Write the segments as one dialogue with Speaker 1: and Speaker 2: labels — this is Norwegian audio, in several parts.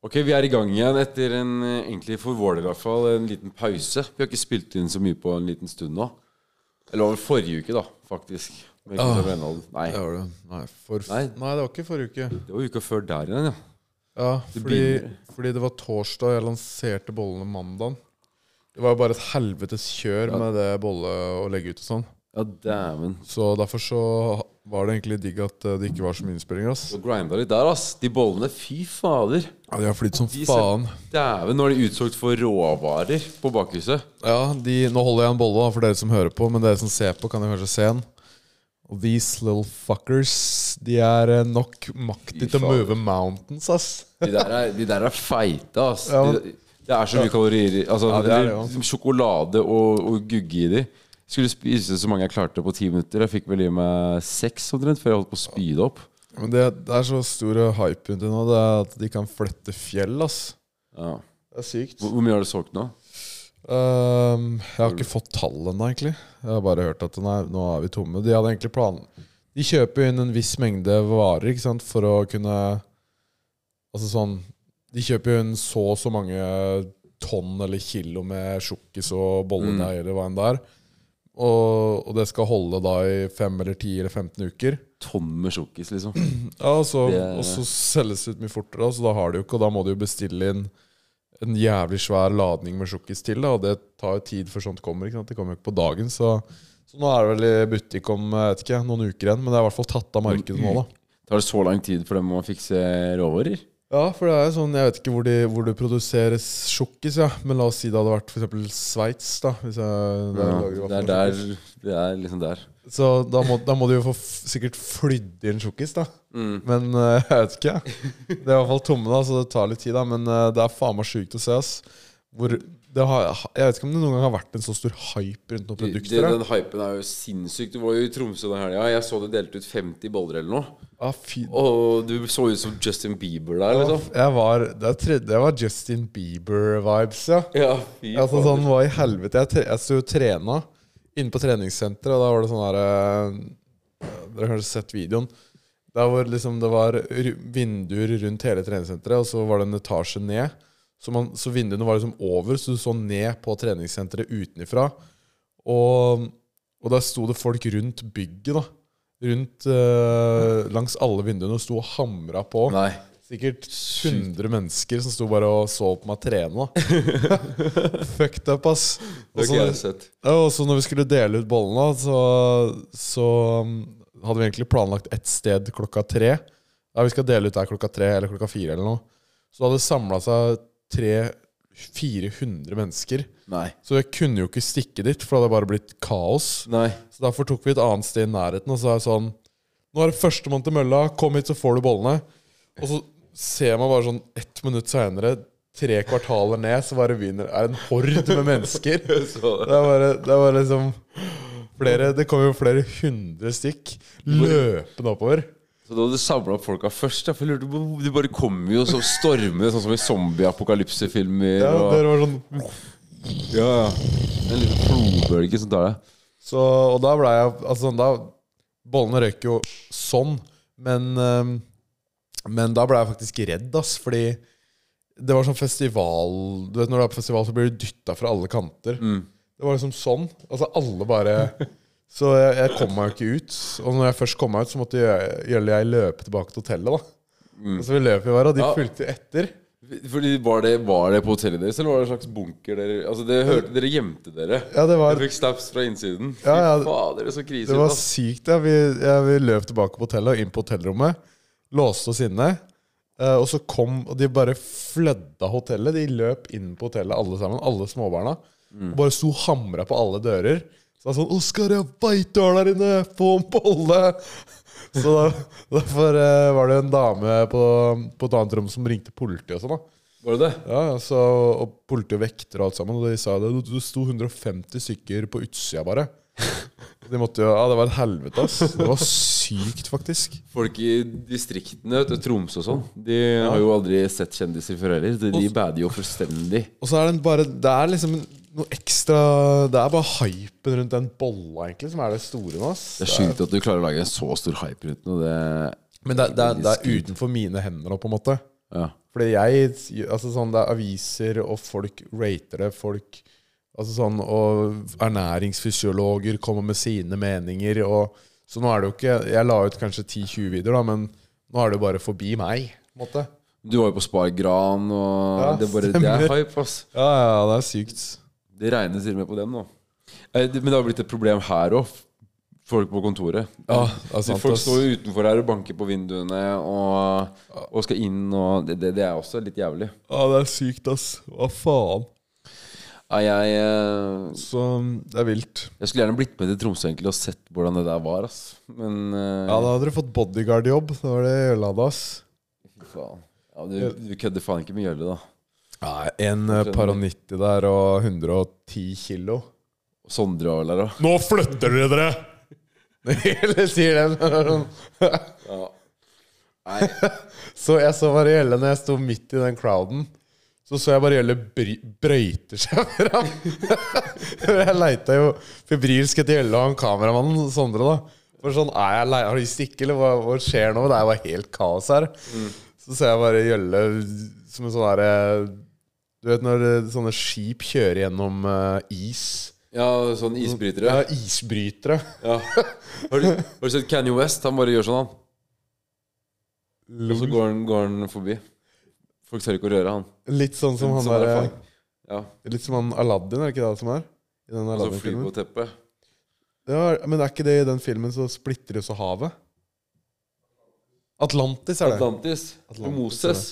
Speaker 1: Ok, Vi er i gang igjen etter en eh, egentlig for vår del i hvert fall, en liten pause. Vi har ikke spilt inn så mye på en liten stund nå. Eller over forrige uke, da, faktisk. Med
Speaker 2: Ah.
Speaker 1: Gustav Enholm. Nei,
Speaker 2: Det var det. Nei, for,
Speaker 1: Nei.
Speaker 2: nei. det var ikke forrige uke.
Speaker 1: det var uka før der igjen, ja.
Speaker 2: Ja,
Speaker 1: Det
Speaker 2: fordi,
Speaker 1: begynner.
Speaker 2: fordi det var torsdag jeg lanserte bollene mandagen. Det var jo bare et helvetes kjør
Speaker 1: Ja.
Speaker 2: med det bolle å legge ut og sånn.
Speaker 1: Ja, dæven.
Speaker 2: Så derfor så var det egentlig digg at eh, det ikke var så mye innspillinger. ass.
Speaker 1: Du grinda litt der, ass. De bollene, fy fader.
Speaker 2: Ja, de har flydd som
Speaker 1: De ser-
Speaker 2: faen.
Speaker 1: Dæven, nå er de utsolgt for råvarer på bakhuset.
Speaker 2: Ja, de, Nå holder jeg en bolle da, for dere som hører på, men dere som ser på, kan jo kanskje se en. Og these little fuckers, de er eh, nok
Speaker 1: Fy
Speaker 2: maktig til å
Speaker 1: faen.
Speaker 2: move mountains, ass.
Speaker 1: De der er, de der er feite, ass.
Speaker 2: Ja, men-
Speaker 1: de, det er så mye kalorier i- altså,
Speaker 2: Ja, det er det,
Speaker 1: det- Sjokolade og, og gugge i de. Skulle spise så mange jeg klarte på ti minutter. Jeg fikk vel i meg seks omtrent før jeg holdt på å spyde opp.
Speaker 2: Men det, det er så stor hype rundt det nå, det er at de kan flette fjell, ass.
Speaker 1: Ja.
Speaker 2: Det er sykt.
Speaker 1: Hvor, hvor mye har du solgt nå?
Speaker 2: Ehm, jeg har ikke fått tallet ennå, egentlig. Jeg har bare hørt at den er, nå er vi tomme. De hadde egentlig planen De kjøper jo inn en viss mengde varer ikke sant, for å kunne Altså sånn De kjøper jo inn så og så mange tonn eller kilo med sjokkis og bolledeig eller hva enn det er. Og, og det skal holde da i fem eller ti eller 15 uker.
Speaker 1: Tonn med sjokkis, liksom.
Speaker 2: Ja, og så,
Speaker 1: Det-
Speaker 2: og så selges det ut mye fortere, så da har de jo ikke, og da må de jo bestille inn en jævlig svær ladning med sjokkis til, da, og det tar jo tid før sånt kommer. ikke sant? Det kommer jo ikke på dagen, så, så nå er det vel i butikk om jeg vet ikke, noen uker igjen, men det er i hvert fall tatt av markedet nå, da.
Speaker 1: Tar det så lang tid for dem å fikse råvarer?
Speaker 2: Ja, for det er jo sånn, jeg vet ikke hvor, de, hvor det produseres sjokkis, ja. men la oss si det hadde vært f.eks. Sveits, da. Hvis jeg,
Speaker 1: Ja,
Speaker 2: der lager jeg i hvert
Speaker 1: det er
Speaker 2: fall
Speaker 1: der
Speaker 2: sjokkis.
Speaker 1: Det er liksom der.
Speaker 2: Så da må, da må de jo få f sikkert flydd inn sjokkis, da.
Speaker 1: Mm.
Speaker 2: Men eh, jeg vet ikke. jeg. Det er i hvert fall tomme, da, så det tar litt tid. da Men eh, det er faen meg sjukt å se. ass Hvor det har, Jeg vet ikke om det noen gang har vært en så stor hype rundt noen
Speaker 1: Det-
Speaker 2: produkter. da.
Speaker 1: den hypen er jo sinnssyk. Du var jo i Tromsø den helga. Jeg så du delte ut 50 boller eller noe.
Speaker 2: Ah, fy,
Speaker 1: Og du så ut som Justin Bieber der, liksom.
Speaker 2: jeg var, det, er tredje, det var Justin Bieber-vibes, ja.
Speaker 1: Ja, fy
Speaker 2: Altså
Speaker 1: fader.
Speaker 2: sånn, Hva i helvete? Jeg, tre- jeg sto og trena inne på treningssenteret, og da var det sånn her eh, Dere har kanskje sett videoen. Der hvor liksom det var ru- vinduer rundt hele treningssenteret, og så var det en etasje ned. Så, man, så vinduene var liksom over, så du så ned på treningssenteret utenifra. Og, og der sto det folk rundt bygget, da. Rundt eh, langs alle vinduene og sto og hamra på.
Speaker 1: Nei.
Speaker 2: Sikkert 100 mennesker som sto bare og så på meg trene. da. Fucked up, ass.
Speaker 1: Det
Speaker 2: Og
Speaker 1: har
Speaker 2: så
Speaker 1: ikke jeg
Speaker 2: når,
Speaker 1: sett.
Speaker 2: ja, og så når vi skulle dele ut bollene, da, så, så um, hadde vi egentlig planlagt ett sted klokka tre. Ja, vi skal dele ut der klokka tre eller klokka fire eller noe. Så det hadde samla seg tre 400 mennesker.
Speaker 1: Nei.
Speaker 2: Så jeg kunne jo ikke stikke dit, for det hadde bare blitt kaos.
Speaker 1: Nei.
Speaker 2: Så derfor tok vi et annet sted i nærheten og så er det sånn Nå er det førstemann til mølla, kom hit, så får du bollene. Og så ser man bare sånn ett minutt seinere, tre kvartaler ned, så var revyen er en horde med mennesker. Det
Speaker 1: Så det.
Speaker 2: er bare, det er bare liksom flere, Det kom jo flere hundre stykk løpende oppover.
Speaker 1: Så da hadde du samla opp folka først? Da, for jeg lurte på, De bare kommer jo så stormende, sånn som i zombie-apokalypsefilmer.
Speaker 2: Ja,
Speaker 1: og-
Speaker 2: dere var sånn
Speaker 1: Ja, ja. En liten flodbølge som tar deg.
Speaker 2: Så, og da ble jeg Altså sånn, da Bollene røyk jo sånn Men ehm, Men da ble jeg faktisk redd ass Fordi Det var sånn festival Du vet når du er på festival Så blir du dyttet fra alle kanter Det var liksom sånn Altså alle bare Så jeg, jeg kom meg jo ikke ut Og når jeg først kom meg ut Så måtte jeg, Gjølle jeg løpe tilbake til hotellet da Og så vi løp jo hver Og de
Speaker 1: Ja.
Speaker 2: fulgte jo etter
Speaker 1: Fordi var det, var det på hotellet deres, eller var det en slags bunker dere Altså, det hørte dere gjemte dere.
Speaker 2: Ja det var
Speaker 1: Dere fikk snaps fra innsiden. Fy
Speaker 2: Ja, ja.
Speaker 1: fader, så krise.
Speaker 2: Det var
Speaker 1: ass.
Speaker 2: sykt. Ja. Vi, ja, vi løp tilbake på hotellet og inn på hotellrommet. Låste oss inne. eh, og så kom Og de bare flødda hotellet. De løp inn på hotellet, alle sammen. Alle småbarna. Og bare sto og hamra på alle dører. Så det er sånn 'Oskar, jeg veit du er der inne! Få en bolle!' Så da, derfor eh, var det en dame på, på et annet rom som ringte politiet og sånn. da
Speaker 1: Var det det?
Speaker 2: ja, ja, så, og politi og vekter og alt sammen. Og de sa det. Det sto 150 stykker på utsida bare. De måtte jo, ja, Det var et helvete, ass. Det var sykt, faktisk.
Speaker 1: Folk i distriktene, vet du, Tromsø og sånn, de har jo aldri sett kjendiser før heller. De, de bader jo fullstendig.
Speaker 2: Og så er den bare Det er liksom noe ekstra Det er bare hypen rundt den bolla, egentlig, som er det store nå, ass.
Speaker 1: Det er sjukt at du klarer å lage en så stor hype rundt noe. Det
Speaker 2: Men det, er- det, er- det er utenfor mine hender nå, på en måte.
Speaker 1: Ja.
Speaker 2: Fordi jeg Altså sånn, det er aviser, og folk rater det. Folk Altså sånn Og ernæringsfysiologer kommer med sine meninger, og Så nå er det jo ikke Jeg la ut kanskje 10-20 videoer, da, men nå er det jo bare forbi meg, på en måte.
Speaker 1: Du var jo på Spar Gran, og
Speaker 2: Ja,
Speaker 1: det, er bare, det er
Speaker 2: stemmer.
Speaker 1: hype, ass.
Speaker 2: Ja, ja, det er sykt.
Speaker 1: Det regnes til og med på dem nå. Eh, det- Men det har blitt et problem her òg. Folk på kontoret.
Speaker 2: Ja, det er sant,
Speaker 1: Folk
Speaker 2: ass.
Speaker 1: står jo utenfor her og banker på vinduene og, og skal inn, og det, det, det er også litt jævlig.
Speaker 2: Ja, det er sykt, ass. Hva faen?
Speaker 1: Nei, jeg, eh,
Speaker 2: Så um, det er vilt.
Speaker 1: jeg skulle gjerne blitt med til Tromsø egentlig og sett hvordan det der var, ass. Men eh,
Speaker 2: Ja, da hadde du fått bodyguard-jobb. Da var det ødelagt, ass.
Speaker 1: fy faen. Ja, du, du kødder faen ikke med Gjølle, da.
Speaker 2: Ja, en eh, par og 90 der og 110 kilo.
Speaker 1: Og Sondre og der òg.
Speaker 2: Nå flytter dere dere! Eller sier den. sånn,
Speaker 1: Ja. Nei,
Speaker 2: så jeg så Marielle når jeg sto midt i den crowden. Så så jeg Marielle bry- brøyter seg fram. jeg leita jo febrilsk etter Gjelle og han kameramannen Sondre, da. For sånn, er jeg lei, Har de stikket, eller hva, hva skjer nå? Det er jo helt kaos her.
Speaker 1: Mm.
Speaker 2: Så ser jeg bare Gjelle som en sånn derre Du vet når eh, sånne skip kjører gjennom eh, is?
Speaker 1: ja, sånn isbrytere.
Speaker 2: Ja, isbrytere.
Speaker 1: Ja. Har, du, har du sett Kanye West? Han bare gjør sånn, han. Og så går han, går han forbi. Folk tør ikke å røre han.
Speaker 2: Litt sånn som han
Speaker 1: Sånn er
Speaker 2: derre
Speaker 1: erfaring. Ja,
Speaker 2: Litt som han Aladdin, er det ikke det som er? I den
Speaker 1: Og så fly på
Speaker 2: Aladdin-filmen.
Speaker 1: teppet.
Speaker 2: Ja, men er ikke det i den filmen så splitter jo så havet? Atlantis er det.
Speaker 1: Atlantis.
Speaker 2: Atlantis,
Speaker 1: Moses.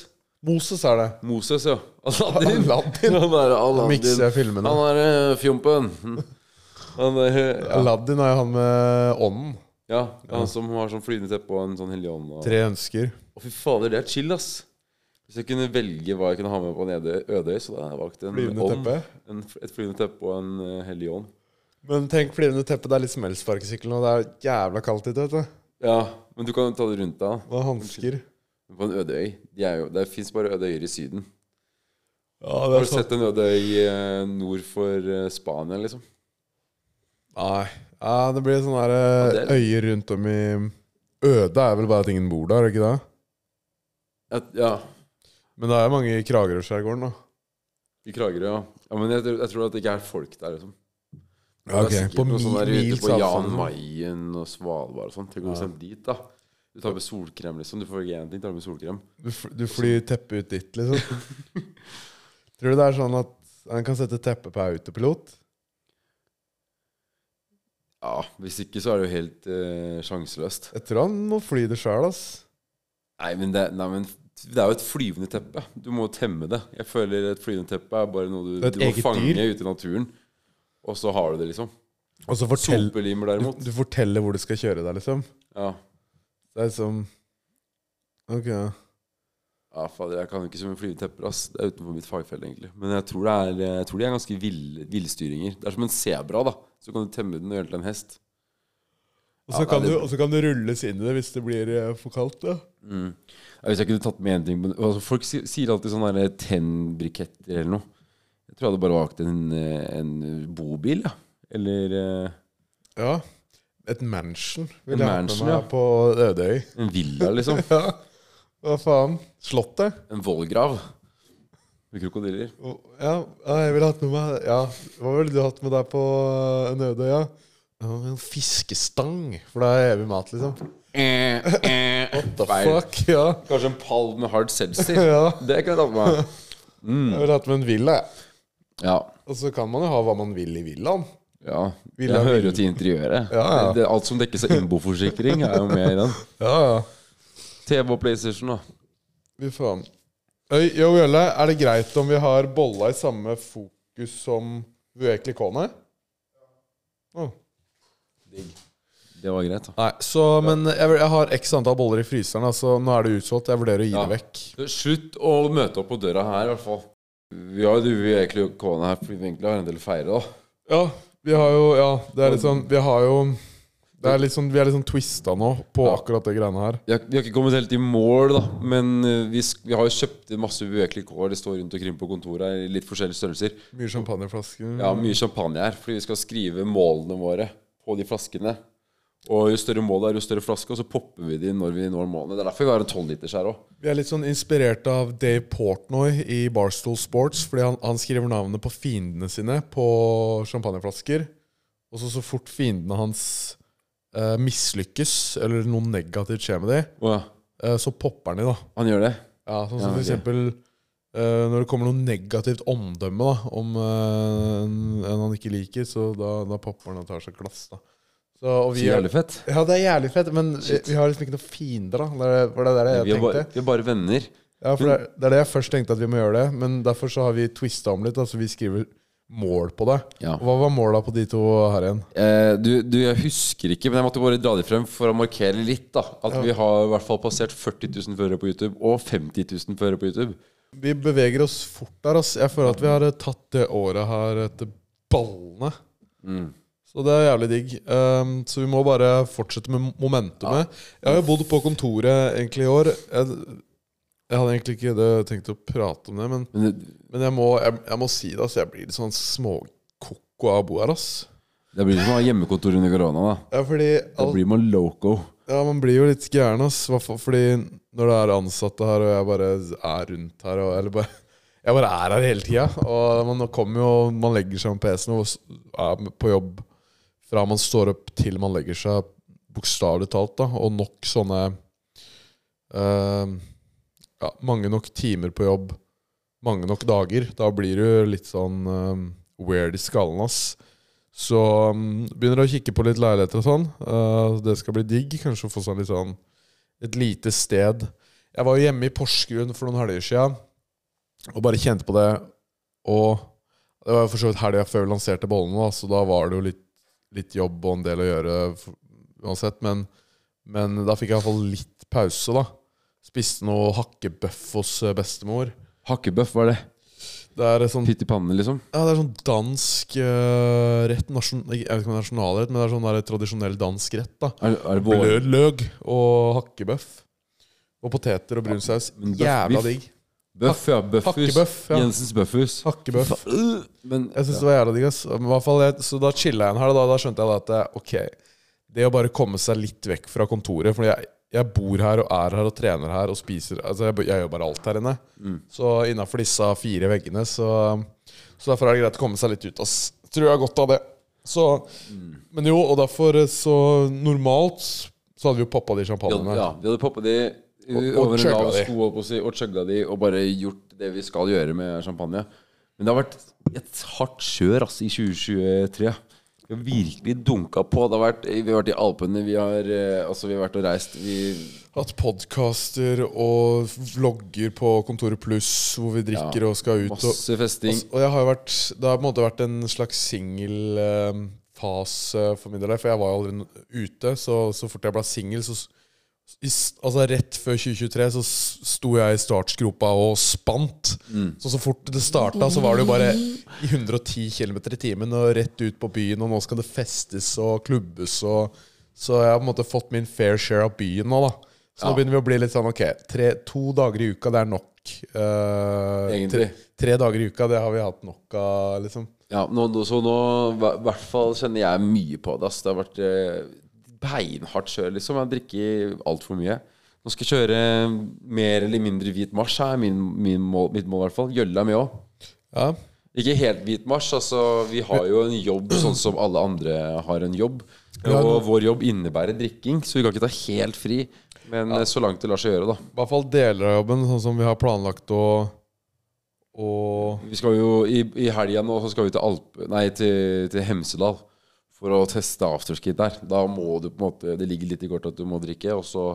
Speaker 2: Moses er det.
Speaker 1: Moses, ja. Aladdin.
Speaker 2: Aladdin.
Speaker 1: Han er
Speaker 2: Da mikser
Speaker 1: Aladdin.
Speaker 2: jeg filmene.
Speaker 1: Han er eh, fjompen. Han er eh, ja.
Speaker 2: Aladdin er jo han med ånden.
Speaker 1: ja, han som har sånn flyvende teppe og en sånn hellig ånd. og-
Speaker 2: Tre ønsker.
Speaker 1: Å, fy fader, det er chill, ass. Hvis jeg kunne velge hva jeg kunne ha med på en øde- ødøy, så hadde jeg valgt en
Speaker 2: Flyvende
Speaker 1: ånd.
Speaker 2: teppe.
Speaker 1: En, et flyvende teppe og en eh, hellig ånd.
Speaker 2: Men tenk flyvende teppe, det er litt som elsparkesykkelen, og det er jævla kaldt ute, vet du.
Speaker 1: Ja, men du kan jo ta det rundt deg. da.
Speaker 2: Og hansker.
Speaker 1: På en øde øy. De er jo, det fins bare øde øyer i Syden.
Speaker 2: Ja,
Speaker 1: Har du sett en øde øy eh, nord for eh, Spania, liksom?
Speaker 2: Nei. Ja, det blir sånne der, eh,
Speaker 1: Ja, det er-
Speaker 2: øyer rundt om i Øde er vel bare at ingen bor der, er det ikke det?
Speaker 1: Et, ja.
Speaker 2: Men det er jo mange i Kragerø-skjærgården, da.
Speaker 1: I Kragerø, ja. ja men jeg, tror- jeg tror at det ikke er folk der, liksom.
Speaker 2: Ja,
Speaker 1: det er
Speaker 2: ok.
Speaker 1: sikkert
Speaker 2: På
Speaker 1: noe sånn der
Speaker 2: mil-
Speaker 1: ute på
Speaker 2: mils
Speaker 1: Jan
Speaker 2: avstand.
Speaker 1: Mayen og Svalbard og sånn. Tenk om du
Speaker 2: Ja.
Speaker 1: sender dit, da. Du tar med solkrem, liksom. Du får ikke én ting, tar med solkrem.
Speaker 2: Du, fl- du flyr teppet ut dit, liksom. Tror du det er sånn at han kan sette teppet på autopilot?
Speaker 1: Ja, hvis ikke så er det jo helt eh, sjanseløst.
Speaker 2: Jeg tror han må fly det sjøl, ass.
Speaker 1: Nei men, det, nei, men det er jo et flyvende teppe. Du må jo temme det. Jeg føler et flyvende teppe er bare noe du,
Speaker 2: Det er et
Speaker 1: du må
Speaker 2: eget
Speaker 1: fange
Speaker 2: dyr.
Speaker 1: ute i naturen. Og så har du det, liksom.
Speaker 2: Og så fortell,
Speaker 1: Sopelimer,
Speaker 2: du,
Speaker 1: derimot.
Speaker 2: du forteller hvor du skal kjøre deg, liksom.
Speaker 1: Ja.
Speaker 2: Det er liksom Ok.
Speaker 1: Ja, fader, jeg kan jo ikke så mye flyvende tepper, ass. Det er utenfor mitt fagfelt, egentlig. Men jeg tror det er, jeg tror de er ganske vill- villstyringer. Det er som en sebra, da. Så kan du temme den og gjøre den til en hest. Ja,
Speaker 2: Og så
Speaker 1: det er
Speaker 2: kan,
Speaker 1: litt-
Speaker 2: du- og så kan du rulles inn i det hvis det blir eh, for kaldt, da.
Speaker 1: Mm. Ja, Hvis jeg kunne tatt med én ting på- altså, Folk si- sier alltid sånne der eh, tennbriketter eller noe. Jeg tror jeg hadde bare valgt en, eh, en bobil, ja. Eller eh,
Speaker 2: Ja. Et mansion
Speaker 1: En
Speaker 2: vil jeg ha med
Speaker 1: mansion,
Speaker 2: meg
Speaker 1: ja.
Speaker 2: på Ødøy.
Speaker 1: en villa, liksom.
Speaker 2: Ja. Hva faen? Slottet?
Speaker 1: En vollgrav. Med krokodiller.
Speaker 2: Og- Ja, ja, jeg ville hatt med meg Ja, Hva ville du hatt med deg på øh, en øde øy? Ja? Ja, En fiskestang, for det er evig mat, liksom.
Speaker 1: Eh, eh. Feil.
Speaker 2: Fuck, ja.
Speaker 1: Kanskje en pall med hard seltzer.
Speaker 2: ja.
Speaker 1: Det kan jeg ta på meg.
Speaker 2: Jeg ville hatt med en villa. jeg.
Speaker 1: Ja.
Speaker 2: Og så kan man jo ha hva man vil i villaen.
Speaker 1: Ja,
Speaker 2: Villa
Speaker 1: jeg hører
Speaker 2: Vil-
Speaker 1: jo til interiøret.
Speaker 2: Ja, ja.
Speaker 1: Det, alt som dekkes av innboforsikring, er jo med i den.
Speaker 2: Ja, ja.
Speaker 1: TV og PlayStation, da.
Speaker 2: Fy faen. Øy, Yo, Jølle, er det greit om vi har bolla i samme fokus som Vuekli Kone? Å.
Speaker 1: Det var greit, da.
Speaker 2: Nei, så, men jeg, vil- jeg har x antall boller i fryseren, da, så nå er det utsolgt. Jeg vurderer å gi
Speaker 1: Ja.
Speaker 2: det vekk.
Speaker 1: Slutt å møte opp på døra her, i hvert fall. Vi har jo vi er egentlig kående her fordi vi egentlig har en del å feire, da.
Speaker 2: Ja, vi har jo Ja, det er litt sånn Vi har jo det er litt sånn, Vi er litt sånn twista nå på
Speaker 1: Ja.
Speaker 2: akkurat det greiene her.
Speaker 1: Vi har, vi har ikke kommet helt i mål, da, men eh, vi, sk- vi har jo kjøpt inn masse ueklig kår. Det står rundt omkring på kontoret her i litt forskjellige størrelser.
Speaker 2: Mye champagneflasker.
Speaker 1: Ja, mye champagne her, fordi vi skal skrive målene våre på de flaskene. Og jo større mål det er, jo større flaske, og så popper vi de når vi når målene. Det er derfor vi har en tolvliters her òg.
Speaker 2: Vi er litt sånn inspirert av Dave Portnoy i Barstool Sports. Fordi han, han skriver navnet på fiendene sine på champagneflasker. Og så så fort fiendene hans eh, mislykkes, eller noe negativt skjer med dem,
Speaker 1: Å ja.
Speaker 2: eh, så popper han i, da.
Speaker 1: Han gjør det?
Speaker 2: Ja, sånn
Speaker 1: Ja,
Speaker 2: som for
Speaker 1: ok.
Speaker 2: eksempel eh, når det kommer noe negativt omdømme da, om eh, en, en han ikke liker, så da, da popper han og tar seg et glass. da. Så, og
Speaker 1: Så
Speaker 2: vi er,
Speaker 1: jævlig fett.
Speaker 2: ja, det er jævlig fett, men vi,
Speaker 1: Shit.
Speaker 2: vi har liksom ikke noen fiender, da. Det er- var det der
Speaker 1: Vi
Speaker 2: jeg
Speaker 1: er, bare,
Speaker 2: tenkte.
Speaker 1: vi er bare venner.
Speaker 2: Ja, for det er, det er det jeg først tenkte at vi må gjøre det, men derfor så har vi twista om litt. Altså vi skriver mål på det.
Speaker 1: Ja.
Speaker 2: Hva var måla på de to her igjen?
Speaker 1: Eh, du, du, jeg husker ikke, men jeg måtte bare dra det frem for å markere litt. da At
Speaker 2: Ja.
Speaker 1: vi har i hvert fall passert 40 000 førere på YouTube, og 50 000 førere på YouTube.
Speaker 2: Vi beveger oss fort der. ass. Jeg føler at vi har eh, tatt det året her etter ballene. Så det er jævlig digg. Um, så vi må bare fortsette med momentumet. Jeg har jo bodd på kontoret egentlig i år. Jeg, jeg hadde egentlig ikke det, tenkt å prate om det, men,
Speaker 1: Men det,
Speaker 2: men jeg, må, jeg, jeg må si det. ass. Jeg blir litt sånn småkoko av å bo her. ass.
Speaker 1: det blir som å ha hjemmekontor under korona. da
Speaker 2: Ja, fordi
Speaker 1: Da
Speaker 2: alt-
Speaker 1: blir man loco.
Speaker 2: Ja, man blir jo litt gæren, ass. Hva for- Fordi når det er ansatte her, og jeg bare er rundt her og eller bare, Jeg bare er her hele tida. Og man kommer jo Man legger seg om PC-en og s- er på jobb fra man står opp til man legger seg, bokstavelig talt, da. Og nok sånne eh, Ja, mange nok timer på jobb, mange nok dager. Da blir du litt sånn eh, weird i skallen, ass. Så um, begynner å kikke på litt leiligheter og sånn. Eh, det skal bli digg. Kanskje å få sånn litt sånn et lite sted. Jeg var jo hjemme i Porsgrunn for noen helger siden og bare kjente på det. Og det var jo for så vidt helga før vi lanserte bollene, da, så da var det jo litt, litt jobb og en del å gjøre f- uansett. Men, men da fikk jeg iallfall litt pause, da. Spiste noe hakkebøff hos eh, bestemor.
Speaker 1: Hakkebøff, hva er det?
Speaker 2: Det er sånn
Speaker 1: Pytt i pannen, liksom?
Speaker 2: ja, det er sånn dansk eh, rett nasjon, Jeg vet ikke om det er nasjonalrett, men det er sånn der tradisjonell dansk rett. da
Speaker 1: Er, er det vår?
Speaker 2: Blød løg og hakkebøff. Og poteter og brun saus.
Speaker 1: Men bøff-
Speaker 2: Jævla
Speaker 1: biff.
Speaker 2: digg.
Speaker 1: Bøff, ja. Bøffhus.
Speaker 2: Hakkebøff, ja.
Speaker 1: Jensens bøffhus.
Speaker 2: Hakkebøff.
Speaker 1: Fa- Men
Speaker 2: Jeg syns det var jævla digg. ass Men i hvert fall, jeg, Så da chilla jeg en her. Da, da skjønte jeg da at det, ok, det å bare komme seg litt vekk fra kontoret Fordi jeg, jeg bor her og er her og trener her og spiser Altså, jeg, jeg gjør bare alt her inne.
Speaker 1: Mm.
Speaker 2: Så innafor disse fire veggene, så Så derfor er det greit å komme seg litt ut, ass. Tror jeg har godt av det. Så
Speaker 1: Mm.
Speaker 2: Men jo, og derfor så Normalt så hadde vi jo poppa de
Speaker 1: Ja,
Speaker 2: sjampanjene.
Speaker 1: ja, vi hadde poppa de
Speaker 2: Og- og
Speaker 1: over en lav
Speaker 2: chugga de.
Speaker 1: sko holdt på å si, og chugga de, og bare gjort det vi skal gjøre med champagne. Men det har vært et hardt kjør altså, i 2023. Vi har virkelig dunka på. Det har vært, vi har vært i Alpene, vi har, eh, altså, vi har vært og reist. Vi,
Speaker 2: Hatt podkaster og vlogger på Kontoret Pluss hvor vi drikker og skal ut. Og,
Speaker 1: masse festing.
Speaker 2: Og jeg har jo vært Det har på en måte vært en slags singelfase eh, for min del. For jeg var jo aldri ute. Så, så fort jeg ble singel, så s- i, s- Altså rett før 2023 så s- sto jeg i startgropa og spant. Så så fort det starta, så var det jo bare i 110 km i timen og rett ut på byen, og nå skal det festes og klubbes og Så jeg har på en måte fått min fair share av byen nå, da. Så nå
Speaker 1: Ja.
Speaker 2: begynner vi å bli litt sånn ok, tre, to dager i uka, det er nok. eh,
Speaker 1: Egentlig.
Speaker 2: tre- Tre dager i uka, det har vi hatt nok av, liksom.
Speaker 1: Ja, nå, nå, så nå hva- i hvert fall kjenner jeg mye på det. ass. Det har vært eh, beinhardt kjør, liksom. Jeg drikker altfor mye. Nå skal jeg kjøre mer eller mindre hvit marsj, er min, min mål, mitt mål i hvert fall. Gjølle er med òg.
Speaker 2: Ja.
Speaker 1: Ikke helt hvit marsj. Altså, vi har jo en jobb sånn som alle andre har en jobb.
Speaker 2: Ja,
Speaker 1: Og vår jobb innebærer drikking, så vi kan ikke ta helt fri. Men eh, så langt det lar seg gjøre, da.
Speaker 2: I hvert fall deler av jobben, sånn som vi har planlagt å Og
Speaker 1: Vi skal jo i, i helga nå så skal vi til, Alp, nei, til, til Hemsedal for å teste afterski der. Da må du på en måte Det ligger litt i kortet at du må drikke. Og så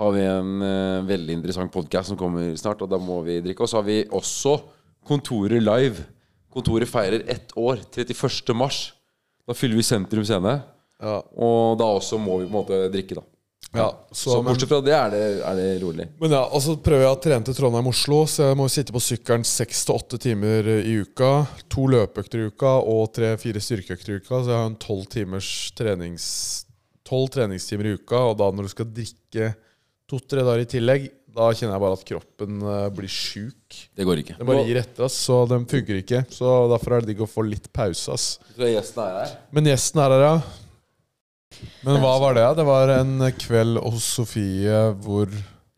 Speaker 1: har vi en eh, veldig interessant podkast som kommer snart, og da må vi drikke. Og så har vi også Kontoret live. Kontoret feirer ett år. 31. mars. Da fyller vi Sentrum scene.
Speaker 2: Ja.
Speaker 1: Og da også må vi på en måte drikke, da.
Speaker 2: ja
Speaker 1: Så,
Speaker 2: så, men,
Speaker 1: bortsett fra det er det, er det rolig.
Speaker 2: men ja, og så prøver jeg å trene til Trondheim og Oslo, så jeg må sitte på sykkelen seks til åtte timer i uka. To løpeøkter i uka og tre-fire styrkeøkter i uka, så jeg har en tolv timers trenings... Tolv treningstimer i uka, og da når du skal drikke to-tre dager i tillegg, da kjenner jeg bare at kroppen eh, blir sjuk.
Speaker 1: Det går ikke.
Speaker 2: Den bare gir etter, ass, så den funker ikke. Så Derfor er det digg å få litt pause. ass
Speaker 1: Tror jeg gjesten er her.
Speaker 2: Men gjesten er her, ja. Men hva var det? da? Det var en kveld hos Sofie hvor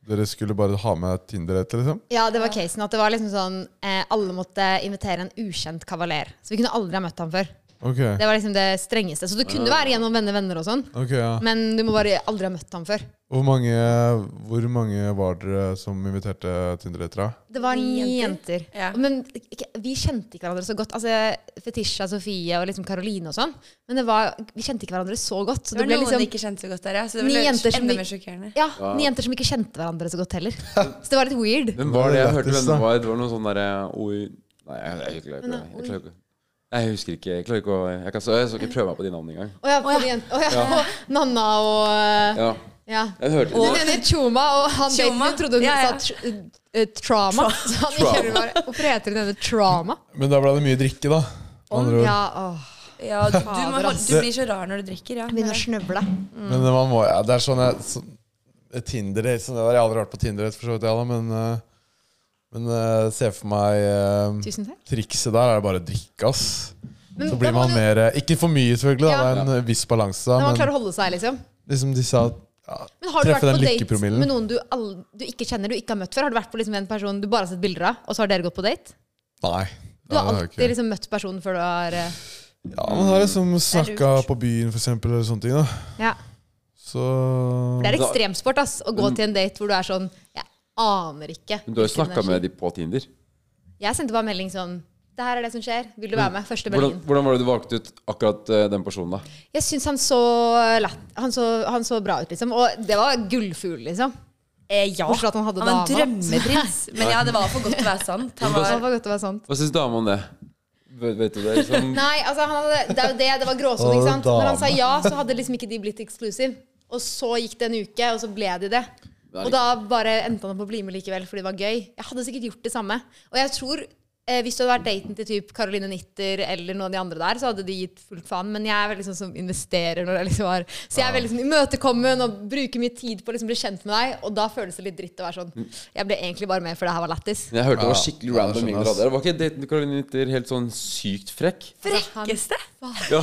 Speaker 2: dere skulle bare ha med Tinder-et, liksom?
Speaker 3: Ja, det var casen. At det var liksom sånn eh, Alle måtte invitere en ukjent kavaler. Så vi kunne aldri ha møtt ham før.
Speaker 2: Ok,
Speaker 3: Det var liksom det strengeste. Så det kunne være gjennom venner, venner og sånn.
Speaker 2: ok, ja.
Speaker 3: Men du må bare aldri ha møtt ham før.
Speaker 2: Hvor mange, hvor mange var dere som inviterte Tinder-etere?
Speaker 3: Det var
Speaker 4: Ni
Speaker 3: ni
Speaker 4: jenter.
Speaker 3: jenter.
Speaker 4: Ja.
Speaker 3: Men ikke- vi kjente ikke hverandre så godt. Altså, Fetisha, Sofie og liksom Karoline og sånn. Men det var, vi kjente ikke hverandre så godt. Så
Speaker 4: Det
Speaker 3: det
Speaker 4: var
Speaker 3: ble
Speaker 4: noen
Speaker 3: liksom
Speaker 4: de ikke kjente så godt der, ja. Så det
Speaker 3: Ni
Speaker 4: ble
Speaker 3: jenter som
Speaker 4: enda
Speaker 3: vi-
Speaker 4: mer sjokkerende.
Speaker 3: ja, ni jenter som ikke kjente hverandre så godt heller. Så det var litt weird.
Speaker 1: Hvem var det jeg hørte
Speaker 2: Lættis,
Speaker 1: hvem det
Speaker 2: da.
Speaker 1: var? Det var noe sånn derre Oi Nei, jeg, jeg, jeg, klarer ikke-
Speaker 3: eh,
Speaker 1: jeg, klarer ikke Nei, jeg husker ikke. Jeg klarer ikke å Jeg, kan, så jeg skal ikke prøve meg på de navnene engang.
Speaker 3: Å ja, på de jent- å ja. og Nanna og eh,
Speaker 1: Ja,
Speaker 3: Ja.
Speaker 1: jeg hørte
Speaker 3: Den
Speaker 1: det.
Speaker 3: ene Tjoma, og han
Speaker 4: Tjoma?
Speaker 3: daten min trodde hun
Speaker 4: Ja, ja.
Speaker 3: sa tr eh, trauma. Så han
Speaker 1: Trauma.
Speaker 3: kjører bare Hvorfor heter hun denne Trauma?
Speaker 2: Men da ble det mye drikke, da. Andre ord.
Speaker 3: Ja, åh.
Speaker 4: Ja, du, må
Speaker 3: Fader,
Speaker 4: holde-
Speaker 3: ass.
Speaker 4: du blir så rar når du drikker, ja.
Speaker 3: Begynner å snøvle.
Speaker 2: Men man må, ja, det er sånn jeg, sånn, et Tinder sånn, Jeg har aldri vært på Tinder, for så vidt, jeg, da, men, eh, men eh, se for meg eh,
Speaker 3: Tusen takk.
Speaker 2: Trikset der er det bare å drikke, ass.
Speaker 3: Men
Speaker 2: Så
Speaker 3: da
Speaker 2: blir
Speaker 3: må
Speaker 2: man
Speaker 3: du-
Speaker 2: mer eh, Ikke for mye, selvfølgelig. Da.
Speaker 3: Ja.
Speaker 2: Det er en eh, viss balanse.
Speaker 3: Når
Speaker 2: Da,
Speaker 3: man klarer
Speaker 2: men
Speaker 3: å holde seg, liksom.
Speaker 2: liksom de sa ja,
Speaker 3: Men har du
Speaker 2: Treffe
Speaker 3: vært på
Speaker 2: den
Speaker 3: date
Speaker 2: lykkepromillen.
Speaker 3: med noen du, all- du ikke kjenner, du ikke har møtt før? Har du vært på liksom en person du bare har sett bilder av, og så har dere gått på date?
Speaker 2: Nei.
Speaker 3: Du har
Speaker 2: det er jo
Speaker 3: alltid
Speaker 2: ikke-
Speaker 3: liksom møtt personen før du har eh,
Speaker 2: Ja, man har liksom
Speaker 4: Det er
Speaker 2: snakka på byen, for eksempel, eller sånne ting. da
Speaker 3: Ja.
Speaker 2: Så
Speaker 3: For det er ekstremsport, ass, å gå til en date hvor du er sånn Jeg aner ikke.
Speaker 1: Men du har jo
Speaker 3: hvilken
Speaker 1: snakka
Speaker 3: energi."
Speaker 1: med de på Tinder.
Speaker 3: Jeg sendte bare melding sånn Det her er det som skjer. Vil du være med? Første
Speaker 1: Hvordan,
Speaker 3: meldingen.
Speaker 1: hvordan var det du valgte ut akkurat eh, den personen, da?
Speaker 3: Jeg syns han så lett han så, han så bra ut, liksom. Og det var gullfugl, liksom.
Speaker 4: Eh, ja.
Speaker 3: Bortsett fra at han hadde
Speaker 4: Han var en
Speaker 3: dama.
Speaker 4: drømmeprins. Men ja, det var for godt til å være sant. Han
Speaker 3: Det
Speaker 4: var
Speaker 3: var godt å være sant.
Speaker 1: Hva syns dama om det? Vet, vet du det? Liksom?
Speaker 3: Nei, altså, han hadde, det er jo det. Det var gråsone, ikke sant.
Speaker 2: Å, dame.
Speaker 3: Når han sa ja, så hadde liksom ikke de blitt exclusive. Og så gikk det en uke, og så ble de det. Og da bare endte han opp å bli med likevel, fordi det var gøy. Jeg hadde sikkert gjort det samme. Og jeg tror eh, hvis det hadde vært daten til typ Caroline Nitter eller noen av de andre der, så hadde de gitt fullt faen. Men jeg er veldig sånn som investerer når jeg liksom har Så jeg er veldig sånn imøtekommen og bruker mye tid på å liksom bli kjent med deg. Og da føles det litt dritt å være sånn Jeg ble egentlig bare med, for det her var lættis.
Speaker 1: Men Jeg hørte det var
Speaker 2: Ja,
Speaker 1: skikkelig
Speaker 2: ja, jeg
Speaker 1: random
Speaker 2: skjønner,
Speaker 1: yngre
Speaker 2: ass.
Speaker 1: der. Var ikke daten til Caroline Nitter helt sånn sykt frekk?
Speaker 4: frekkeste.
Speaker 1: Ja.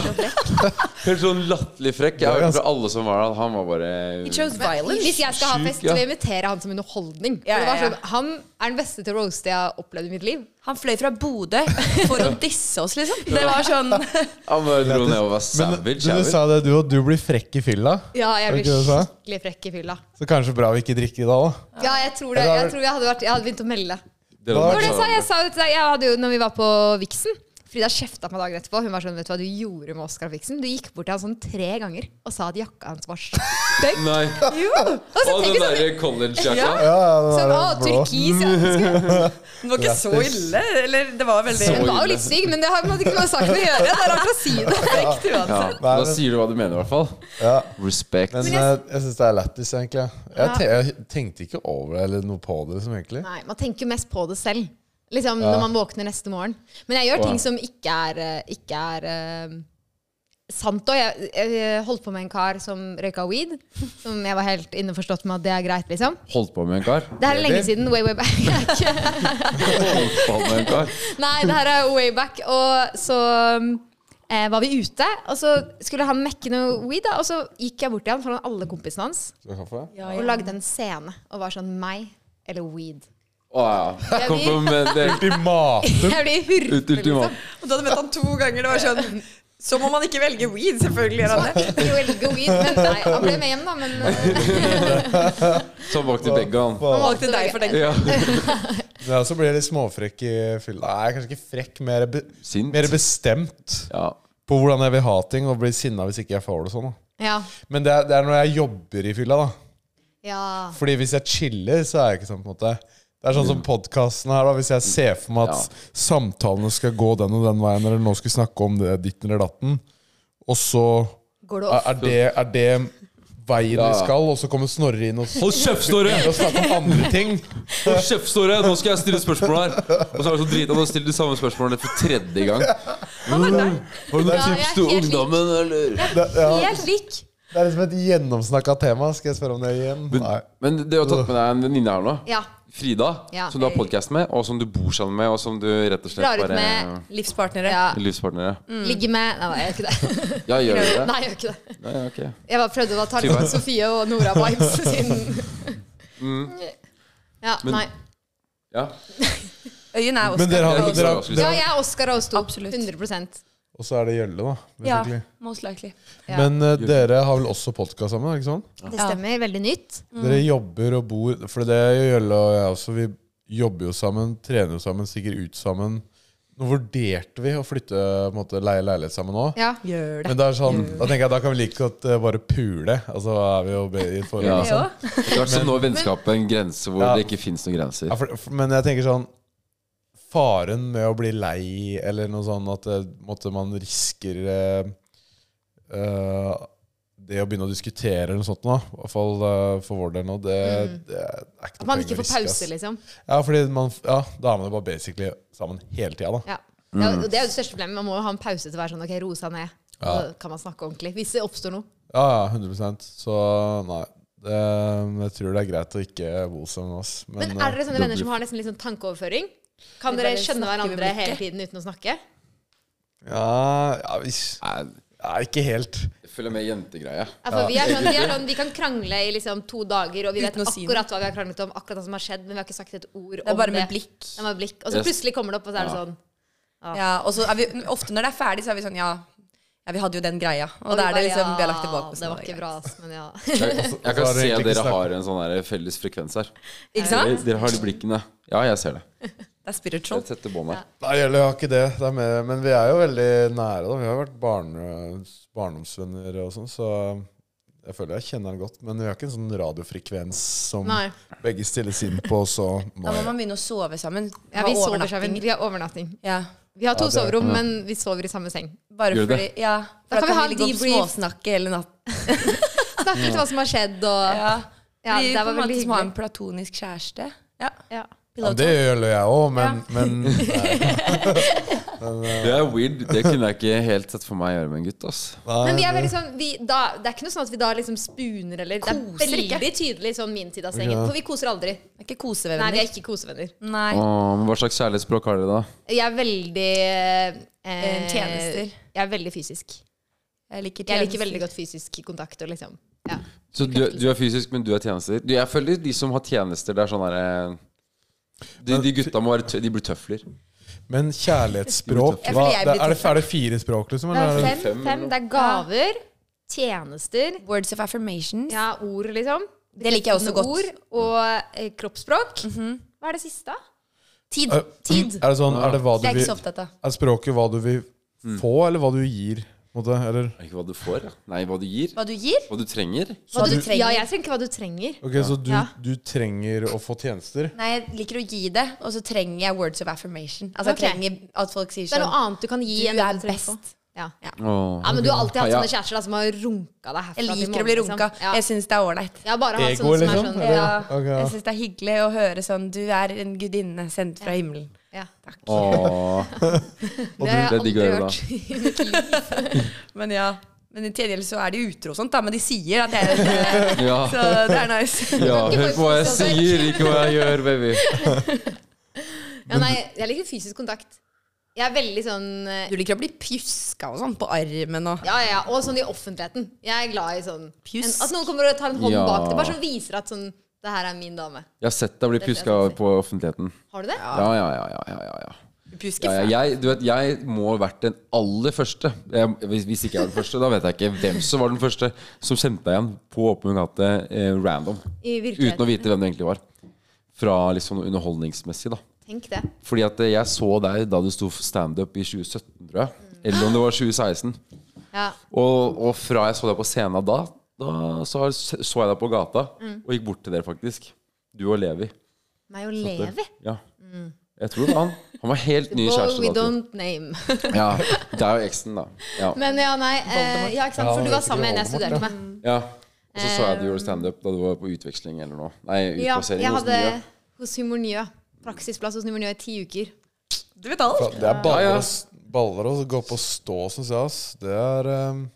Speaker 1: Helt sånn latterlig frekk. Jeg
Speaker 2: Ja,
Speaker 1: hørte
Speaker 2: ass.
Speaker 1: fra alle som var der, at han var bare
Speaker 4: He chose violence.
Speaker 3: Hvis jeg skal ha
Speaker 1: Sjuk,
Speaker 3: fest,
Speaker 1: ja.
Speaker 3: vil jeg invitere han som underholdning. For
Speaker 4: Ja,
Speaker 3: det var
Speaker 4: ja, ja.
Speaker 3: sånn, han er den beste til å roaste jeg har opplevd i mitt liv.
Speaker 4: Han fløy fra Bodø for å disse oss, liksom. Det var sånn
Speaker 1: Han bare dro ned og var
Speaker 2: Men
Speaker 1: savage.
Speaker 2: du, du sa det, du og du blir frekk i fylla.
Speaker 3: Ja, jeg
Speaker 2: Er det
Speaker 3: blir
Speaker 2: ikke det du sa?
Speaker 3: skikkelig frekk i fylla.
Speaker 2: Så kanskje bra vi ikke drikker i dag, da.
Speaker 3: Ja, jeg tror
Speaker 2: Ja,
Speaker 3: det.
Speaker 2: da-
Speaker 3: Jeg tror jeg hadde, vært, jeg hadde begynt å melde.
Speaker 1: Det
Speaker 3: Det
Speaker 1: var
Speaker 3: var det jeg sa.
Speaker 1: sånn-
Speaker 3: Jeg sa jo til deg, jeg hadde jo, når vi var på Vixen Frida kjefta meg dagen etterpå. Hun var sånn, vet du hva du gjorde med Oscar Vixen? Du gikk bort til han sånn tre ganger og sa at jakka hans var stygg.
Speaker 1: Nei.
Speaker 3: Og så
Speaker 1: Og den
Speaker 3: tenker jeg sånn,
Speaker 1: derre collegejakka.
Speaker 2: Ja, ja, den
Speaker 3: sånn
Speaker 2: der
Speaker 3: Å,
Speaker 2: blå.
Speaker 3: turkis, ja. Skulle-
Speaker 4: Den var ikke så ille. Eller det var veldig
Speaker 1: Så
Speaker 3: Hun var jo
Speaker 1: ille.
Speaker 3: litt stygg, men det har på en måte ikke noe med saken å gjøre. Det er rart å si det.
Speaker 4: frekt
Speaker 1: Ja,
Speaker 4: uansett.
Speaker 1: da
Speaker 2: Nei, men-
Speaker 1: sier du hva du mener, i hvert fall.
Speaker 2: Ja.
Speaker 1: Respect.
Speaker 2: Men jeg, jeg syns det er lættis, egentlig. Jeg, te jeg tenkte ikke over det eller noe på det, liksom, egentlig.
Speaker 3: Nei, man tenker jo mest på det selv. Liksom når man våkner neste morgen. Men jeg gjør ting som ikke er, eh, ikke er eh, sant. Og jeg, jeg holdt på med en kar som røyka weed. Som jeg var helt innforstått med at det er greit, liksom.
Speaker 1: Holdt på med en kar.
Speaker 3: Det her er lenge
Speaker 2: Really?
Speaker 3: siden. Way, way back.
Speaker 1: Holdt på med en kar.
Speaker 3: Nei, det her er way back. Og så um, eh, var vi ute, og så skulle han mekke noe weed, da. Og så gikk jeg bort til han foran alle kompisene hans
Speaker 2: Skal du ha kaffe?
Speaker 4: Ja,
Speaker 3: og
Speaker 4: ja.
Speaker 3: lagde en scene og var sånn meg eller weed.
Speaker 1: Å ja.
Speaker 3: Jeg
Speaker 1: Kom på
Speaker 3: vil-
Speaker 1: med det.
Speaker 2: Ultimat.
Speaker 3: Jeg blir hurtig.
Speaker 1: Ut ultimat.
Speaker 4: Og du hadde møtt han to ganger. Det var sånn Så må man ikke velge weed, selvfølgelig. gjør han det.
Speaker 3: Jo, velge weed, men nei, han ble med hjem, da. Men eh,
Speaker 1: Så bak til begge, han.
Speaker 4: Han valgte deg for den.
Speaker 1: Ja.
Speaker 2: Ja, så blir jeg litt småfrekk i fylla. Nei, kanskje ikke frekk, mer, be
Speaker 1: Sint.
Speaker 2: mer bestemt
Speaker 1: Ja.
Speaker 2: på hvordan jeg vil ha ting, og blir sinna hvis ikke jeg får det sånn. Da.
Speaker 3: ja.
Speaker 2: Men det er, det er når jeg jobber i fylla, da.
Speaker 3: ja.
Speaker 2: Fordi hvis jeg chiller, så er jeg ikke sånn på en måte Det er sånn som podkasten her, da. Hvis jeg ser for meg at
Speaker 1: Ja.
Speaker 2: samtalene skal gå den og den veien, eller nå skal vi snakke om det ditten eller datten, og så
Speaker 3: Går det
Speaker 2: er,
Speaker 3: off?
Speaker 2: er det, er det veien
Speaker 1: Ja.
Speaker 2: vi skal, og så kommer Snorre inn og, s-
Speaker 1: Hold kjeft, Snorre!
Speaker 2: og snakker om andre ting.
Speaker 1: Hold kjeft, Snorre! Nå skal jeg stille spørsmål her. Og så er det så drit at han stiller de samme spørsmålene for tredje gang. Har du
Speaker 3: Ja,
Speaker 1: noen
Speaker 3: jeg er
Speaker 1: tips til
Speaker 3: helt lik.
Speaker 1: ungdommen, eller?
Speaker 2: Det, ja,
Speaker 3: Helt lik.
Speaker 2: det er liksom et gjennomsnakka tema. Skal jeg spørre om det igjen?
Speaker 1: Men,
Speaker 2: Nei.
Speaker 1: men det å ha tatt med deg en venninne her nå
Speaker 3: Ja.
Speaker 1: Frida,
Speaker 3: Ja.
Speaker 1: som du har podkast med, og som du bor sammen med, og som du rett og slett
Speaker 3: Drar ut
Speaker 1: bare
Speaker 3: med,
Speaker 4: Livspartnere.
Speaker 3: ja,
Speaker 1: Livspartnere.
Speaker 3: ligger med Nei, jeg gjør ikke det.
Speaker 1: Ja, gjør Mm. du det?
Speaker 3: Nei, jeg gjør ikke det.
Speaker 1: Ja, ja, ok.
Speaker 3: Jeg bare prøvde å ta litt
Speaker 1: Tyvärr.
Speaker 3: sånn Sofie og Nora-vibes siden
Speaker 2: Mm.
Speaker 3: Ja,
Speaker 1: Men-
Speaker 3: nei.
Speaker 1: Ja.
Speaker 4: Øyen er Oscar.
Speaker 2: Men dere har,
Speaker 1: Jeg
Speaker 2: dere
Speaker 1: liker
Speaker 2: har,
Speaker 1: det.
Speaker 3: Ja, jeg er Oscar og Sto.
Speaker 4: Absolutt.
Speaker 3: 100
Speaker 2: Og så er det Gjølle, da.
Speaker 4: Ja,
Speaker 2: basically.
Speaker 4: most likely.
Speaker 3: Ja.
Speaker 2: Men eh, dere har vel også podkast sammen? er det ikke sånn?
Speaker 3: Det stemmer. Veldig nytt.
Speaker 2: Dere jobber og bor For det gjør Gjølle og jeg også. Vi jobber jo sammen, trener jo sammen, stikker ut sammen. Nå vurderte vi å flytte, på en måte, leie leilighet sammen òg.
Speaker 3: Ja.
Speaker 4: Gjør
Speaker 2: Men det er sånn, da tenker jeg da kan vi like godt eh, bare pule. Altså da er vi jo be- i et forhold.
Speaker 1: Ja.
Speaker 4: altså.
Speaker 2: liksom.
Speaker 3: altså.
Speaker 1: Det er som når vennskapet er en grense hvor
Speaker 2: Ja.
Speaker 1: det ikke fins noen grenser.
Speaker 2: Ja, for, for, men jeg tenker sånn Faren med å bli lei, eller noe sånn at eh, måtte man risker eh, eh, det å begynne å diskutere eller noe sånt nå, i hvert fall eh, for vår del nå, det, det er ikke
Speaker 3: Mm. At
Speaker 2: noe
Speaker 3: man
Speaker 2: poeng
Speaker 3: ikke
Speaker 2: å
Speaker 3: får
Speaker 2: riske. ass.
Speaker 3: pause, liksom.
Speaker 2: Ja, fordi man, ja, da er man jo bare basically sammen hele tida, da.
Speaker 3: Ja.
Speaker 2: Mm.
Speaker 3: Ja, og det er jo det største problemet. Man må jo ha en pause til å være sånn OK, ro seg ned.
Speaker 2: Ja.
Speaker 3: Så kan man snakke ordentlig. Hvis det oppstår noe.
Speaker 2: Ja, ja, 100 Så nei. Det, jeg tror det er greit å ikke bo sammen med oss.
Speaker 3: Men
Speaker 2: eh,
Speaker 3: er dere sånne venner som har nesten litt sånn tankeoverføring? Kan
Speaker 4: Vi
Speaker 3: dere
Speaker 4: bare
Speaker 3: skjønne
Speaker 4: snakker med
Speaker 3: hverandre hele
Speaker 4: blikket.
Speaker 3: tiden uten å snakke?
Speaker 2: eh, Ja, ja hvis-
Speaker 1: Nei,
Speaker 2: ja, ikke helt.
Speaker 1: Jeg følger med jentegreie.
Speaker 3: Ja, for vi, er sånn, vi, er sånn, vi kan krangle i liksom to dager, og vi vet
Speaker 4: Uten å si noe.
Speaker 3: akkurat hva vi har kranglet om, akkurat hva som har skjedd, men vi har ikke sagt et ord om det.
Speaker 4: Det er bare med blikk.
Speaker 3: Det er bare blikk. Og så
Speaker 1: Yes.
Speaker 3: plutselig kommer det opp, og så er det
Speaker 1: Ja.
Speaker 3: sånn.
Speaker 4: Ja, og så er vi, ofte når det er ferdig, så er vi sånn ja, ja, vi hadde jo den greia. Og,
Speaker 3: vi
Speaker 4: da er det
Speaker 3: bare,
Speaker 4: liksom, vi har
Speaker 3: ja,
Speaker 4: lagt det bak oss.
Speaker 3: Det
Speaker 4: nå,
Speaker 3: var
Speaker 4: det er
Speaker 3: ikke bra, ass, men ja.
Speaker 1: Jeg, jeg
Speaker 2: Så
Speaker 1: kan
Speaker 2: Altså, har
Speaker 1: se
Speaker 2: dere egentlig
Speaker 1: at
Speaker 2: ikke
Speaker 1: dere
Speaker 2: snakket.
Speaker 1: har en sånn her felles frekvens her.
Speaker 4: greit. Ikke
Speaker 1: Dere,
Speaker 4: sant?
Speaker 1: dere har de blikkene. Ja, jeg ser det.
Speaker 4: Det er spiritual.
Speaker 1: Jeg setter bånd her.
Speaker 2: Nei, eller jeg har ikke det. det er mer, men vi er jo veldig nære, da. Vi har jo vært barne, barndomsvenner og sånn, så jeg føler jeg kjenner han godt. Men vi har ikke en sånn radiofrekvens som
Speaker 3: Nei.
Speaker 2: begge stilles inn på, så
Speaker 4: Da
Speaker 2: nei.
Speaker 4: må man begynne å sove sammen.
Speaker 3: ja vi sover sammen. Vi har overnatting.
Speaker 4: Ja.
Speaker 3: Vi har to
Speaker 2: Ja, det-
Speaker 3: soverom, men vi sover i samme seng.
Speaker 4: Bare
Speaker 1: Gjør du
Speaker 4: fordi,
Speaker 1: det?
Speaker 4: ja, for da kan vi, ha ligge og
Speaker 3: debrief.
Speaker 4: småsnakke hele natten.
Speaker 3: Snakke litt hva som har skjedd, og
Speaker 4: Ja.
Speaker 3: Ja,
Speaker 4: vi
Speaker 3: det
Speaker 4: på
Speaker 3: var
Speaker 4: en måte
Speaker 3: veldig
Speaker 4: som har en
Speaker 3: hyggelig.
Speaker 4: platonisk kjæreste. Ja.
Speaker 3: ja.
Speaker 2: Ja, det gjør jeg òg, men, men nei,
Speaker 1: Det er weird. Det kunne jeg ikke helt sett for meg å gjøre med en gutt. ass
Speaker 3: Men vi
Speaker 2: nei.
Speaker 3: er veldig sånn vi, da, Det er ikke noe sånn at vi da liksom spuner eller Det er
Speaker 4: Koser ikke.
Speaker 3: veldig tydelig sånn min side av sengen.
Speaker 2: Ja.
Speaker 3: For vi koser aldri.
Speaker 4: Det er ikke
Speaker 3: Nei, vi
Speaker 4: kosevenner.
Speaker 3: er ikke kosevenner.
Speaker 4: Nei.
Speaker 1: Åh, men Hva slags kjærlighetsspråk har dere, da?
Speaker 3: Jeg er veldig eh,
Speaker 4: Eh, tjenester.
Speaker 3: Jeg er veldig fysisk.
Speaker 4: Jeg liker
Speaker 3: Jeg liker veldig
Speaker 4: tjenester.
Speaker 3: godt fysisk kontakt og liksom ja.
Speaker 1: Så du, du er fysisk, men du er tjenester. Du, jeg føler de som har tjenester, det er sånn herre de, de gutta må være tø De blir tøfler.
Speaker 2: Men kjærlighetsspråk
Speaker 4: Jeg
Speaker 2: hva,
Speaker 4: føler jeg blir
Speaker 2: det, er, det, er det fire språk, liksom?
Speaker 3: Det er
Speaker 2: Eller? er det-
Speaker 1: fem,
Speaker 3: fem,
Speaker 1: eller
Speaker 3: fem. Det er gaver, tjenester,
Speaker 4: Words of affirmations.
Speaker 3: ja, ord, liksom.
Speaker 4: Det liker jeg også godt.
Speaker 3: Ord og eh, kroppsspråk. Hva er det siste?
Speaker 4: Tid.
Speaker 2: Eh,
Speaker 4: Tid.
Speaker 2: Er det sånn Er det hva du
Speaker 4: Det er jeg
Speaker 2: vil
Speaker 4: ikke så opptatt av.
Speaker 2: Er språket hva du vil få, eller hva du gir? på en Måte, eller?
Speaker 1: Er det Ikke hva du får, da. Nei, hva du gir.
Speaker 4: Hva du gir.
Speaker 1: Hva du trenger.
Speaker 3: Hva
Speaker 4: du
Speaker 3: du,
Speaker 4: trenger.
Speaker 3: ja, jeg trenger hva du trenger.
Speaker 2: Ok, Så du,
Speaker 3: Ja.
Speaker 2: du trenger å få tjenester?
Speaker 4: Nei, jeg liker å gi det, og så trenger jeg words of affirmation. Altså,
Speaker 3: Ok.
Speaker 4: jeg trenger at folk sier
Speaker 3: Det er
Speaker 4: sånn
Speaker 3: noe annet du kan gi.
Speaker 4: Du
Speaker 3: enn det
Speaker 4: er
Speaker 3: trenger på.
Speaker 4: best.
Speaker 3: Ja.
Speaker 1: Åh.
Speaker 3: Ja, men du har alltid hatt
Speaker 1: Ja.
Speaker 3: sånne kjærester da, som har runka deg herfra
Speaker 4: Jeg
Speaker 3: til
Speaker 4: liker å
Speaker 3: månen,
Speaker 4: bli
Speaker 3: liksom.
Speaker 4: runka.
Speaker 3: Ja.
Speaker 4: Jeg syns det er ålreit.
Speaker 3: Jeg har bare hatt
Speaker 2: Ego,
Speaker 3: sånne som er
Speaker 2: liksom?
Speaker 3: sånn
Speaker 2: Eller-
Speaker 3: ja,
Speaker 2: ok, ja.
Speaker 4: Jeg syns det er hyggelig å høre sånn Du er en gudinne sendt fra himmelen.
Speaker 3: ja.
Speaker 1: Åh.
Speaker 3: Det har jeg
Speaker 1: det digger
Speaker 3: aldri
Speaker 1: jeg da.
Speaker 3: hørt i mitt liv.
Speaker 4: Men ja. Men i tilgjeld så er de utro og sånt, da. Men de sier at jeg er
Speaker 1: Ja.
Speaker 4: Så det er nice.
Speaker 1: ja.
Speaker 3: Ikke
Speaker 1: Hør på hva jeg
Speaker 3: folk som
Speaker 1: sier, ikke hva jeg gjør, baby.
Speaker 3: Ja, nei, jeg liker fysisk kontakt. Jeg er veldig sånn eh,
Speaker 4: Du liker å bli pjuska og sånn på armen og
Speaker 3: ja, ja, ja, og sånn i offentligheten. Jeg er glad i sånn en,
Speaker 4: Pjusk.
Speaker 3: At noen kommer og tar en hånd
Speaker 1: Ja.
Speaker 3: bak det. Bare sånn viser at sånn Det her er min dame.
Speaker 1: Jeg har sett deg bli
Speaker 3: er det
Speaker 1: pjuska
Speaker 3: jeg skal si.
Speaker 1: på offentligheten.
Speaker 3: Har du det?
Speaker 1: Ja, ja, ja. ja, ja, ja, ja.
Speaker 4: Du pjusker
Speaker 1: Ja, ja, jeg, du vet, jeg må ha vært den aller første. Jeg, hvis, hvis ikke jeg var den første, da vet jeg ikke hvem som var den første som kjente deg igjen på åpen gate eh, random.
Speaker 3: I
Speaker 1: Uten å
Speaker 3: virkeligheten.
Speaker 1: vite hvem det egentlig var. Fra liksom noe underholdningsmessig, da.
Speaker 3: Tenk det.
Speaker 1: Fordi at eh, jeg så deg da du sto for standup i 2017, tror jeg. Eller om det
Speaker 3: Ah.
Speaker 1: var 2016.
Speaker 3: Ja.
Speaker 1: Og, og fra jeg så deg på scenen da, da så, har- så jeg deg på gata
Speaker 3: Mm.
Speaker 1: og gikk bort til dere, faktisk. Du og Levi.
Speaker 3: Meg og Levi.
Speaker 1: Ja. Jeg tror det var han. Han var helt ny
Speaker 3: Boy Mm. we
Speaker 1: kjæreste. da, tror jeg.
Speaker 3: don't name.
Speaker 1: Ja, det er jo eksen, da. Ja.
Speaker 3: Men ja, nei. Eh, ja, ikke sant?
Speaker 2: Ja,
Speaker 3: For du
Speaker 2: det
Speaker 3: var
Speaker 2: er
Speaker 3: sammen med en jeg
Speaker 2: Voldemort,
Speaker 3: studerte med.
Speaker 1: ja. Og så så jeg at du gjorde standup da du var på utveksling eller noe. Nei,
Speaker 3: Um, Ja,
Speaker 1: utplassering
Speaker 3: jeg
Speaker 1: hos
Speaker 3: hadde
Speaker 1: Nya.
Speaker 3: hos Humor Njø. Praksisplass hos Humor Njø i ti uker.
Speaker 4: Du vet alt.
Speaker 2: Det er baller,
Speaker 1: Ja, ja.
Speaker 2: å s- baller å gå opp og stå, syns jeg. Ass. Det er ehm,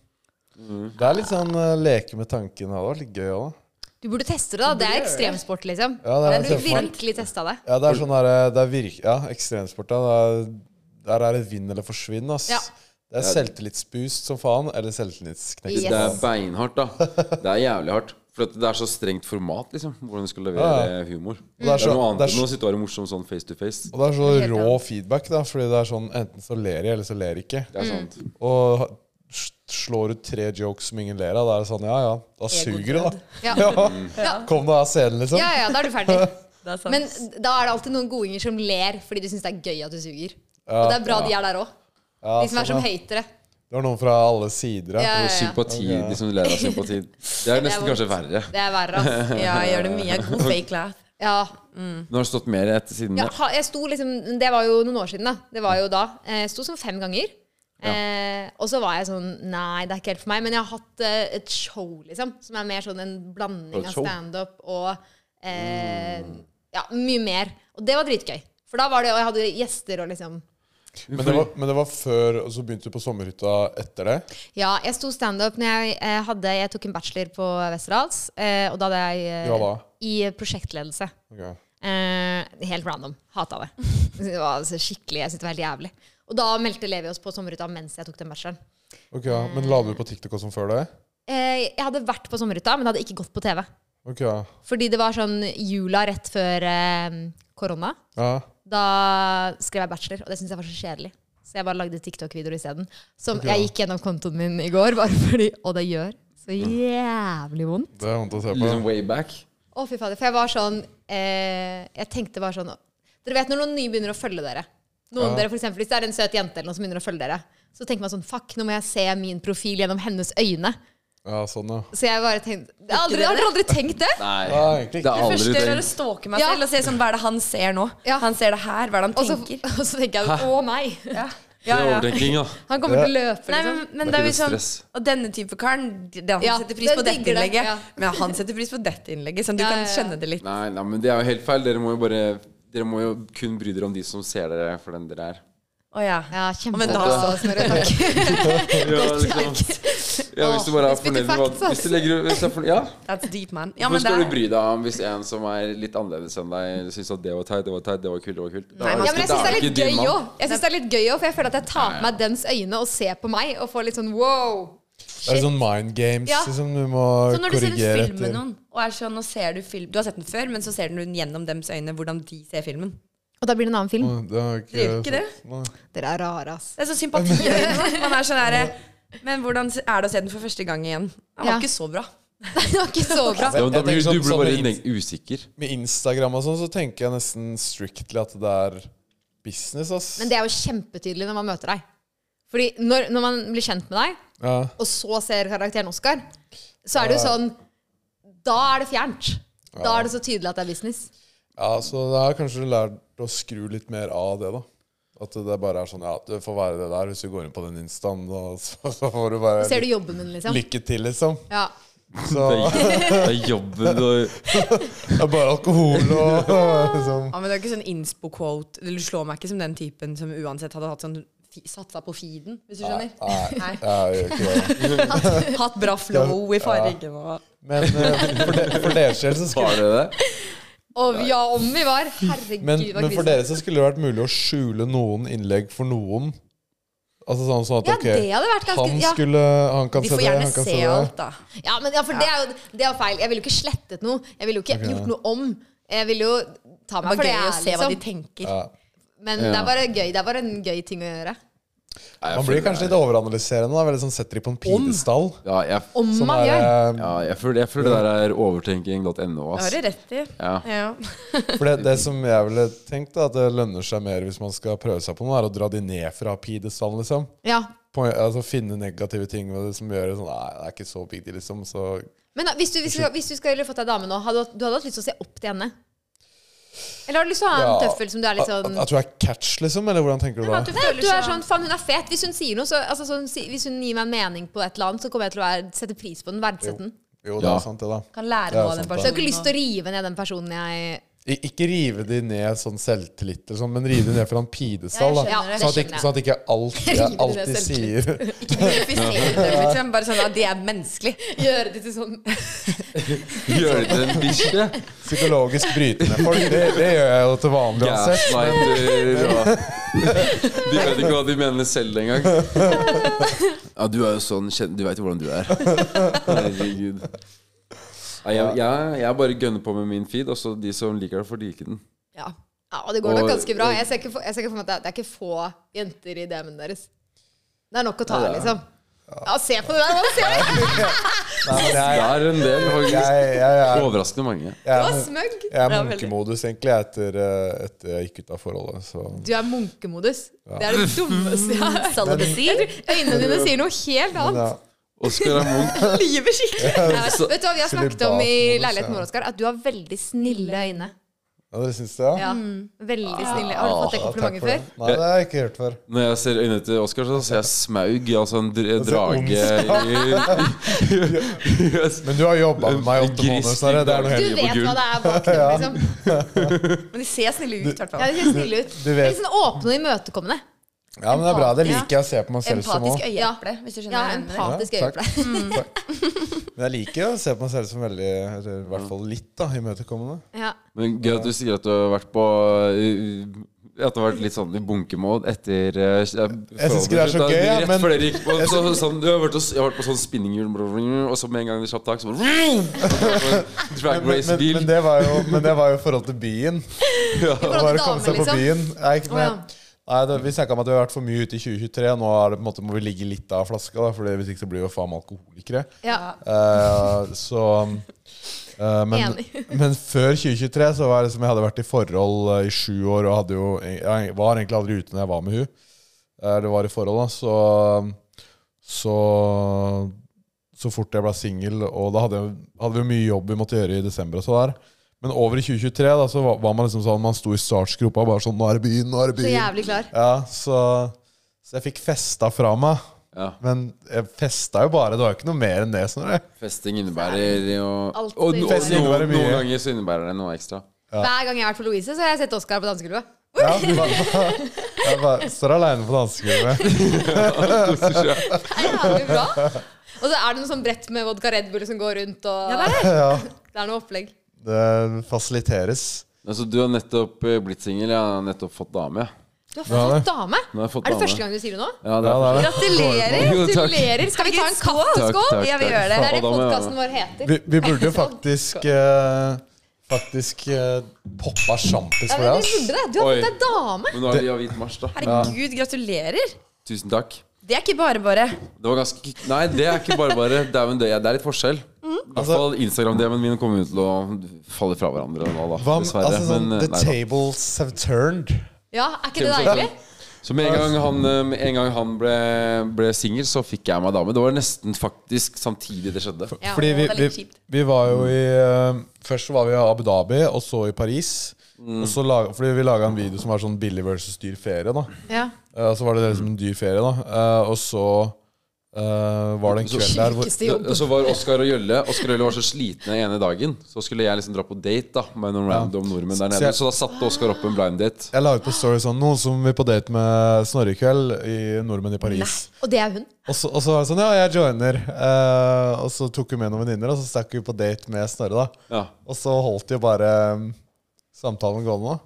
Speaker 2: Det er litt sånn eh, leke med tanken. Det hadde vært litt gøy òg.
Speaker 3: Du burde teste det, da. Det er ekstremsport, liksom.
Speaker 2: Ja, det er
Speaker 3: Men du
Speaker 2: ekstremsport.
Speaker 3: virkelig testa det.
Speaker 2: Ja, det er sånn der, det er virk, ja, ekstremsport. da. Det er- Der er det vinn eller forsvinn. ass.
Speaker 3: Ja.
Speaker 2: Det er selvtillitsboost som faen, eller selvtillitsknekk.
Speaker 3: Yes.
Speaker 1: Det er beinhardt, da. Det er jævlig hardt. For at det er så strengt format, liksom. Hvordan du skal levere
Speaker 2: Ja,
Speaker 1: humor.
Speaker 2: er
Speaker 1: Det er,
Speaker 2: så-
Speaker 1: noe
Speaker 2: det er
Speaker 1: annet
Speaker 2: så-
Speaker 1: enn å sitte og være morsom sånn face to face.
Speaker 2: Og det er så
Speaker 3: Helt
Speaker 2: rå
Speaker 3: enig.
Speaker 2: feedback, da, fordi det er sånn enten så ler jeg, eller så ler jeg ikke.
Speaker 3: Mm.
Speaker 1: Det er sånn sant.
Speaker 2: Og ha- s- slår ut tre jokes som ingen ler av, da er det sånn ja ja, da suger det, da.
Speaker 3: Ja.
Speaker 2: Ja.
Speaker 3: Ja.
Speaker 2: Kom deg av scenen, liksom.
Speaker 3: ja, ja, da er du ferdig.
Speaker 4: Det er sant.
Speaker 3: Men da er det alltid noen godinger som ler fordi de syns det er gøy at du suger. Og det er bra de er der òg.
Speaker 2: Ja,
Speaker 3: De som er
Speaker 2: sånn,
Speaker 3: som
Speaker 2: ja.
Speaker 3: hatere.
Speaker 2: Det var noen fra alle sider, ja.
Speaker 3: Ja,
Speaker 1: Og
Speaker 3: ja, ja.
Speaker 1: sympati, de som ler av sympati. Det er nesten kanskje verre.
Speaker 3: Det er verre, ass.
Speaker 4: Ja, jeg gjør det mye. Jeg er God fake laugh.
Speaker 3: Ja.
Speaker 1: Nå har det stått mer etter siden.
Speaker 3: Ja,
Speaker 1: det.
Speaker 3: ha- jeg sto liksom Det var jo noen år siden, da. Det var jo da. Eh, Jeg sto sånn fem ganger. Eh, og så var jeg sånn Nei, det er ikke helt for meg. Men jeg har hatt eh, et show, liksom. Som er mer sånn en blanding
Speaker 1: Et
Speaker 3: av
Speaker 1: show?
Speaker 3: standup og eh,
Speaker 2: Mm.
Speaker 3: Ja, mye mer. Og det var dritgøy. For da var det Og jeg hadde gjester og liksom
Speaker 2: Men, det var, men det var før, og så begynte du på sommerhytta etter det?
Speaker 3: Ja, jeg sto standup når jeg eh, hadde Jeg tok en bachelor på Westerdals. Eh, og da hadde jeg eh,
Speaker 2: Ja da.
Speaker 3: i prosjektledelse.
Speaker 2: Ok.
Speaker 3: Eh, helt random. Hata det. det var altså skikkelig, Jeg syntes det var helt jævlig. Og da meldte Levi oss på Sommerhytta mens jeg tok den bacheloren.
Speaker 2: Ok, ja. Men la du på TikTok og sånn før det?
Speaker 3: Eh, jeg hadde vært på Sommerhytta, men hadde ikke gått på TV.
Speaker 2: Ok, ja.
Speaker 3: Fordi det var sånn jula rett før eh, korona.
Speaker 2: ja.
Speaker 3: Da skrev jeg bachelor, og det syntes jeg var så kjedelig. Så jeg bare lagde TikTok-videoer isteden. Som
Speaker 2: Ok.
Speaker 3: jeg gikk gjennom kontoen min i går, bare fordi Og det gjør så jævlig vondt.
Speaker 2: Det er vondt å se på.
Speaker 1: Liksom way back.
Speaker 3: Å, fy fader. For jeg var sånn eh, Jeg tenkte bare sånn Dere vet når noen nye begynner å følge dere. Noen
Speaker 2: Ja.
Speaker 3: dere for eksempel, Hvis det er en søt jente eller noen som begynner å følge dere, så tenker man sånn Fuck, nå må jeg se min profil gjennom hennes øyne.
Speaker 2: Ja, sånn, ja.
Speaker 3: Så jeg bare tenkte Jeg har aldri, jeg har aldri, aldri tenkt det.
Speaker 1: Nei.
Speaker 2: Ja, egentlig
Speaker 1: Det
Speaker 2: ikke.
Speaker 1: er
Speaker 4: Først
Speaker 1: aldri
Speaker 4: gjør dere
Speaker 1: tenkt.
Speaker 4: stalke meg
Speaker 3: Ja.
Speaker 4: selv og se sånn, hva er det han ser nå.
Speaker 3: Ja.
Speaker 4: Han ser det her, hva er det han
Speaker 3: Og så,
Speaker 4: tenker.
Speaker 3: og så tenker jeg Å, nei.
Speaker 4: Ja.
Speaker 1: Det
Speaker 4: Ja,
Speaker 1: er
Speaker 4: ja.
Speaker 1: overtenking, da.
Speaker 3: Han kommer til å løpe.
Speaker 4: Nei,
Speaker 3: Liksom.
Speaker 4: men, men
Speaker 1: Det
Speaker 4: det
Speaker 1: er
Speaker 4: er jo
Speaker 1: ikke
Speaker 4: sånn
Speaker 1: noe stress.
Speaker 4: Og denne type karen, det er han
Speaker 3: Ja,
Speaker 4: som setter pris
Speaker 3: det
Speaker 4: på dette
Speaker 3: digger det,
Speaker 4: innlegget.
Speaker 3: ja.
Speaker 4: Men han setter pris på dette innlegget, sånn du
Speaker 3: Ja,
Speaker 4: kan
Speaker 3: ja, ja.
Speaker 4: kjenne det litt.
Speaker 1: Nei, nei, men det er jo helt feil. Dere må jo bare Dere må jo kun bry dere om de som ser dere for den dere er.
Speaker 4: Å ja.
Speaker 3: Ja,
Speaker 4: men
Speaker 3: kjempebra.
Speaker 4: da-
Speaker 3: Snorre, takk.
Speaker 1: Ja, liksom. ja hvis du bare er
Speaker 3: Spytte
Speaker 1: fornøyd med
Speaker 3: facts,
Speaker 1: hva
Speaker 3: ass.
Speaker 1: hvis du legger, hvis du er fornøyd, Ja.
Speaker 4: That's deep, man. Ja,
Speaker 1: Hvorfor
Speaker 4: men det
Speaker 1: skal du
Speaker 4: er,
Speaker 1: bry deg om hvis en som er litt annerledes enn deg, syns at det var teit, det var teit, det var kult, det var kult? Da
Speaker 4: Nei,
Speaker 1: er
Speaker 4: men-
Speaker 1: det-
Speaker 3: Ja, men jeg
Speaker 1: da
Speaker 3: syns det er litt
Speaker 1: ikke din
Speaker 3: gøy
Speaker 1: mann.
Speaker 3: òg. Jeg synes det er litt gøy også, For jeg føler at jeg tar på meg dens øyne og ser på meg og får litt sånn wow.
Speaker 2: Det er sånn mind games
Speaker 4: Ja.
Speaker 2: liksom, du må
Speaker 4: som når du ser en
Speaker 2: korrigere
Speaker 4: film med
Speaker 2: etter.
Speaker 4: noen, og er sånn, nå ser du film Du har sett den før, men så ser du den gjennom dems øyne, hvordan de ser filmen.
Speaker 3: Og da blir det en annen film.
Speaker 2: Å, Det er ikke,
Speaker 4: Gjør
Speaker 2: sånn.
Speaker 4: ikke det?
Speaker 2: Nei.
Speaker 3: Dere er rare, ass.
Speaker 4: Det er så sympati i øynene. Man er sånn der, Men hvordan er det å se den for første gang igjen? Den var
Speaker 3: Ja.
Speaker 4: ikke så bra.
Speaker 3: Det var ikke så bra.
Speaker 1: Ja, men da
Speaker 2: Jeg
Speaker 1: blir
Speaker 2: tenker
Speaker 1: du
Speaker 2: sånn-
Speaker 1: blir bare
Speaker 2: sånn-
Speaker 1: neg- usikker.
Speaker 2: Med Instagram og sånn så tenker jeg nesten strictly at det er business, ass.
Speaker 3: Men det er jo kjempetydelig når man møter deg. Fordi når, når man blir kjent med deg,
Speaker 2: ja.
Speaker 3: og så ser karakteren Oscar, så er det jo sånn Da er det fjernt. Da er det så tydelig at det er business.
Speaker 2: ja, så da har jeg kanskje lært å skru litt mer av det, da. At det bare er sånn ja, det får være det der hvis du går inn på den instaen, da så, så får du bare
Speaker 3: Ser du jobben min, liksom?
Speaker 2: lykke til, liksom.
Speaker 3: Ja.
Speaker 2: Så
Speaker 1: Det er- det er jobben du
Speaker 2: det er bare alkohol og liksom
Speaker 4: Ja, men Det er ikke sånn inspo-quote. Du slår meg ikke som den typen som uansett hadde hatt sånn fi- satsa på feeden, hvis du
Speaker 1: Ah,
Speaker 4: skjønner.
Speaker 2: Nei,
Speaker 4: Nei.
Speaker 2: jeg gjør ikke det.
Speaker 4: Hatt bra flow
Speaker 2: ah.
Speaker 4: i fargen og
Speaker 2: Men eh, for, de, for deres del så skulle
Speaker 1: Har du det?
Speaker 3: Og ja, om vi var. Herregud,
Speaker 2: Men,
Speaker 3: hva
Speaker 2: men for
Speaker 3: krise.
Speaker 2: dere så skulle det vært mulig å skjule noen innlegg for noen. Altså sånn, sånn at
Speaker 3: Ja,
Speaker 2: ok,
Speaker 3: det hadde vært ganske
Speaker 2: han
Speaker 3: ja.
Speaker 2: skulle Han kan
Speaker 4: De
Speaker 2: se
Speaker 4: får
Speaker 2: det,
Speaker 4: gjerne
Speaker 2: han kan
Speaker 4: se
Speaker 2: se det.
Speaker 4: alt, da.
Speaker 3: ja, men ja, for det er jo det er jo feil. Jeg ville jo ikke slettet noe. Jeg ville jo ikke gjort noe om. Jeg ville jo ta
Speaker 4: Det
Speaker 3: meg
Speaker 4: var
Speaker 3: for det
Speaker 4: gøy
Speaker 3: jeg
Speaker 4: å
Speaker 3: er,
Speaker 4: se hva de
Speaker 3: liksom.
Speaker 4: tenker.
Speaker 2: Ja.
Speaker 3: Men
Speaker 1: Ja.
Speaker 3: det er bare gøy. Det er bare en gøy ting å gjøre.
Speaker 1: Nei, jeg
Speaker 2: Man blir
Speaker 1: føler
Speaker 2: kanskje
Speaker 1: det
Speaker 2: litt overanalyserende. Da. Veldig sånn Setter de på en pidestall.
Speaker 1: er- Ja, jeg,
Speaker 3: Om
Speaker 2: Som
Speaker 3: man
Speaker 2: er
Speaker 3: gjør.
Speaker 2: eh,
Speaker 1: ja, jeg, føler, jeg føler det der er overtenking.no,
Speaker 4: Det
Speaker 1: ass.
Speaker 4: har du rett i.
Speaker 1: Ja.
Speaker 4: Ja.
Speaker 2: For det, det som jeg ville tenkt, da, at det lønner seg mer hvis man skal prøve seg på noe, er å dra de ned fra pidestallen, liksom.
Speaker 3: Ja.
Speaker 2: På, altså Finne negative ting ved det som gjør det sånn Nei, det er ikke så big deal, liksom. Så
Speaker 3: Men da, hvis du, hvis du, hvis du skulle fått deg dame nå, hadde du, hatt- du hadde hatt lyst til å se opp til henne? Eller har du lyst til å ha en
Speaker 2: Ja.
Speaker 3: tøffel som du er litt
Speaker 2: At,
Speaker 3: sånn
Speaker 2: at du er catch, liksom? Eller hvordan tenker du
Speaker 4: Men
Speaker 2: da?
Speaker 4: at du
Speaker 3: Nei,
Speaker 4: føler
Speaker 3: du er
Speaker 4: sånn
Speaker 3: sånn, faen hun er fet. Hvis hun sier noe, så, altså, sånn, si- hvis hun gir meg en mening på et eller annet, så kommer jeg til å være, sette pris på den, verdsette den.
Speaker 2: Jo, det
Speaker 1: Ja.
Speaker 2: er sant, det, da.
Speaker 4: Kan lære
Speaker 2: Det er
Speaker 4: noe av den
Speaker 2: sant, da.
Speaker 4: personen.
Speaker 3: Så jeg har ikke lyst til å rive ned den personen jeg
Speaker 2: I- Ikke rive de ned sånn selvtillit, eller sånn, men rive de ned fra en pidestall.
Speaker 3: Ja, jeg
Speaker 2: da.
Speaker 3: skjønner det.
Speaker 2: Sånn at ikke, sånn at ikke alt
Speaker 3: Rive
Speaker 2: jeg
Speaker 3: ned
Speaker 2: alltid
Speaker 3: selvtillit.
Speaker 2: sier
Speaker 4: Ikke glorifisere dem, liksom. Bare sånn at de er menneskelige.
Speaker 3: Gjøre det til sånn
Speaker 1: Gjøre det en bikkje.
Speaker 2: psykologisk brytende folk. Det, det gjør jeg jo til vanlig uansett.
Speaker 1: Gaslighter og De vet ikke hva de mener selv engang. Ja, du er jo sånn kjen- Du veit jo hvordan du er. Herregud. Nei, jeg, jeg, jeg bare gønner på med min feed. Også de som liker det, får like den.
Speaker 4: Ja.
Speaker 3: Ja, og det går nok
Speaker 1: Og-
Speaker 3: ganske bra. Jeg ser ikke for, jeg ser ikke for meg at det, er- det er ikke få jenter i DM-en deres. Det er nok å ta av,
Speaker 1: Ja, det er.
Speaker 3: liksom. Ja, se på det der! Se.
Speaker 2: Nei, men
Speaker 1: Det
Speaker 2: jeg,
Speaker 1: er en del, faktisk.
Speaker 2: jeg, jeg, jeg,
Speaker 1: Overraskende mange.
Speaker 2: jeg,
Speaker 3: Du
Speaker 2: er
Speaker 3: var
Speaker 2: mun-
Speaker 3: smøgg.
Speaker 2: jeg er
Speaker 4: Ja, veldig.
Speaker 2: munkemodus, egentlig, etter, eh, etter jeg gikk ut av forholdet. Så.
Speaker 3: Du er munkemodus. Det er det dummeste jeg har
Speaker 4: Celibacy.
Speaker 3: Øynene dine sier noe helt
Speaker 2: Men,
Speaker 3: annet.
Speaker 2: ja.
Speaker 1: Oskar er Munch.
Speaker 4: Lyver skikkelig.
Speaker 1: Så-
Speaker 3: Vet du hva vi har snakket om i
Speaker 2: Celibatmodus,
Speaker 3: leiligheten
Speaker 2: ja.
Speaker 3: vår, Oskar? At du har veldig snille Mm. Ah. øyne.
Speaker 2: Ja, dere syns det, ja?
Speaker 3: Ja, veldig snille. Har du fått det
Speaker 2: Ja, Ah, takk
Speaker 3: komplimentet
Speaker 2: for det.
Speaker 3: før?
Speaker 2: Nei, det har jeg ikke hørt før.
Speaker 1: Når jeg ser øynene til Oskar, så ser jeg smaug. Altså en dr drage i, i, i
Speaker 2: Men du har jobba med meg i åtte
Speaker 1: Gris-
Speaker 2: måneder, Sverre. Det er noe
Speaker 3: Du
Speaker 2: helt
Speaker 1: Ligger på gulv.
Speaker 3: vet hva det er bak dem, liksom.
Speaker 4: Men de ser snille ut, i hvert
Speaker 3: Ja,
Speaker 4: fall.
Speaker 3: de ser snille ut.
Speaker 2: Du
Speaker 3: Det er
Speaker 2: vet
Speaker 3: Litt sånn åpne og imøtekommende.
Speaker 2: Ja, men det er bra. Det
Speaker 4: Ja.
Speaker 2: liker jeg å se på meg selv som
Speaker 4: Empatisk
Speaker 2: òg.
Speaker 4: øyeeple, hvis du skjønner
Speaker 3: Ja,
Speaker 4: hva jeg mener.
Speaker 2: Ja,
Speaker 3: empatisk
Speaker 2: takk. Mm.
Speaker 3: øyeple.
Speaker 2: Takk. Men jeg liker å se på meg selv som veldig eller I hvert fall litt da, imøtekommende.
Speaker 3: Ja.
Speaker 1: Men gøy at du sier at du har vært på eh, At du har vært litt sånn i bunkemål etter eh, Jeg
Speaker 2: synes ikke det er så gøy, ja,
Speaker 1: Rett
Speaker 2: men-
Speaker 1: før dere gikk på så, sånn, du har vært og, s- Jeg har vært på sånn spinninghjul, brr, brr, og så med en gang det slapp tak, så bare Drag
Speaker 2: Men, men,
Speaker 1: race-bil.
Speaker 2: men, det var jo, men det var jo i forhold til byen.
Speaker 3: I forhold til
Speaker 2: Bare komme seg
Speaker 3: damer,
Speaker 2: på
Speaker 3: liksom.
Speaker 2: byen. Nei, ikke,
Speaker 3: Å, ja.
Speaker 2: men, nei, det, vi snakka om at vi har vært for mye ute i 2023. Nå er det, på en måte, må vi ligge litt av flaska, da, for hvis ikke så blir vi jo faen meg alkoholikere.
Speaker 3: Ja.
Speaker 2: Eh, så eh, men,
Speaker 3: Enig.
Speaker 2: men før 2023 så var det som jeg hadde vært i forhold eh, i sju år og hadde jo, jeg var egentlig aldri ute når jeg var med hun. Eh, det var i forhold, da. Så, så, så fort jeg ble singel, og da hadde, jeg, hadde vi jo mye jobb vi måtte gjøre i desember og så der. Men over i 2023 da, så var, var man liksom sånn, man sto i startsgropa og bare sånn Nå er det byen, nå er det
Speaker 3: Så
Speaker 2: byen.
Speaker 3: jævlig klar.
Speaker 2: Ja, så, så jeg fikk festa fra meg.
Speaker 1: Ja,
Speaker 2: Men jeg festa jo bare. Det var jo ikke noe mer enn det. Snorre.
Speaker 1: festing innebærer jo Og,
Speaker 3: Alt
Speaker 1: og,
Speaker 3: innebærer
Speaker 1: noen,
Speaker 2: mye.
Speaker 1: noen ganger så innebærer det noe ekstra.
Speaker 3: Hver gang jeg har vært på Louise, så har jeg sett Oskar på dansegulvet.
Speaker 2: Ja, jeg bare, jeg bare står aleine på dansegulvet.
Speaker 3: Det er jævlig bra. Og så er det noe sånn brett med vodka Red Bull som går rundt, og
Speaker 4: Ja, det er det.
Speaker 2: Ja,
Speaker 3: det er noe opplegg.
Speaker 2: det fasiliteres.
Speaker 1: Altså, du har nettopp eh, blitt singel. Jeg har nettopp fått dame.
Speaker 3: Du har
Speaker 2: Ja,
Speaker 3: fått
Speaker 2: det.
Speaker 3: dame!
Speaker 1: Nå har jeg fått
Speaker 3: Er det
Speaker 1: dame.
Speaker 3: første gang du sier det nå?
Speaker 1: Ja, det er
Speaker 2: Ja, det er det.
Speaker 4: Gratulerer!
Speaker 1: Jo, takk.
Speaker 3: Gratulerer! Skal vi ta en
Speaker 4: Skål!
Speaker 1: Takk,
Speaker 3: kaffeskål?
Speaker 1: takk,
Speaker 4: Ja, vi
Speaker 1: takk.
Speaker 4: gjør det.
Speaker 3: Det er
Speaker 1: Og
Speaker 3: det
Speaker 1: da må jeg-
Speaker 3: podkasten vår heter.
Speaker 2: Vi, vi burde jo faktisk eh, Faktisk eh, poppa sjampis
Speaker 3: Ja,
Speaker 2: for
Speaker 3: men
Speaker 2: det.
Speaker 3: du
Speaker 2: ass.
Speaker 3: burde det. Du
Speaker 1: Oi.
Speaker 3: har fått deg dame!
Speaker 1: Men nå er det Javit Mars, da.
Speaker 4: Herregud, gratulerer.
Speaker 1: Tusen takk.
Speaker 4: Det er ikke bare bare.
Speaker 1: Det var ganske Nei, det er ikke bare bare. Det er, jo en- det er litt forskjell.
Speaker 3: Mm.
Speaker 1: I hvert fall Instagram-DM-en min kommer jo til å falle fra hverandre nå, da.
Speaker 2: Hva, om-
Speaker 1: dessverre.
Speaker 2: altså, sånn,
Speaker 1: Men, eh,
Speaker 2: the
Speaker 1: nei da.
Speaker 2: tables have turned.
Speaker 3: Ja, er ikke det deilig?
Speaker 1: Så med en gang han, eh, med en gang han ble, ble singel, så fikk jeg meg dame. Det var nesten faktisk samtidig det skjedde.
Speaker 3: Ja,
Speaker 2: Fordi vi,
Speaker 4: det er
Speaker 2: vi,
Speaker 4: litt kjipt.
Speaker 2: vi var jo i eh, Først så var vi i Abu Dhabi, og så i Paris.
Speaker 1: Mm.
Speaker 2: Og så lag, fordi vi laga en video som var sånn billig versus dyr ferie. da
Speaker 3: Ja.
Speaker 2: Eh, Og så var det liksom en dyr ferie, da. Eh, og så eh, var det en
Speaker 1: Så-
Speaker 2: kveld der hvor
Speaker 3: Sykeste jobb.
Speaker 1: Og Så var Oskar og Jølle Oskar og Jølle var så slitne ene dagen. Så skulle jeg liksom dra på date da med noen random nordmenn der
Speaker 2: Så
Speaker 1: nede.
Speaker 2: jeg-
Speaker 1: Så da satte Oskar opp en blind date.
Speaker 2: jeg la ut på Story sånn Noen som vil på date med Snorre i kveld, i nordmenn i Paris.
Speaker 3: Og det er hun.
Speaker 2: Og så, og så var det sånn Ja, jeg joiner. Eh, og så tok hun med noen venninner, og så stakk vi på date med Snorre, da.
Speaker 1: Ja.
Speaker 2: Og så holdt de jo bare eh, samtalen gående, da.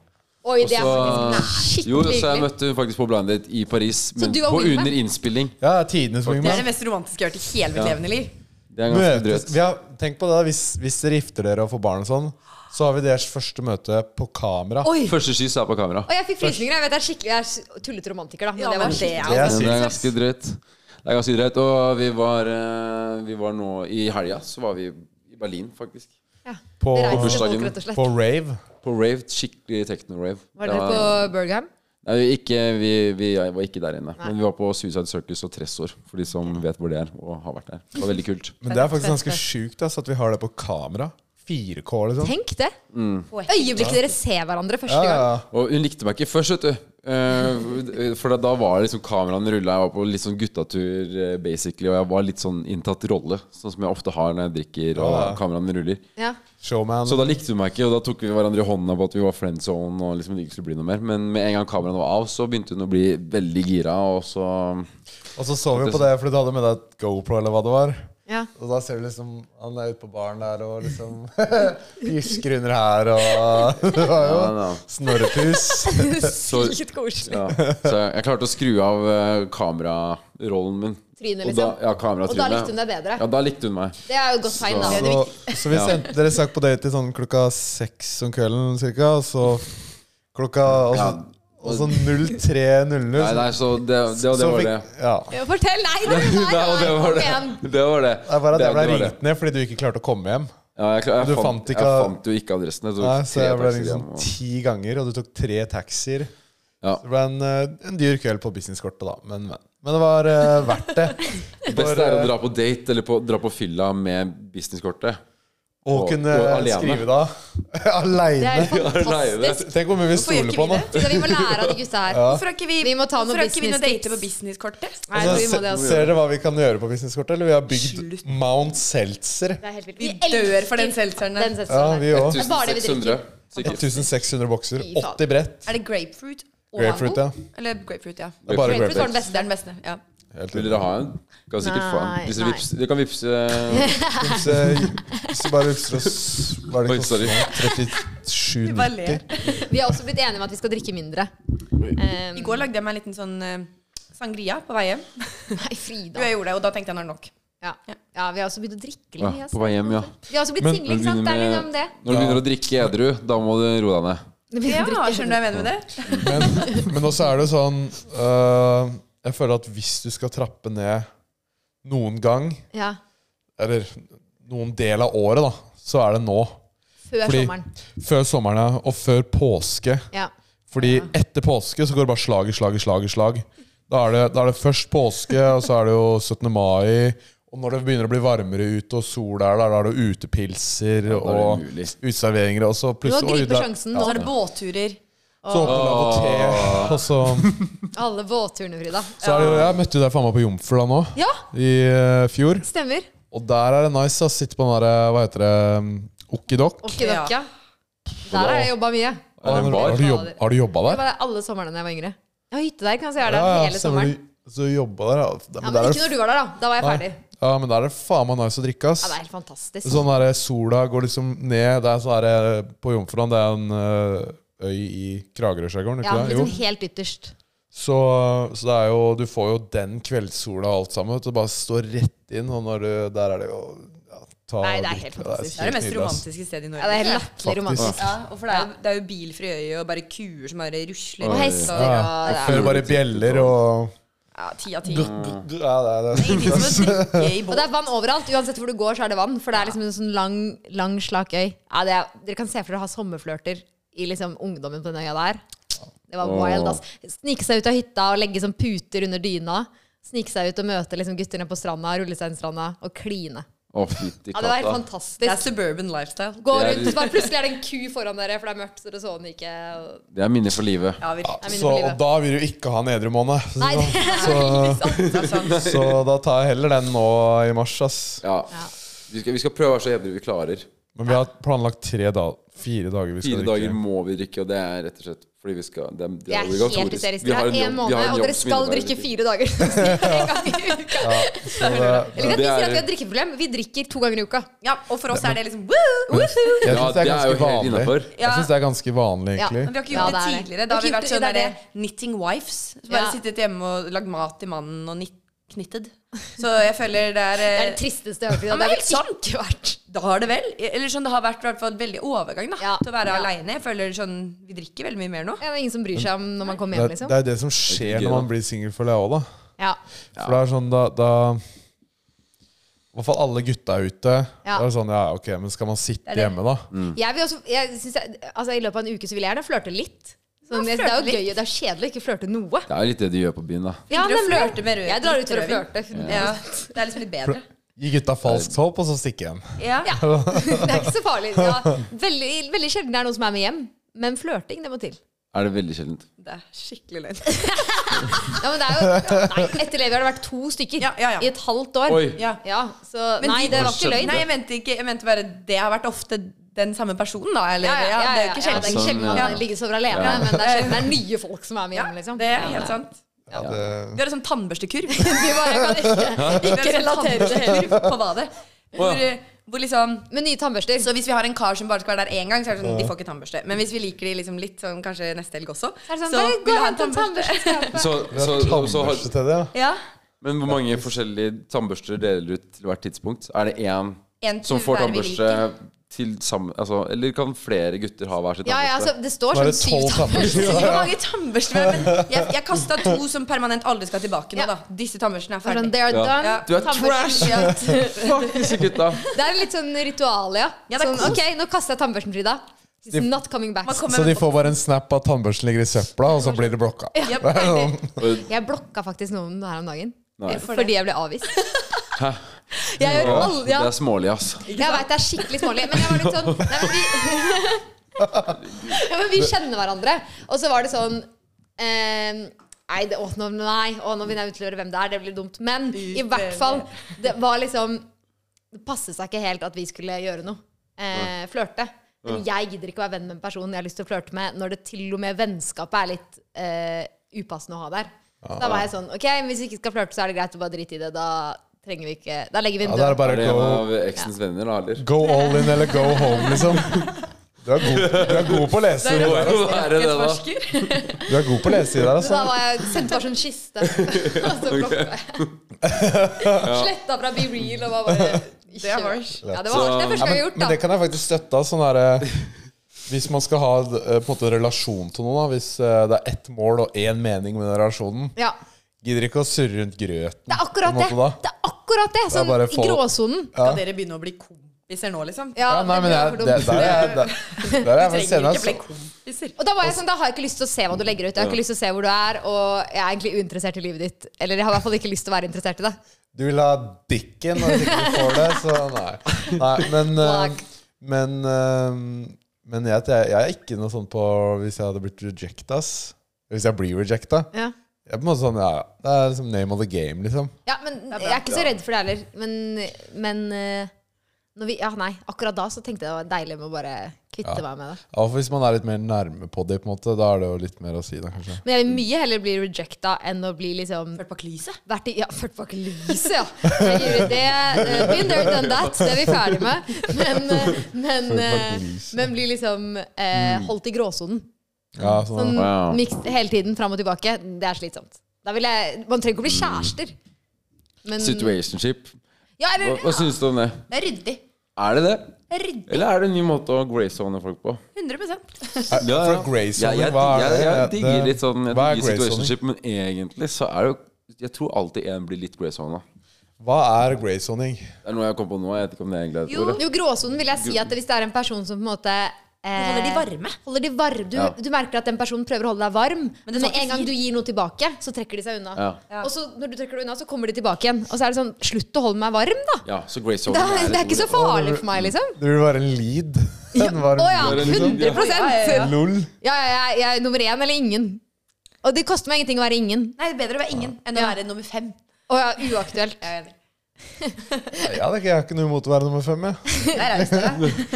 Speaker 3: Oi, det er
Speaker 1: Og
Speaker 3: faktisk
Speaker 1: så-
Speaker 3: skikkelig
Speaker 1: jo, så jeg
Speaker 3: hyggelig.
Speaker 1: møtte hun faktisk på blind date i Paris, men
Speaker 3: du var
Speaker 1: på
Speaker 3: wingman?
Speaker 1: under innspilling.
Speaker 2: Ja, tidenes
Speaker 4: Det er
Speaker 2: wingman.
Speaker 4: det mest romantiske jeg har hørt i hele mitt
Speaker 1: Ja.
Speaker 4: levende liv.
Speaker 1: Det er ganske
Speaker 2: Møtes,
Speaker 1: drøyt.
Speaker 2: vi har, tenk på det, da. Hvis, hvis dere gifter dere og får barn og sånn, så har vi deres første møte på kamera.
Speaker 3: Oi!
Speaker 1: Første kyss er på kamera.
Speaker 3: Og jeg fikk frysninger. Jeg vet jeg er skikkelig jeg er tullete romantiker, da. Men
Speaker 4: Ja, men
Speaker 3: det var
Speaker 4: det er
Speaker 3: skikkelig.
Speaker 2: Det er
Speaker 1: Men det er
Speaker 2: sykt.
Speaker 1: ganske drøyt. Det er ganske drøyt. Og vi var, eh, vi var nå I helga så var vi i Berlin, faktisk.
Speaker 3: Ja.
Speaker 2: På,
Speaker 3: Det reiser
Speaker 1: bursdagen.
Speaker 3: folk, rett og slett.
Speaker 2: på rave.
Speaker 1: På rave. Skikkelig techno-rave.
Speaker 3: Var dere på Bergham?
Speaker 1: Nei, vi, ikke, vi, vi jeg var ikke der inne. Men vi var på Suicide Circus og Tressor, for de som vet hvor det er og har vært der. Det var veldig kult.
Speaker 2: Men det er faktisk ganske sjukt ass, at vi har det på kamera. 4K, liksom.
Speaker 3: Tenk det!
Speaker 1: Mm.
Speaker 3: Øyeblikket dere ser hverandre første
Speaker 2: Ja, ja,
Speaker 3: gang.
Speaker 2: ja.
Speaker 1: Og hun likte meg ikke først, vet du. Eh, for da var liksom kameraene rulla, jeg var på litt sånn guttatur, eh, basically, og jeg var litt sånn inntatt rolle, sånn som jeg ofte har når jeg drikker og
Speaker 2: Ja.
Speaker 1: kameraene ruller.
Speaker 3: Ja.
Speaker 2: Showman.
Speaker 1: Så da likte hun meg ikke, og da tok vi hverandre i hånda på at vi var friendzone. Og liksom det ikke skulle bli noe mer Men med en gang kameraene var av, så begynte hun å bli veldig gira. Og så
Speaker 2: Og så så vi på det fordi du hadde med deg et GoPro, eller hva det var.
Speaker 3: Ja.
Speaker 2: Og da ser du liksom han er ute på baren der og liksom Gysker under her og Det var jo
Speaker 1: ja, ja.
Speaker 2: snorrepus.
Speaker 3: Sykt koselig.
Speaker 1: Ja. Så jeg, jeg klarte å skru av eh, kamerarollen min. Og
Speaker 3: Trynet,
Speaker 1: da,
Speaker 3: liksom.
Speaker 1: ja,
Speaker 3: Og da
Speaker 1: kameratrynet.
Speaker 3: likte hun deg bedre.
Speaker 1: Ja, da likte hun meg.
Speaker 3: Det er jo et godt tegn, da. Det er det
Speaker 2: Så,
Speaker 3: viktig-
Speaker 2: så vi
Speaker 1: Ja.
Speaker 2: sendte dere stakk på date til sånn klokka seks om kvelden cirka, og så klokka Og så,
Speaker 1: Ja.
Speaker 2: og så 03.00.
Speaker 1: Nei, nei, så det, det og det
Speaker 2: så
Speaker 1: var
Speaker 2: fikk-
Speaker 1: det.
Speaker 2: Ja.
Speaker 3: Ja, Fortell! Nei, det
Speaker 1: Nei, og det var det.
Speaker 3: igjen.
Speaker 1: Det var det.
Speaker 2: Det er bare at jeg ble
Speaker 1: var
Speaker 2: ringt ned fordi du ikke klarte å komme hjem.
Speaker 1: Ja, jeg, klar- jeg,
Speaker 2: Du
Speaker 1: fant,
Speaker 2: fant ikke-
Speaker 1: jeg fant jo ikke adressen. Jeg tok
Speaker 2: Nei, så
Speaker 1: tre
Speaker 2: jeg ble
Speaker 1: taxier
Speaker 2: ringt sånn
Speaker 1: hjem, og-
Speaker 2: ti ganger, og du tok tre taxier.
Speaker 1: Ja.
Speaker 2: Så det ble en, eh, en dyr kveld på businesskortet, da. Men, men. men det var eh, verdt det.
Speaker 1: Det beste er å dra på date eller på, dra på fylla med businesskortet.
Speaker 2: Å
Speaker 1: og-
Speaker 2: kunne
Speaker 1: og alene.
Speaker 2: skrive da
Speaker 3: Det er
Speaker 2: aleine.
Speaker 3: jo
Speaker 1: Nei,
Speaker 3: fantastisk.
Speaker 1: det-
Speaker 2: Tenk hvor mye vi
Speaker 4: Hvorfor gjør
Speaker 2: stoler
Speaker 4: ikke vi
Speaker 2: på nå.
Speaker 4: det?
Speaker 3: Så vi må lære av de gutta her.
Speaker 4: Hvorfor har ikke vi,
Speaker 3: Vi må ta noe
Speaker 4: hvorfor har ikke vi noen
Speaker 3: business-tips.
Speaker 4: dater på businesskortet?
Speaker 3: Nei,
Speaker 2: Altså,
Speaker 3: vi må det
Speaker 2: se-
Speaker 3: også.
Speaker 2: Ser dere hva vi kan gjøre på businesskortet? Eller vi har
Speaker 4: Slutt.
Speaker 2: bygd Mount Seltzer.
Speaker 3: Det er helt vilt.
Speaker 4: Vi
Speaker 3: elsker
Speaker 4: dør for den seltzeren der.
Speaker 3: den
Speaker 2: Ja,
Speaker 3: seltzeren
Speaker 2: vi
Speaker 3: der.
Speaker 2: òg.
Speaker 3: Det er bare det vi
Speaker 1: 1600. Sikkert.
Speaker 2: 1600 bokser.
Speaker 3: Fy faen.
Speaker 2: 80 brett.
Speaker 4: Er det grapefruit og
Speaker 2: Grapefruit, ja.
Speaker 4: Eller grapefruit, ja.
Speaker 2: Det er bare
Speaker 4: Det
Speaker 2: grapefruit.
Speaker 3: Grapefruit var den
Speaker 4: er
Speaker 3: beste.
Speaker 4: den beste. ja.
Speaker 2: Helt
Speaker 1: Vil
Speaker 2: enig.
Speaker 1: dere ha en? Kan sikkert få en.
Speaker 3: Nei,
Speaker 1: Hvis dere
Speaker 3: nei.
Speaker 1: vipser, dere kan vipse
Speaker 2: Hvis jeg- hvis jeg bare husker oss Hva er
Speaker 1: Oi,
Speaker 2: det
Speaker 1: sorry.
Speaker 2: kostet?
Speaker 4: Vi bare
Speaker 2: 37,90.
Speaker 4: ler.
Speaker 3: Vi har også blitt enige om at vi skal drikke mindre. Ehm,
Speaker 4: I går lagde jeg meg en liten sånn eh, sangria på vei hjem.
Speaker 3: Nei,
Speaker 4: Jo,
Speaker 3: Frida.
Speaker 4: jeg gjorde det, og da tenkte jeg nå er det nok.
Speaker 3: Ja. ja, vi har også begynt å drikke litt.
Speaker 1: ja,
Speaker 3: vi,
Speaker 1: på
Speaker 3: altså.
Speaker 1: vei hjem, ja.
Speaker 3: Vi har også blitt
Speaker 2: Men-
Speaker 3: single,
Speaker 1: Når du
Speaker 3: ikke sant? Det er
Speaker 1: begynner
Speaker 3: liksom det.
Speaker 1: med- når du begynner å drikke edru, da må du roe deg ned.
Speaker 4: Ja, skjønner du hva jeg mener med det?
Speaker 2: Men, men også er det sånn øh, Jeg føler at hvis du skal trappe ned noen gang,
Speaker 3: Ja,
Speaker 2: eller noen del av året, da, så er det nå.
Speaker 3: Før
Speaker 2: Fordi-
Speaker 3: sommeren.
Speaker 2: Før sommeren ja, og før påske.
Speaker 3: Ja.
Speaker 2: Fordi etter påske så går det bare slag i slag i slag. i slag. Da er, det, da er det først påske, og så er det jo 17. mai. Og når det begynner å bli varmere ute, og sol er der, da er det jo utepilser
Speaker 1: Da er det
Speaker 2: og
Speaker 1: umulig.
Speaker 2: uteserveringer. Og så
Speaker 3: Nå
Speaker 2: plutselig
Speaker 3: griper
Speaker 2: oi, da-
Speaker 3: sjansen.
Speaker 4: Så
Speaker 3: Nå
Speaker 4: er det båtturer.
Speaker 2: Så åpner det av og til, og så,
Speaker 3: Alle båtturene, Frida.
Speaker 2: så er det jo Jeg møtte jo deg faen meg på Jomfru da nå,
Speaker 3: Ja,
Speaker 2: i eh, fjor.
Speaker 3: stemmer.
Speaker 2: Og der er det nice å sitte på den derre Hva heter det? um, Okidok.
Speaker 3: Okidok, ja. Der har jeg jobba mye.
Speaker 1: Er det en
Speaker 2: Har
Speaker 1: bar?
Speaker 2: du, jobb, har du jobba
Speaker 3: Det
Speaker 2: der?
Speaker 3: var det alle somrene da jeg var yngre. Jeg har hytte der, kan jeg si. Jeg er der hele
Speaker 2: stemmer,
Speaker 3: sommeren.
Speaker 2: du- Så du jobba der, ja.
Speaker 3: Ja,
Speaker 2: Men
Speaker 3: men
Speaker 2: der er
Speaker 3: ikke
Speaker 2: det,
Speaker 3: når du var der, da. Da var jeg ferdig.
Speaker 2: ja, men der er det faen meg nice å drikke, ass.
Speaker 3: Ja, det er helt fantastisk.
Speaker 2: Sånn der, sola går liksom ned Det er sånn der, På Jomfruland det er en ø, øy i Kragerø-skjærgården,
Speaker 3: Ja,
Speaker 2: ikke det?
Speaker 3: liksom
Speaker 2: Jo.
Speaker 3: helt ytterst.
Speaker 2: Så, så det er jo Du får jo den kveldssola og alt sammen. vet Du bare står rett inn, og når du, der er det jo ja, ta,
Speaker 3: Nei, det er helt fantastisk.
Speaker 4: Det er det mest
Speaker 2: nydelig, ass.
Speaker 4: romantiske stedet i Norge.
Speaker 3: Ja, det er helt latterlig
Speaker 2: Faktisk.
Speaker 3: romantisk.
Speaker 4: Ja, og for det er, jo- det er jo bilfri øye og bare kuer som bare rusler.
Speaker 1: Og
Speaker 4: rundt,
Speaker 3: hester.
Speaker 4: og-
Speaker 2: Ja,
Speaker 3: Ja, det er-
Speaker 2: Hører bare bjeller og
Speaker 4: Ja, ti av ti.
Speaker 2: ja,
Speaker 4: Det
Speaker 2: det er det.
Speaker 4: er ingenting som å drikke i
Speaker 3: Og det
Speaker 4: båt.
Speaker 3: er vann overalt. Uansett hvor du går, så er det vann. For det er liksom en sånn lang, lang slak øy. Ja, det er, dere kan se for dere å ha sommerflørter i liksom ungdommen på den øya der. Det var
Speaker 1: Åh.
Speaker 3: wild, ass. Snike seg ut av hytta og legge sånn puter under dyna. Snike seg ut og møte liksom gutter nede på stranda, rullesteinstranda, og kline.
Speaker 1: Å, fytti
Speaker 3: Ja, det var helt
Speaker 1: katta.
Speaker 4: Det er
Speaker 3: fantastisk.
Speaker 4: suburban lifestyle.
Speaker 3: Gå
Speaker 1: Det er-
Speaker 3: rundt, så bare plutselig er det en ku foran dere, for det er mørkt, så dere så den ikke. og-
Speaker 1: Det er minner for livet.
Speaker 4: Ja, virkelig.
Speaker 3: Det er
Speaker 2: Så,
Speaker 3: minne for
Speaker 2: og
Speaker 3: livet.
Speaker 2: da vil du ikke ha en edru måned.
Speaker 3: Nei, det er
Speaker 2: sånn. Så,
Speaker 4: Det er sant.
Speaker 2: så da tar jeg heller den nå i mars, ass.
Speaker 1: Ja. Vi skal, vi skal prøve å være så edru vi klarer.
Speaker 2: Men vi har planlagt tre da, fire dager vi skal
Speaker 1: Fire dager må vi drikke, og det er rett og slett fordi vi skal Det, det
Speaker 3: Det er
Speaker 1: er
Speaker 3: helt hysterisk. Dere har én måned, og dere skal drikke fire dager. En gang i uka.
Speaker 2: drikke.
Speaker 3: Eller at vi
Speaker 1: Det er-
Speaker 3: sier at vi har drikkeproblem. Vi drikker to ganger i uka.
Speaker 4: Ja, og for oss er det liksom woo, woohoo.
Speaker 2: Jeg
Speaker 1: Ja,
Speaker 2: syns det er
Speaker 1: det er jo helt
Speaker 2: ganske vanlig.
Speaker 1: innenfor.
Speaker 4: Ja.
Speaker 2: Jeg synes det er ganske vanlig,
Speaker 3: Ja,
Speaker 2: egentlig.
Speaker 4: Men vi har ikke
Speaker 3: Ja,
Speaker 4: gjort
Speaker 3: det
Speaker 4: det
Speaker 3: er det.
Speaker 4: tidligere. Da har
Speaker 3: Vi
Speaker 4: vi
Speaker 3: har
Speaker 4: vært
Speaker 3: ikke gjort
Speaker 4: sånn
Speaker 3: det, det er
Speaker 4: derre knitting wives. Så bare
Speaker 3: Ja.
Speaker 4: sittet hjemme og lagd mat til mannen og nitt- knitted. Så jeg føler det er
Speaker 3: Det
Speaker 4: eh,
Speaker 3: er det tristeste jeg har hørt. i dag.
Speaker 4: Ja, men
Speaker 3: Det har
Speaker 4: helt
Speaker 3: vel ikke vært
Speaker 4: Da har det vel Eller sånn, det har vært i hvert fall veldig overgang, da.
Speaker 3: Ja.
Speaker 4: Til å være
Speaker 3: Ja.
Speaker 4: aleine. Jeg føler sånn Vi drikker veldig mye mer nå.
Speaker 3: Ja, det er ingen som bryr seg om når man kommer
Speaker 2: Det
Speaker 3: hjem,
Speaker 2: er,
Speaker 3: liksom.
Speaker 2: det er det som skjer
Speaker 1: gøy,
Speaker 2: når man
Speaker 1: da.
Speaker 2: blir singel, føler jeg òg, da.
Speaker 3: Ja.
Speaker 2: For det er sånn da, da I hvert fall alle gutta er ute. Da
Speaker 3: Ja.
Speaker 2: er det sånn, ja, ok, men skal man sitte
Speaker 4: er det.
Speaker 2: hjemme, da?
Speaker 1: Mm.
Speaker 3: Jeg vil også, jeg synes jeg, altså, I løpet av en uke så vil jeg gjerne flørte litt. Sånn,
Speaker 4: Ja,
Speaker 3: det er
Speaker 4: flørte
Speaker 3: jo gøy, det er kjedelig å ikke flørte noe.
Speaker 1: Det er litt det de gjør på byen, da.
Speaker 3: Ja,
Speaker 4: Dere
Speaker 3: nemlig.
Speaker 4: flørter med rød-
Speaker 3: Jeg drar ut for å
Speaker 4: rødvin.
Speaker 3: flørte.
Speaker 4: Ja. Det er liksom litt bedre.
Speaker 2: Gi gutta falskt håp, og så stikke igjen.
Speaker 4: Ja.
Speaker 3: Ja. Det er ikke så farlig. Ja, veldig, veldig sjelden det er noen som er med hjem. Men flørting, det må til.
Speaker 1: Er det veldig sjeldent.
Speaker 4: Det er skikkelig løgn.
Speaker 3: Ja, men det er jo, nei, etter Levi har det vært to stykker
Speaker 4: Ja, ja, ja.
Speaker 3: i et halvt år.
Speaker 1: Oi.
Speaker 4: Ja.
Speaker 3: Ja, så
Speaker 4: Men
Speaker 3: nei,
Speaker 4: de-
Speaker 3: det var ikke løgn.
Speaker 4: Nei, jeg mente ikke Jeg mente bare Det har vært ofte den samme personen, da? Eller?
Speaker 3: Ja, ja, ja,
Speaker 4: det er jo ikke
Speaker 3: ja,
Speaker 4: sjelden.
Speaker 3: det er ikke
Speaker 1: Sånn,
Speaker 3: sjelden at
Speaker 1: ja.
Speaker 3: man ligger sover alene,
Speaker 1: Ja.
Speaker 3: men det er sjelden det er nye folk som er med hjem.
Speaker 4: Ja,
Speaker 3: Liksom.
Speaker 4: det er helt sant.
Speaker 2: Ja, det,
Speaker 4: Vi har en sånn tannbøstekurv.
Speaker 3: Vi bare kan ikke.
Speaker 4: Vi har en sånn
Speaker 3: relatere til.
Speaker 4: tannbøstekurv på badet. Hvor,
Speaker 1: Å,
Speaker 4: hvor liksom
Speaker 3: Med nye tannbørster.
Speaker 4: Så hvis vi har en kar som bare skal være der én gang, så er det sånn, de får ikke tannbørste. Men hvis vi liker de liksom litt sånn kanskje neste helg også,
Speaker 3: er det sånn,
Speaker 4: så
Speaker 3: bare
Speaker 4: vil jeg
Speaker 3: gå
Speaker 4: ha
Speaker 3: og
Speaker 4: en
Speaker 3: hent en
Speaker 4: tannbørste.
Speaker 3: tannbørste.
Speaker 1: Så, så, så, så har,
Speaker 2: Tannbørste til det, ja.
Speaker 4: Ja.
Speaker 1: men hvor mange forskjellige tannbørster deler du ut til hvert tidspunkt? Er det én
Speaker 4: En
Speaker 1: som
Speaker 4: tur
Speaker 1: får
Speaker 4: hver vi
Speaker 1: tannbørste til sammen altså, Eller kan flere gutter ha hver sin
Speaker 3: Ja, ja, altså,
Speaker 1: tannbørste?
Speaker 3: det står
Speaker 2: Nå er det
Speaker 3: sånn syv
Speaker 2: tolv
Speaker 3: tannbørster.
Speaker 2: tannbørster.
Speaker 4: Så Hvor mange tannbørster var det? Men Jeg, jeg kasta to som permanent aldri skal tilbake nå,
Speaker 3: Ja.
Speaker 4: da. Disse tannbørstene er ferdige.
Speaker 3: Sånn, they are
Speaker 1: Ja.
Speaker 3: done.
Speaker 4: Ja.
Speaker 1: Du er trash!
Speaker 3: Tannbørsten.
Speaker 4: Ja.
Speaker 1: Fuck
Speaker 3: altså-
Speaker 1: disse gutta!
Speaker 3: Det er litt sånn ritual, ja.
Speaker 4: Ja, det er
Speaker 3: sånn, ok, nå kaster jeg tannbørsten, Frida. It's not coming back.
Speaker 4: Man kommer
Speaker 2: Så de
Speaker 4: med
Speaker 2: får bare en snap av at tannbørsten ligger i søpla, og så blir det blokka.
Speaker 4: Ja, ferdig.
Speaker 3: Jeg blokka faktisk noen her om dagen.
Speaker 1: Nei.
Speaker 3: eh, Fordi jeg ble avvist. Jeg gjør
Speaker 1: Å,
Speaker 3: alle
Speaker 1: Det
Speaker 3: ja.
Speaker 1: er smålig, ass.
Speaker 3: Jeg veit det er skikkelig smålig, men jeg var litt sånn Nei, men vi, ja, men vi kjenner hverandre. Og så var det sånn eh, Nei, det, å, nå, nei å, nå begynner jeg å utlevere hvem det er. Det blir dumt. Men i hvert fall, det var liksom Det passet seg ikke helt at vi skulle gjøre noe. Eh, flørte. Men jeg gidder ikke å være venn med en person jeg har lyst til å flørte med, når det til og med vennskapet er litt eh, upassende å ha der. Så
Speaker 2: Ah.
Speaker 3: Da var jeg sånn Ok, hvis vi ikke skal flørte, så er det greit å bare drite i det. Da trenger vi ikke Da legger vi
Speaker 2: Ja,
Speaker 3: en
Speaker 2: det er
Speaker 3: død.
Speaker 1: Er
Speaker 2: bare
Speaker 1: det en
Speaker 2: go,
Speaker 1: av eksens venner, da, eller?
Speaker 2: go all in eller go home, liksom. Du er god, du er god på å lese i det der, altså.
Speaker 1: Hva er det, da?
Speaker 4: Forsker.
Speaker 2: Du er god på å lese i det der,
Speaker 3: Så da
Speaker 2: altså.
Speaker 3: var jeg, sendte bare sånn kiste. og så blokka jeg. Sletta fra Be Real og var bare
Speaker 4: Det er harsh.
Speaker 3: Ja,
Speaker 2: Ja,
Speaker 3: det var harsh. Det er første gang jeg har
Speaker 2: men,
Speaker 3: gjort,
Speaker 2: men det
Speaker 3: da.
Speaker 2: kan jeg faktisk støtte. av, Sånn der, eh, hvis man skal ha eh, på en måte relasjon til noen, da, hvis eh, det er ett mål og én mening med den relasjonen
Speaker 3: Ja.
Speaker 2: Gidder ikke å surre rundt grøten.
Speaker 3: Det er akkurat
Speaker 2: på
Speaker 3: det.
Speaker 2: en måte, da.
Speaker 3: Det er akkurat det.
Speaker 2: er
Speaker 3: Sånn
Speaker 2: bare
Speaker 3: i
Speaker 2: folk-
Speaker 3: gråsonen.
Speaker 4: Skal dere begynne å bli kompiser nå, liksom?
Speaker 3: Ja,
Speaker 2: Ja, nei,
Speaker 3: det
Speaker 2: men
Speaker 3: blir
Speaker 2: jeg,
Speaker 3: for
Speaker 2: det,
Speaker 3: dumt.
Speaker 2: der er jeg der, der er jeg
Speaker 4: Vi
Speaker 2: vel altså.
Speaker 4: trenger
Speaker 2: senest.
Speaker 4: ikke bli kompiser.
Speaker 3: Og da var jeg sånn, da har jeg ikke lyst til å se hva du legger ut. Jeg har ikke lyst til å se hvor du er, og jeg er egentlig uinteressert i livet ditt. Eller jeg har i hvert fall ikke lyst til å være interessert i det.
Speaker 2: Du vil ha dikken, og hvis ikke du får det, så nei. nei men, eh,
Speaker 3: Fuck.
Speaker 2: men, eh, men jeg, jeg er ikke noe sånn på hvis jeg hadde blitt rejecta. ass. Hvis jeg blir rejecta.
Speaker 3: Ja,
Speaker 2: Jeg er på en måte sånn, ja, Det er liksom name of the game, liksom.
Speaker 3: men jeg er ikke så redd for det heller. Men, men eh, når vi, ja, nei, akkurat da så tenkte jeg det var deilig med å bare kvitte meg med det.
Speaker 2: Ja, for Hvis man er litt mer nærme på det, på en måte, da er det jo litt mer å si, da, kanskje.
Speaker 3: Men jeg vil mye heller bli rejecta enn å bli liksom
Speaker 4: Hørt på klyset?
Speaker 3: vært i, ja, Ført bak lyset, ja. Det, det, eh, been there, done that. Det er vi ferdig med. Men, eh, men,
Speaker 2: bak
Speaker 3: eh,
Speaker 2: lyset.
Speaker 3: men bli liksom eh, holdt i gråsonen.
Speaker 2: Ja, sånn,
Speaker 3: Sånn
Speaker 1: Mm. Wow.
Speaker 3: mixed hele tiden fram og tilbake. Det er slitsomt. Da vil jeg, man trenger
Speaker 1: Mm.
Speaker 3: ikke å bli kjærester. Men
Speaker 1: Situationship.
Speaker 3: ja,
Speaker 1: Hva,
Speaker 3: eller,
Speaker 1: hva syns du om det?
Speaker 4: Det er ryddig.
Speaker 1: Er det det?
Speaker 4: Ryddig.
Speaker 1: Eller er det en ny måte å grayzone folk på?
Speaker 4: 100
Speaker 1: Ja, ja.
Speaker 2: For grey
Speaker 1: Ja,
Speaker 2: zone,
Speaker 1: jeg,
Speaker 2: hva er
Speaker 1: jeg,
Speaker 2: det?
Speaker 1: jeg
Speaker 2: Ja,
Speaker 1: digger
Speaker 2: det-
Speaker 1: litt sånn Jeg
Speaker 2: hva er
Speaker 1: digger
Speaker 2: grey zone?
Speaker 1: situationship, men egentlig så er det jo Jeg tror alltid en blir litt grayzona.
Speaker 2: Hva er greyzoning?
Speaker 1: Det er noe jeg kom på nå. Jeg vet ikke om det egentlig er et
Speaker 3: jo,
Speaker 1: ord. ja.
Speaker 3: jo, gråsonen vil jeg si at hvis det er en person som på en måte eh,
Speaker 4: Holder de varme?
Speaker 3: holder de varm. Du,
Speaker 1: Ja.
Speaker 3: du merker at den personen prøver å holde deg varm, men,
Speaker 4: det tar
Speaker 3: med
Speaker 4: ikke
Speaker 3: en gang
Speaker 4: tid.
Speaker 3: du gir noe tilbake, så trekker de seg unna.
Speaker 1: Ja.
Speaker 4: Ja.
Speaker 3: Og så når du trekker deg unna, så kommer de tilbake igjen. Og så er det sånn Slutt å holde meg varm, da!
Speaker 1: Ja, så grayzone
Speaker 3: Det er, det er ikke så
Speaker 1: ordet.
Speaker 3: farlig for meg, liksom.
Speaker 2: Du vil være en lead? En
Speaker 3: Å
Speaker 2: varm
Speaker 3: ja,
Speaker 1: Det er liksom-
Speaker 3: 100 ja,
Speaker 4: Ja, ja, ja.
Speaker 2: Lol.
Speaker 3: ja, ja, Jeg er nummer én eller ingen. Og det koster meg ingenting å være ingen.
Speaker 4: Nei, det er bedre å være ingen enn å være nummer fem.
Speaker 3: Å ja, uaktuelt.
Speaker 2: Ja, det er ikke, jeg har ikke noe imot å være nummer fem. Jeg.
Speaker 4: Der er vi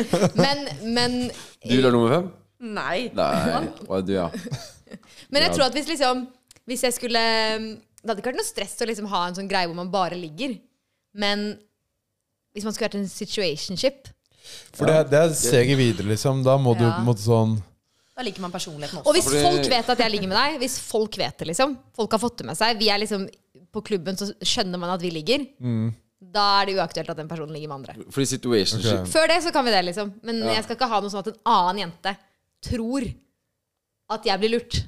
Speaker 4: snart.
Speaker 3: Men, men,
Speaker 1: Du vil være nummer fem?
Speaker 4: Nei.
Speaker 1: Nei. Å, du, ja.
Speaker 3: men jeg tror at hvis liksom Hvis jeg skulle mm, Det hadde ikke vært noe stress å liksom ha en sånn greie hvor man bare ligger. Men hvis man skulle vært i en situationship
Speaker 2: For det, det er steget videre, liksom. Da må du
Speaker 3: Ja.
Speaker 2: på en måte sånn
Speaker 4: Da liker man personligheten også.
Speaker 3: Og hvis
Speaker 1: Fordi-
Speaker 3: folk vet at jeg ligger med deg, hvis folk vet det, liksom Folk har fått det med seg. Vi er liksom på klubben, så skjønner man at vi ligger.
Speaker 1: Mm.
Speaker 3: Da er det uaktuelt at den personen ligger med andre.
Speaker 1: Fordi situationship
Speaker 3: Før det så kan vi det, liksom. Men jeg skal ikke ha noe sånn at en annen jente tror at jeg blir lurt.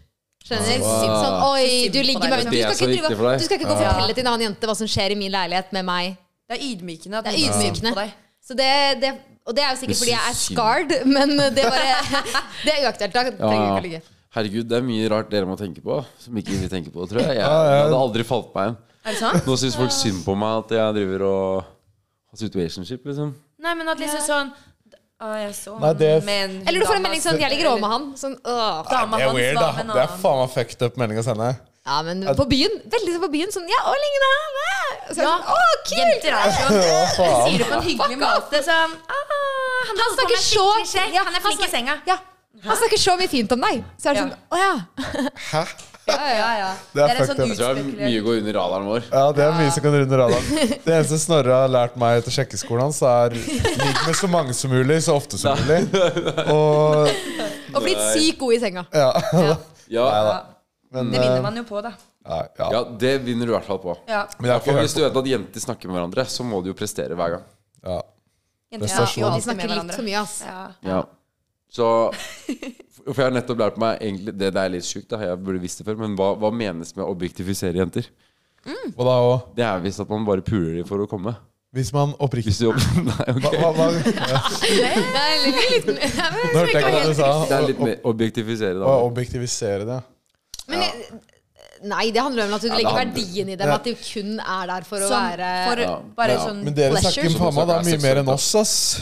Speaker 3: Skjønner? Sånn, Oi, du ligger
Speaker 4: liksom.
Speaker 3: med meg.
Speaker 1: Altså,
Speaker 3: Du
Speaker 1: Det er så
Speaker 3: skal ikke,
Speaker 1: viktig
Speaker 3: drive,
Speaker 1: for deg.
Speaker 3: du skal ikke gå og fortelle til en annen jente hva som skjer i min leilighet med meg.
Speaker 4: Det er ydmykende. at
Speaker 3: Det
Speaker 4: noen
Speaker 3: er
Speaker 4: ser
Speaker 3: ydmykende.
Speaker 4: på deg.
Speaker 3: Så det, det, og det er jo sikkert fordi jeg er
Speaker 1: Synd.
Speaker 3: scarred, men det, bare, det er uaktuelt. Da trenger vi ikke å ligge.
Speaker 1: Herregud, det er mye rart dere må tenke på som ikke vi tenker på, tror jeg. Jeg,
Speaker 2: Ja, ja.
Speaker 1: hadde aldri falt meg inn.
Speaker 4: Er det sant?
Speaker 1: Nå syns folk synd på meg at jeg driver og har situationship, liksom.
Speaker 4: Nei, men at liksom sånn Å, jeg så
Speaker 2: Nei, det-
Speaker 4: men
Speaker 3: Eller du får en
Speaker 4: dama
Speaker 3: melding sånn 'Jeg ligger over med han'. Sånn, åh.
Speaker 4: Dama
Speaker 2: Det er
Speaker 4: hans
Speaker 2: weird,
Speaker 4: var
Speaker 2: da.
Speaker 4: med en
Speaker 2: Det er
Speaker 4: annen.
Speaker 2: faen meg fucked up melding å sende.
Speaker 3: Ja, men på byen. Veldig sånn på byen. Sånn 'Ja, å, ligger med han'. eh». Og så er det sånn, Å, kult!
Speaker 4: Jenter er sånn.
Speaker 2: Å,
Speaker 4: Sier
Speaker 2: faen.
Speaker 4: det på en hyggelig måte sånn «Ah,
Speaker 5: han,
Speaker 3: Han snakker så
Speaker 5: sjekk.
Speaker 3: ja,
Speaker 5: Han er flink
Speaker 3: snakker-
Speaker 5: i senga.
Speaker 3: Ja. Han snakker så mye fint om deg. Så er det
Speaker 4: Ja.
Speaker 3: sånn Å ja.
Speaker 2: Hæ?
Speaker 5: Ja, ja, ja.
Speaker 2: Det er
Speaker 5: en
Speaker 2: fucked
Speaker 5: sånn
Speaker 1: Jeg tror det er mye
Speaker 5: utspekulert
Speaker 1: å gå under radaren vår.
Speaker 2: Ja, det er mye som kan runde radaren. Det eneste Snorre har lært meg etter sjekkeskolen hans, er ligg med så mange som mulig, så ofte som mulig. Og
Speaker 3: Og blitt sykt god i senga.
Speaker 2: ja.
Speaker 1: Ja,
Speaker 2: Nei da.
Speaker 5: Ja.
Speaker 2: Men, eh,
Speaker 5: Det vinner man jo på, da.
Speaker 2: Nei, ja.
Speaker 1: ja det vinner du i hvert fall på.
Speaker 5: Ja.
Speaker 2: Men jeg har ikke
Speaker 1: For hvis
Speaker 2: hørt
Speaker 1: du vet at jenter snakker med hverandre, så må du jo prestere hver gang.
Speaker 2: ja.
Speaker 5: Jenter
Speaker 2: Det er
Speaker 5: ja,
Speaker 2: stasjon.
Speaker 3: Ja,
Speaker 5: alltid
Speaker 3: de snakker litt
Speaker 5: med hverandre.
Speaker 3: for mye, ass.
Speaker 5: Ja.
Speaker 1: Ja. Så For jeg har nettopp lært meg egentlig Det, det er litt sjukt, da. Jeg burde visst det før. Men hva, hva menes med å objektifisere jenter?
Speaker 2: Og da òg.
Speaker 1: Det er visst at man bare puler dem for å komme.
Speaker 2: Hvis man oppriktig
Speaker 1: Hvis du Nei,
Speaker 2: hva,
Speaker 1: ok.
Speaker 2: hva, hva,
Speaker 3: Det er litt, litt,
Speaker 2: Nå hørte jeg ikke hva du sa.
Speaker 1: Det er litt
Speaker 2: Å-
Speaker 1: mer objektifisere,
Speaker 2: Å
Speaker 1: da.
Speaker 2: objektivisere det.
Speaker 3: Men jeg, nei, det handler om at du
Speaker 1: det
Speaker 3: legger
Speaker 1: handler-
Speaker 3: verdien i dem. At du kun er der for å
Speaker 5: Som
Speaker 3: være
Speaker 5: for
Speaker 1: Ja.
Speaker 5: bare
Speaker 1: Ja.
Speaker 5: sånn
Speaker 2: Men dere
Speaker 3: Pleasure.
Speaker 2: snakker faen meg da mye mer enn oss, ass.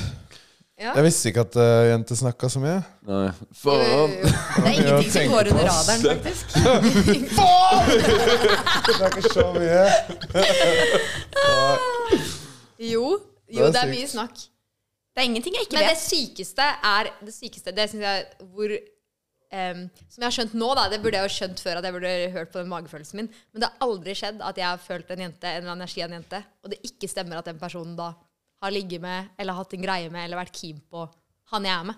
Speaker 3: Ja.
Speaker 2: Jeg visste ikke at eh, jenter snakka så mye.
Speaker 1: Nei, faen.
Speaker 3: Eh,
Speaker 4: Det er ingenting
Speaker 2: tenker
Speaker 4: som går
Speaker 2: på
Speaker 4: under
Speaker 2: oss.
Speaker 4: radaren, faktisk.
Speaker 2: Det er ikke så mye.
Speaker 3: Jo,
Speaker 2: Det
Speaker 3: jo,
Speaker 2: er
Speaker 3: det er
Speaker 2: sykt.
Speaker 3: mye snakk.
Speaker 5: Det er ingenting jeg ikke
Speaker 3: Men det
Speaker 5: vet.
Speaker 3: sykeste er Det sykeste, det syns jeg hvor em, Som jeg har skjønt nå, da. Det burde jeg jo skjønt før at jeg burde hørt på den magefølelsen min. Men det har aldri skjedd at jeg har følt en jente, en eller annen energi av en jente, og det ikke stemmer at den personen da har ligget med, eller hatt en greie med, eller vært keen på han jeg er med.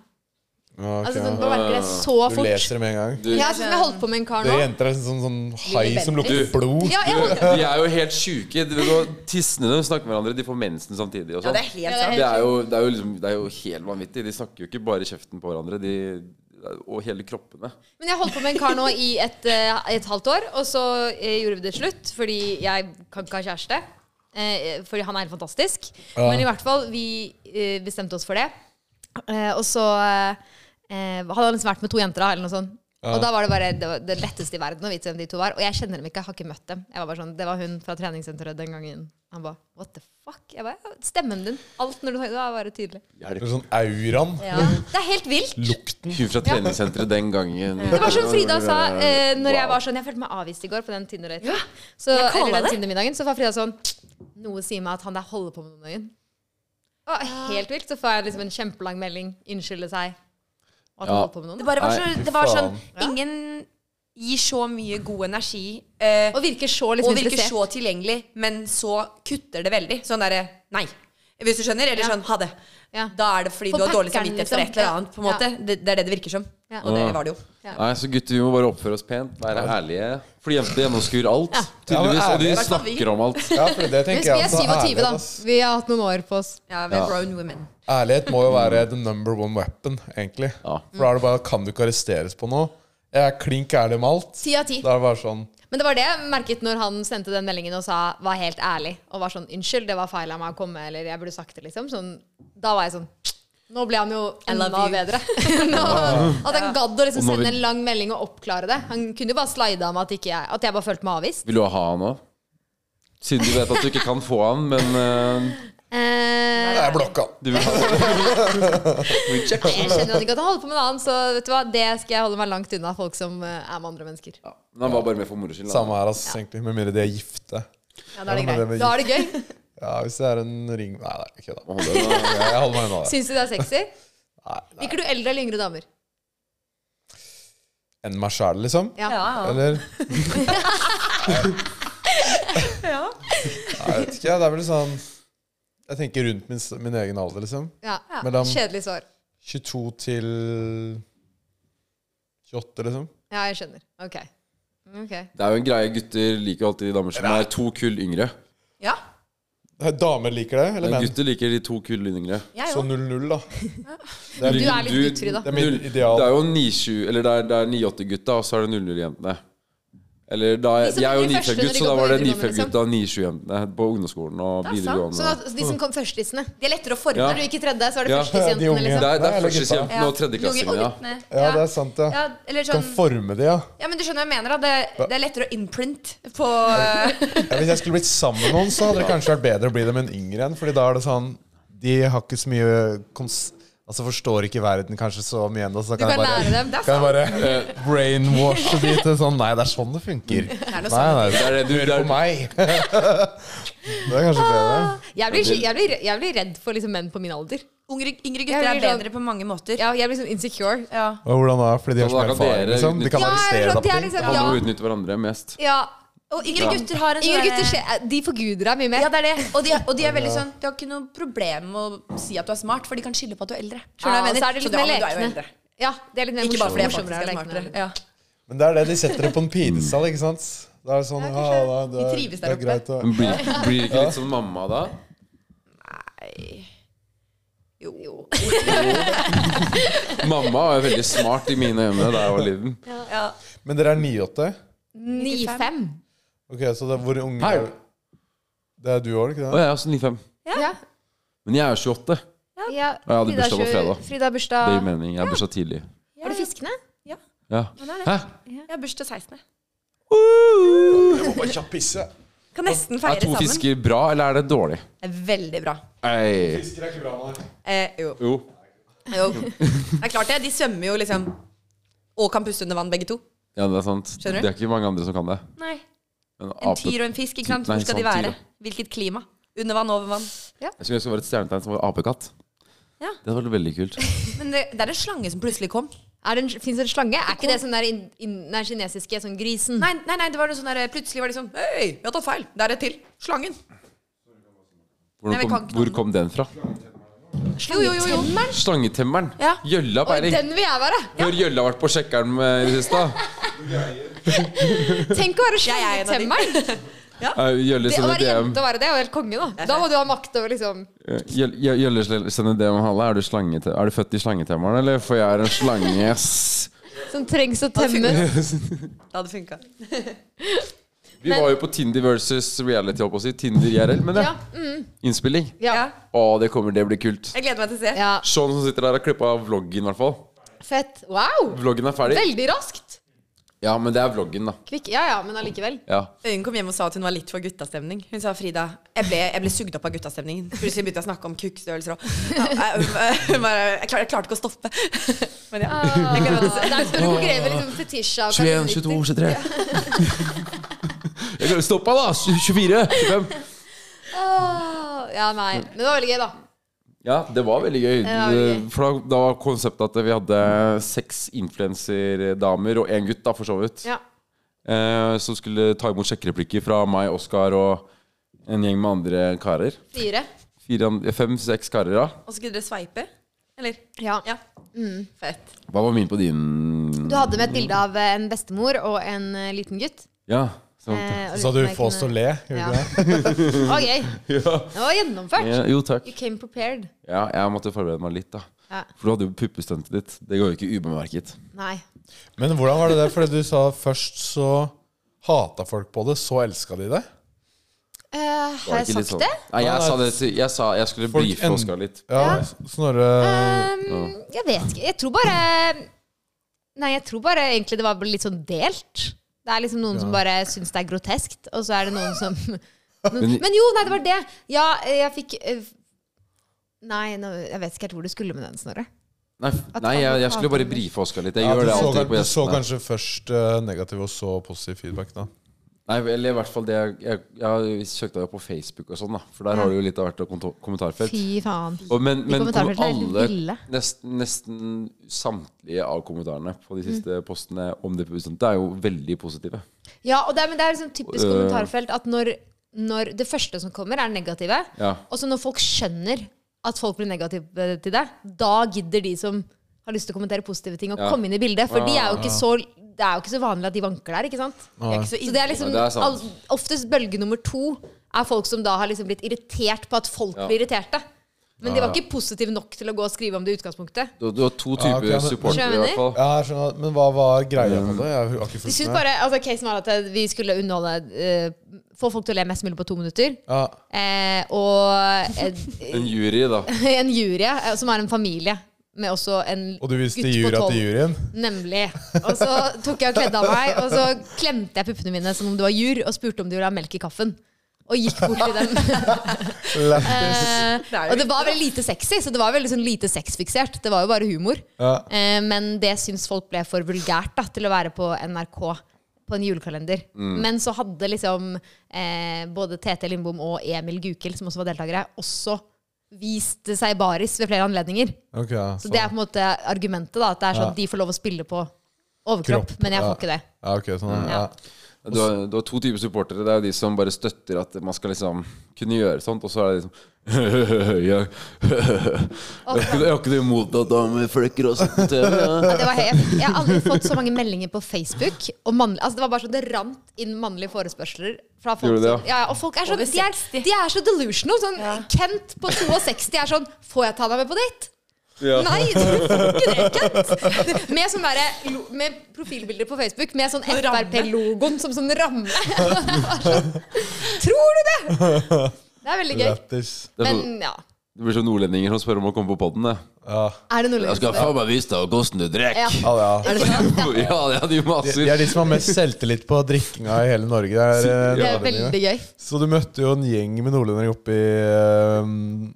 Speaker 2: Ja, ok,
Speaker 3: Altså, sånn,
Speaker 2: ja.
Speaker 3: Nå merker jeg så
Speaker 2: Du
Speaker 3: fort.
Speaker 2: leser det med en gang.
Speaker 1: Du,
Speaker 3: Ja, sånn som jeg holdt på med en kar nå.
Speaker 2: Dere jenter er sånn, sånn hai som lukter
Speaker 1: Bendriss.
Speaker 2: blod.
Speaker 3: Ja, jeg holdt,
Speaker 1: de er jo helt sjuke. De går tissende når de snakker med hverandre. De får mensen samtidig. Og
Speaker 5: Ja,
Speaker 1: sånn.
Speaker 5: det er helt sant.
Speaker 1: det, er jo, det, er jo liksom, det er jo helt vanvittig. De snakker jo ikke bare i kjeften på hverandre. De, og hele kroppene.
Speaker 3: Men jeg holdt på med en kar nå i et, eh, et halvt år, og så eh, gjorde vi det slutt fordi jeg kan ikke ha kjæreste. Eh, fordi han er helt fantastisk.
Speaker 2: Ja.
Speaker 3: Men i hvert fall, vi eh, bestemte oss for det. Eh, og så eh, hadde han liksom vært med to jenter, da, eller noe sånt.
Speaker 2: Ja.
Speaker 3: Og da var det bare det, var det letteste i verden å vite hvem de to var. Og jeg kjenner dem ikke, jeg har ikke møtt dem. Jeg var bare sånn, Det var hun fra treningssenteret den gangen. Han ba, what the fuck? Jeg ba, ja, Stemmen din. Alt når du snakker, det var bare tydelig.
Speaker 2: Det er sånn auraen.
Speaker 3: Ja. Det er helt vilt.
Speaker 2: Lukten.
Speaker 1: Hun fra treningssenteret den gangen.
Speaker 3: Det var som Frida sa eh, når jeg
Speaker 1: Wow.
Speaker 3: var sånn Jeg følte meg avvist i går på den Tinder-daten. Så-
Speaker 5: jeg kaller
Speaker 3: eller den
Speaker 5: det.
Speaker 3: Tinder-middagen. Så var Frida sånn Noe sier meg at han der holder på med noe om dagen. Og helt vilt. Så får jeg liksom en kjempelang melding. Unnskylde seg. Og at han
Speaker 1: Ja.
Speaker 3: holder på med noe.
Speaker 5: Det bare var,
Speaker 1: Nei,
Speaker 5: så,
Speaker 2: fy
Speaker 5: det var sånn
Speaker 2: faen.
Speaker 5: Ingen gir så mye god energi. eh,
Speaker 3: Og virker så liksom
Speaker 5: og virker
Speaker 3: interessert.
Speaker 5: så tilgjengelig, men så kutter det veldig. Sånn derre nei. Hvis du skjønner? Eller
Speaker 3: Ja.
Speaker 5: sånn ha det.
Speaker 3: Ja.
Speaker 5: Da er det fordi
Speaker 3: For
Speaker 5: du har dårlig
Speaker 3: pakkeren,
Speaker 5: samvittighet for et
Speaker 3: liksom.
Speaker 5: eller annet. På en
Speaker 3: Ja.
Speaker 5: måte. Det, det er det det virker som.
Speaker 3: Ja.
Speaker 5: Og det var det jo.
Speaker 3: sånn-
Speaker 1: Nei, så gutter, vi må bare oppføre oss pent, være ærlige. Fordi jenter gjennomskuer alt, tydeligvis. Og de
Speaker 2: Ja, men
Speaker 5: ærlig.
Speaker 1: snakker om alt.
Speaker 2: Ja, for det tenker
Speaker 3: Husk, vi
Speaker 2: jeg
Speaker 3: er
Speaker 2: altså,
Speaker 3: 27, da.
Speaker 2: ærlighet, ass.
Speaker 3: Vi har hatt noen år på oss.
Speaker 5: Ja, vi er grown women.
Speaker 2: Ærlighet må jo være the number one weapon, egentlig.
Speaker 1: Ja.
Speaker 2: For da er det bare Kan du ikke arresteres på noe? Jeg er klink ærlig med alt.
Speaker 3: Ti av ti.
Speaker 2: Da er det bare sånn
Speaker 3: Men det var det jeg merket når han sendte den meldingen og sa var helt ærlig. Og var sånn 'Unnskyld, det var feil av meg å komme', eller 'jeg burde sagt det', liksom. Sånn, da var jeg sånn Nå ble han jo
Speaker 5: I
Speaker 3: enda
Speaker 5: love you.
Speaker 3: bedre. nå, at han gadd å liksom
Speaker 1: Og nå
Speaker 3: sende
Speaker 1: vil-
Speaker 3: en lang melding og oppklare det. Han kunne jo bare slida med at, ikke jeg, at jeg bare følte meg avvist.
Speaker 1: Vil du ha han òg? Siden du vet at du ikke kan få han, men eh,
Speaker 3: Eh,
Speaker 2: Jeg er blokka.
Speaker 1: du vil ha han.
Speaker 3: jeg kjenner jo ikke at han holder på med noe annet, så vet du hva, det skal jeg holde meg langt unna folk som eh, er med andre mennesker.
Speaker 1: Ja, men han var bare med for moro skyld. da.
Speaker 2: Samme her, ass, egentlig. Med mindre de er gifte.
Speaker 3: Ja, Da er
Speaker 2: Ja, men
Speaker 3: det greit.
Speaker 2: det var
Speaker 3: Da er det gøy.
Speaker 2: Ja, hvis det er en ring Nei, det er ikke det.
Speaker 1: Må holde det, da.
Speaker 2: Jeg holder meg unna det.
Speaker 3: Syns du det er sexy?
Speaker 2: Nei, nei.
Speaker 3: Liker du eldre eller yngre damer?
Speaker 2: Enn meg sjæl, liksom?
Speaker 3: Ja.
Speaker 2: Eller? Nei, jeg vet ikke. Det er vel sånn Jeg tenker rundt min, s- min egen alder, liksom.
Speaker 3: Ja.
Speaker 2: Mellom
Speaker 3: Kjedelig svar.
Speaker 2: 22 til 28, liksom.
Speaker 3: Ja, jeg skjønner. Ok. Ok.
Speaker 1: Det er jo en greie, gutter liker jo alltid de damer som er to kull yngre.
Speaker 5: Ja,
Speaker 2: Damer liker det, eller
Speaker 1: Men
Speaker 2: menn?
Speaker 1: gutter liker de to kull yngre.
Speaker 5: jeg
Speaker 2: Så
Speaker 5: òg.
Speaker 2: 0-0, da.
Speaker 1: Du
Speaker 3: Du er litt guttfri, da.
Speaker 2: Det er mitt ideal.
Speaker 1: Det er jo 97 Eller det er, det er 98-gutta, og så er det 00-jentene. Eller da,
Speaker 3: De som
Speaker 1: jeg er jo
Speaker 3: blir de første når
Speaker 1: Nifeld-gutt,
Speaker 3: de
Speaker 1: så da
Speaker 3: går på
Speaker 1: var det
Speaker 3: videregående,
Speaker 1: Nifeld-gutta og 97-jentene på ungdomsskolen og
Speaker 5: sant.
Speaker 3: Sånn
Speaker 1: videregående.
Speaker 3: at de som kom førstlistene
Speaker 5: De er lettere å forme.
Speaker 1: Ja.
Speaker 3: Når du gikk i tredje, så var det
Speaker 1: Ja.
Speaker 2: De
Speaker 3: førstisjentene,
Speaker 2: unge.
Speaker 1: Det
Speaker 3: liksom.
Speaker 1: er, det
Speaker 2: Ja,
Speaker 1: er
Speaker 2: eller
Speaker 1: førstesjentene
Speaker 5: Ja.
Speaker 1: og tredjeklassingene, ja.
Speaker 5: Guttene.
Speaker 2: Ja, det er sant, ja.
Speaker 5: Ja, eller
Speaker 2: Kan
Speaker 5: sånn
Speaker 2: forme de, ja.
Speaker 5: Ja, men du skjønner hva jeg mener, da. Det, det er lettere å imprint på eh,
Speaker 2: Ja, Hvis jeg skulle blitt sammen med noen, så hadde det kanskje vært bedre å bli dem enn yngre en. Fordi da er det sånn De har ikke så mye kons... Altså forstår ikke verden kanskje så mye ennå, så da
Speaker 3: Du
Speaker 2: kan, jeg
Speaker 3: kan lære dem. Det
Speaker 2: bare,
Speaker 3: er
Speaker 2: kan jeg bare eh, brainwashe de til sånn Nei, det er sånn det funker. Nei,
Speaker 5: noe
Speaker 3: sånn.
Speaker 2: nei,
Speaker 1: Det er det du, det
Speaker 2: for
Speaker 1: er,
Speaker 2: meg. det er kanskje bedre.
Speaker 3: Ah. Jeg blir, jeg, blir, jeg blir redd for liksom menn på min alder.
Speaker 5: Ungre, yngre
Speaker 3: Jeg
Speaker 5: gutter er
Speaker 3: blir sånn-
Speaker 5: bedre på mange måter.
Speaker 3: Ja, jeg blir sånn insecure.
Speaker 5: Ja.
Speaker 2: Og hvordan da? Fordi de har
Speaker 1: Så da
Speaker 2: så mye
Speaker 1: kan dere
Speaker 2: erfaring, liksom? De kan
Speaker 3: Ja,
Speaker 2: arrestere
Speaker 3: eller
Speaker 2: deg på
Speaker 3: sånn, det er
Speaker 2: ting?
Speaker 1: Det
Speaker 3: liksom
Speaker 1: handler om å
Speaker 3: ja,
Speaker 1: utnytte hverandre mest.
Speaker 3: ja.
Speaker 5: Og yngre gutter har en sånn
Speaker 3: Yngre
Speaker 5: derre-
Speaker 3: gutter skje- de forguder deg mye mer.
Speaker 5: Ja, det er det. Og de, og de er veldig sånn De har ikke noe problem med å si at du er smart, for de kan skylde på at du er eldre.
Speaker 3: Ja,
Speaker 5: Skjønner du hva jeg
Speaker 3: så er
Speaker 5: mener?
Speaker 3: det litt
Speaker 5: du,
Speaker 3: mer
Speaker 5: men du er jo
Speaker 3: lekne.
Speaker 5: eldre.
Speaker 3: Ja, det er litt mer
Speaker 5: Ikke bare fordi jeg
Speaker 3: morsomt,
Speaker 5: faktisk er
Speaker 3: morsomt,
Speaker 5: smartere.
Speaker 3: lekende.
Speaker 5: Ja.
Speaker 2: Men det er det, de setter det på en pidestall, ikke sant? Da er det sånn,
Speaker 3: Ja,
Speaker 2: ja,
Speaker 3: kanskje.
Speaker 2: da, det
Speaker 5: De
Speaker 2: er,
Speaker 5: trives
Speaker 2: det
Speaker 5: der
Speaker 2: er greit å...
Speaker 1: Men blir, blir det ikke litt som mamma da?
Speaker 5: Jo.
Speaker 1: Mamma var jo veldig smart i mine øyne da jeg var liten.
Speaker 5: Ja.
Speaker 2: Men dere er 9-8?
Speaker 3: 9-5.
Speaker 2: Ok, så det, hvor unge
Speaker 1: Hei.
Speaker 2: er Det er du òg, ikke
Speaker 1: Og
Speaker 2: det?
Speaker 1: jeg er også 95.
Speaker 3: Ja.
Speaker 1: Men jeg er 28.
Speaker 3: Ja.
Speaker 1: Ja, jeg hadde
Speaker 3: Frida
Speaker 1: bursdag på
Speaker 3: tjue-
Speaker 1: fredag.
Speaker 3: Frida har
Speaker 1: Det
Speaker 3: bursdag
Speaker 1: gir mening. Jeg er bursdag tidlig.
Speaker 3: Var det fiskene?
Speaker 1: Ja. Hæ?
Speaker 5: Jeg har bursdag 16.
Speaker 2: Jeg må bare kjapt pisse.
Speaker 5: Kan nesten
Speaker 1: Er
Speaker 5: feire
Speaker 1: to
Speaker 5: sammen.
Speaker 1: fisker bra, eller er det dårlig?
Speaker 5: Det er Veldig bra.
Speaker 1: Ei.
Speaker 2: Fisker er ikke bra, nei.
Speaker 5: Eh, jo.
Speaker 1: Jo.
Speaker 5: jo. Det er klart det. De svømmer jo liksom og kan puste under vann, begge to.
Speaker 1: Ja, det er sant.
Speaker 5: Skjønner du?
Speaker 1: Det er ikke mange andre som kan det.
Speaker 5: Nei.
Speaker 1: Men
Speaker 5: En
Speaker 1: ape-
Speaker 5: tier og en fisk, ikke sant?
Speaker 1: Nei,
Speaker 5: Hvor skal de
Speaker 1: sånn tier,
Speaker 5: være? Hvilket klima? Under vann, over vann.
Speaker 1: Jeg skulle ønske det var et stjernetegn som var apekatt.
Speaker 5: Ja.
Speaker 1: Det hadde vært veldig kult.
Speaker 5: Men det, det er en slange som plutselig kom.
Speaker 3: Er det en, finnes det en slange? Er ikke det sånn der in, in, den kinesiske sånn grisen?
Speaker 5: Nei, nei, nei, det var noe sånn der Plutselig var de sånn Hei, vi har tatt feil. Det er et til. Slangen.
Speaker 1: Hvordan
Speaker 5: Nei, vi kan
Speaker 1: kom,
Speaker 5: ikke
Speaker 1: hvor kom den fra?
Speaker 5: Jo, jo, jo. jo.
Speaker 1: Slangetemmeren.
Speaker 5: Ja.
Speaker 1: Gjølla
Speaker 3: Oi,
Speaker 1: peiling.
Speaker 3: den vil jeg være!
Speaker 1: Når Gjølla har vært på sjekkeren med i det siste.
Speaker 3: Tenk å være
Speaker 5: Jeg er en av de.
Speaker 3: slangetemmeren!
Speaker 1: Eh, Gjølle
Speaker 3: Det å
Speaker 1: sender
Speaker 3: være
Speaker 1: DM.
Speaker 3: jente og være det, er jo helt konge, da. Da må du ha makt over liksom
Speaker 1: Eh, Gjøl- Gjø- Gjølle sl- sender DM om Halle. Er du, slangete- er du født i slangetemmeren, eller? For jeg er en slange, ass.
Speaker 3: Som trengs å temmes.
Speaker 5: Det hadde funka.
Speaker 1: Vi var jo på Tinder versus reality, holdt på å si. Tinder IRL, men det.
Speaker 3: Ja. Mm,
Speaker 1: Innspilling.
Speaker 3: ja.
Speaker 5: Ja.
Speaker 1: Å, det kommer, det blir kult.
Speaker 5: Jeg gleder meg til å se.
Speaker 3: ja.
Speaker 1: Sean som sitter der, har klippa vloggen, i hvert fall.
Speaker 3: Fett. Wow!
Speaker 1: Vloggen er ferdig.
Speaker 3: Veldig raskt.
Speaker 1: Ja, men det er vloggen, da.
Speaker 3: Kvikk. Ja ja, men allikevel.
Speaker 1: Ja.
Speaker 5: Øyunn kom hjem og sa at hun var litt for guttastemning. Hun sa Frida Jeg ble, jeg ble sugd opp av guttastemningen. Plutselig begynte jeg å snakke om kukkstørrelser og Ja, jeg, jeg, bare- jeg, klar, jeg klarte ikke å stoppe. Men ja.
Speaker 3: Ah, Der skal du konkurrere med liksom fetisja og
Speaker 1: 21, 22, 23. Jeg kan jo stoppe, da! 24, 25.
Speaker 3: Ah, ja, nei. Men det var veldig gøy, da.
Speaker 1: Ja, det var veldig gøy.
Speaker 3: var veldig gøy.
Speaker 1: For da, da var konseptet at vi hadde seks influenserdamer og én gutt, da, for så vidt,
Speaker 3: Ja.
Speaker 1: eh, som skulle ta imot sjekkereplikker fra meg, Oskar og en gjeng med andre karer.
Speaker 3: Fire.
Speaker 1: Fire, an- Fem-seks karer, da.
Speaker 5: Og så skulle dere sveipe? Eller?
Speaker 3: Ja.
Speaker 5: Ja. Mm. Fett.
Speaker 1: Hva var min på din?
Speaker 3: Du hadde med et bilde av eh, en bestemor og en eh, liten gutt.
Speaker 1: Ja, sant.
Speaker 3: Eh, og
Speaker 2: Så sa du
Speaker 3: liten-
Speaker 2: 'få oss til å le'. Gjorde
Speaker 3: Ja.
Speaker 2: du ikke det?
Speaker 3: Det var gøy. Det var gjennomført.
Speaker 1: Ja, jo, takk.
Speaker 3: You came prepared.
Speaker 1: Ja, jeg måtte forberede meg litt, da.
Speaker 3: Ja.
Speaker 1: For du hadde jo puppestuntet ditt. Det går jo ikke ubemerket.
Speaker 3: Nei.
Speaker 2: Men hvordan var det der? Fordi du sa først så hata folk på det, så elska de det.
Speaker 3: Eh, har jeg
Speaker 1: Var det ikke litt
Speaker 3: sagt
Speaker 1: sånn?
Speaker 3: det?
Speaker 1: Nei,
Speaker 2: Ja,
Speaker 1: jeg
Speaker 2: det er-
Speaker 1: sa det til Jeg sa jeg skulle
Speaker 2: Folk
Speaker 1: brife
Speaker 2: end-
Speaker 1: Oskar litt.
Speaker 2: Ja, Snorre
Speaker 3: Um, Jeg vet ikke. Jeg tror bare Nei, jeg tror bare egentlig det var litt sånn delt. Det er liksom noen som bare syns det er groteskt, og så er det noen som noen,
Speaker 1: Men-
Speaker 3: Men jo, nei, det var det. Ja, eh, jeg fikk eh, Nei, nå, jeg vet ikke helt hvor du skulle med den, Snorre.
Speaker 1: Nei, f- nei jeg, jeg skulle bare brife Oskar litt. Jeg
Speaker 2: Ja,
Speaker 1: gjør
Speaker 2: du,
Speaker 1: det
Speaker 2: så,
Speaker 1: alltid på
Speaker 2: du så
Speaker 1: gjestene.
Speaker 2: kanskje først eh, negativ og så positiv feedback, da.
Speaker 1: Nei, eller i hvert fall det jeg, jeg, jeg søkte jo på Facebook og sånn, da. For der har du jo litt av hvert kommentar- kommentarfelt.
Speaker 3: Mm. Fy faen.
Speaker 1: Og men men kom
Speaker 3: kommentarfeltene er helt
Speaker 1: alle,
Speaker 3: ville.
Speaker 1: nesten, nesten samtlige av kommentarene på
Speaker 3: Mm.
Speaker 1: de siste postene om det det er jo veldig positive.
Speaker 3: Ja, og det, er- men det er sånn typisk
Speaker 1: Øh.
Speaker 3: kommentarfelt at når, når det første som kommer, er det negative,
Speaker 1: Ja.
Speaker 3: og så når folk skjønner at folk blir negative til deg, da gidder de som har lyst til å kommentere positive ting, å
Speaker 1: Ja.
Speaker 3: komme inn i bildet. For de er
Speaker 1: Ah.
Speaker 3: jo ikke så, det er jo ikke så vanlig at de vanker der, ikke sant?
Speaker 5: Jeg er ikke så
Speaker 3: Så det er liksom
Speaker 1: Ja, det er sant.
Speaker 3: all, Oftest bølge nummer to er folk som da har liksom blitt irritert på at folk
Speaker 1: Ja. Ah.
Speaker 3: blir irriterte. Men de var
Speaker 1: Ja, ja.
Speaker 3: ikke positive nok til å gå og skrive om det i utgangspunktet.
Speaker 1: Du, du har to
Speaker 2: Ja,
Speaker 1: typer
Speaker 2: ok, men-
Speaker 1: supportere, i hvert fall.
Speaker 2: Ja, jeg skjønner, Men hva var greia med det? Jeg har ikke
Speaker 3: De
Speaker 2: fulgt
Speaker 3: syntes
Speaker 2: med.
Speaker 3: bare, altså Casen var at vi skulle underholde eh, Få folk til å le mest mulig på to minutter.
Speaker 2: Ja,
Speaker 3: Eh, og eh,
Speaker 1: En jury, da.
Speaker 3: en jury eh, som er en familie, med også en
Speaker 2: og du viste
Speaker 3: gutt på
Speaker 2: jura til
Speaker 3: 12.
Speaker 2: juryen?
Speaker 3: Nemlig. Og så tok jeg og kledde av meg, og så klemte jeg puppene mine som om det var jur, og spurte om de ville ha melk i kaffen. Og gikk bort til dem.
Speaker 2: Lættis.
Speaker 3: Eh,
Speaker 5: Det er jo
Speaker 3: og det var veldig lite sexy, så det var veldig sånn lite sexfiksert. Det var jo bare humor.
Speaker 2: Ja.
Speaker 3: Eh, men det syns folk ble for vulgært da, til å være på NRK på en julekalender.
Speaker 2: Mm.
Speaker 3: Men så hadde liksom eh, både Tete Lindbom og Emil Gukild, som også var deltakere, også vist seg baris ved flere anledninger.
Speaker 2: Ok,
Speaker 3: Så det er på en måte argumentet. da At det er sånn
Speaker 2: Sånn. Ja.
Speaker 3: de får lov å spille på overkropp,
Speaker 2: Kropp,
Speaker 3: men jeg
Speaker 2: ja.
Speaker 3: får ikke det.
Speaker 2: Ja, ok, sånn ja.
Speaker 3: Ja.
Speaker 1: Du har, du har to typer supportere. Det er jo de som bare støtter at man skal liksom kunne gjøre sånt, og så er det liksom jeg, har ikke, jeg har ikke noe imot at damer flekker og sånt på TV.
Speaker 3: Ja, det var helt, jeg har aldri fått så mange meldinger på Facebook. Og mannlig, altså det var bare så, det rant inn mannlige forespørsler. Fra folk
Speaker 1: Gjorde det,
Speaker 3: som, ja, ja, og folk er så,
Speaker 5: Over
Speaker 3: de, er,
Speaker 5: 60.
Speaker 3: de er så delusional. Sånn, Kent på 62 er sånn Får jeg ta deg med på date? Nei, du får ikke det, Kent! Med, sånn derre lo- med profilbilder på Facebook med sånn Frp-logoen som sånn ramme. Sånn, Tror du det?! Det er veldig gøy.
Speaker 2: Lættis.
Speaker 1: Det, er så,
Speaker 3: Men ja.
Speaker 1: det blir som nordlendinger som spør om å komme på podden det.
Speaker 2: Ja.
Speaker 3: Er det noe
Speaker 1: Jeg skal
Speaker 3: lurt?
Speaker 1: faen meg vise deg hvordan du
Speaker 3: Ja.
Speaker 1: drikker.
Speaker 2: Ja, ja.
Speaker 3: Er det sant?
Speaker 1: Ja, ja, de
Speaker 2: De, de
Speaker 1: maser.
Speaker 2: er de som har mest selvtillit på drikkinga i hele Norge. Det er, eh,
Speaker 3: Det er
Speaker 2: nordlendingene.
Speaker 3: veldig gøy.
Speaker 2: Så du møtte jo en gjeng med nordlendinger oppe i eh,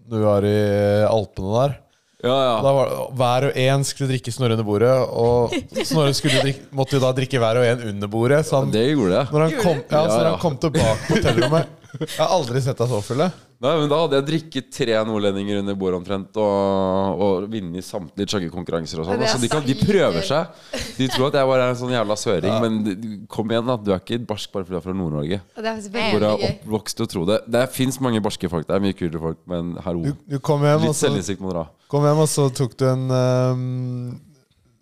Speaker 2: Når vi var i Alpene der.
Speaker 1: Ja, ja.
Speaker 2: Da var, det- hver og en skulle drikke Snorre under bordet, og Snorre skulle drikke, måtte jo da drikke hver og en under bordet. Så han,
Speaker 1: Det gjorde jeg.
Speaker 2: når han, kom, ja, så
Speaker 1: Ja,
Speaker 2: når
Speaker 1: ja.
Speaker 2: han kom tilbake på hotellrommet Jeg har aldri sett deg så full. jeg.
Speaker 1: Nei, men Da hadde jeg drikket tre nordlendinger under bordet omtrent og, og vunnet samtlige chuggekonkurranser og sånn.
Speaker 3: Ja, det er
Speaker 1: Altså, de, kan- de
Speaker 3: sant.
Speaker 1: prøver seg. De tror at jeg bare er en sånn jævla søring, men de- kom igjen, da. Du er ikke barsk bare fordi du er fra Nord-Norge.
Speaker 3: Og det er
Speaker 1: Hvor
Speaker 3: veldig
Speaker 1: jeg er
Speaker 3: gøy.
Speaker 1: oppvokst til å tro det. Det fins mange barske folk. Det er mye kulere folk, men hallo.
Speaker 2: Du, du kom, hjem, og
Speaker 1: Litt
Speaker 2: så,
Speaker 1: selvinnsikt må dere ha.
Speaker 2: kom hjem, og så tok du en eh,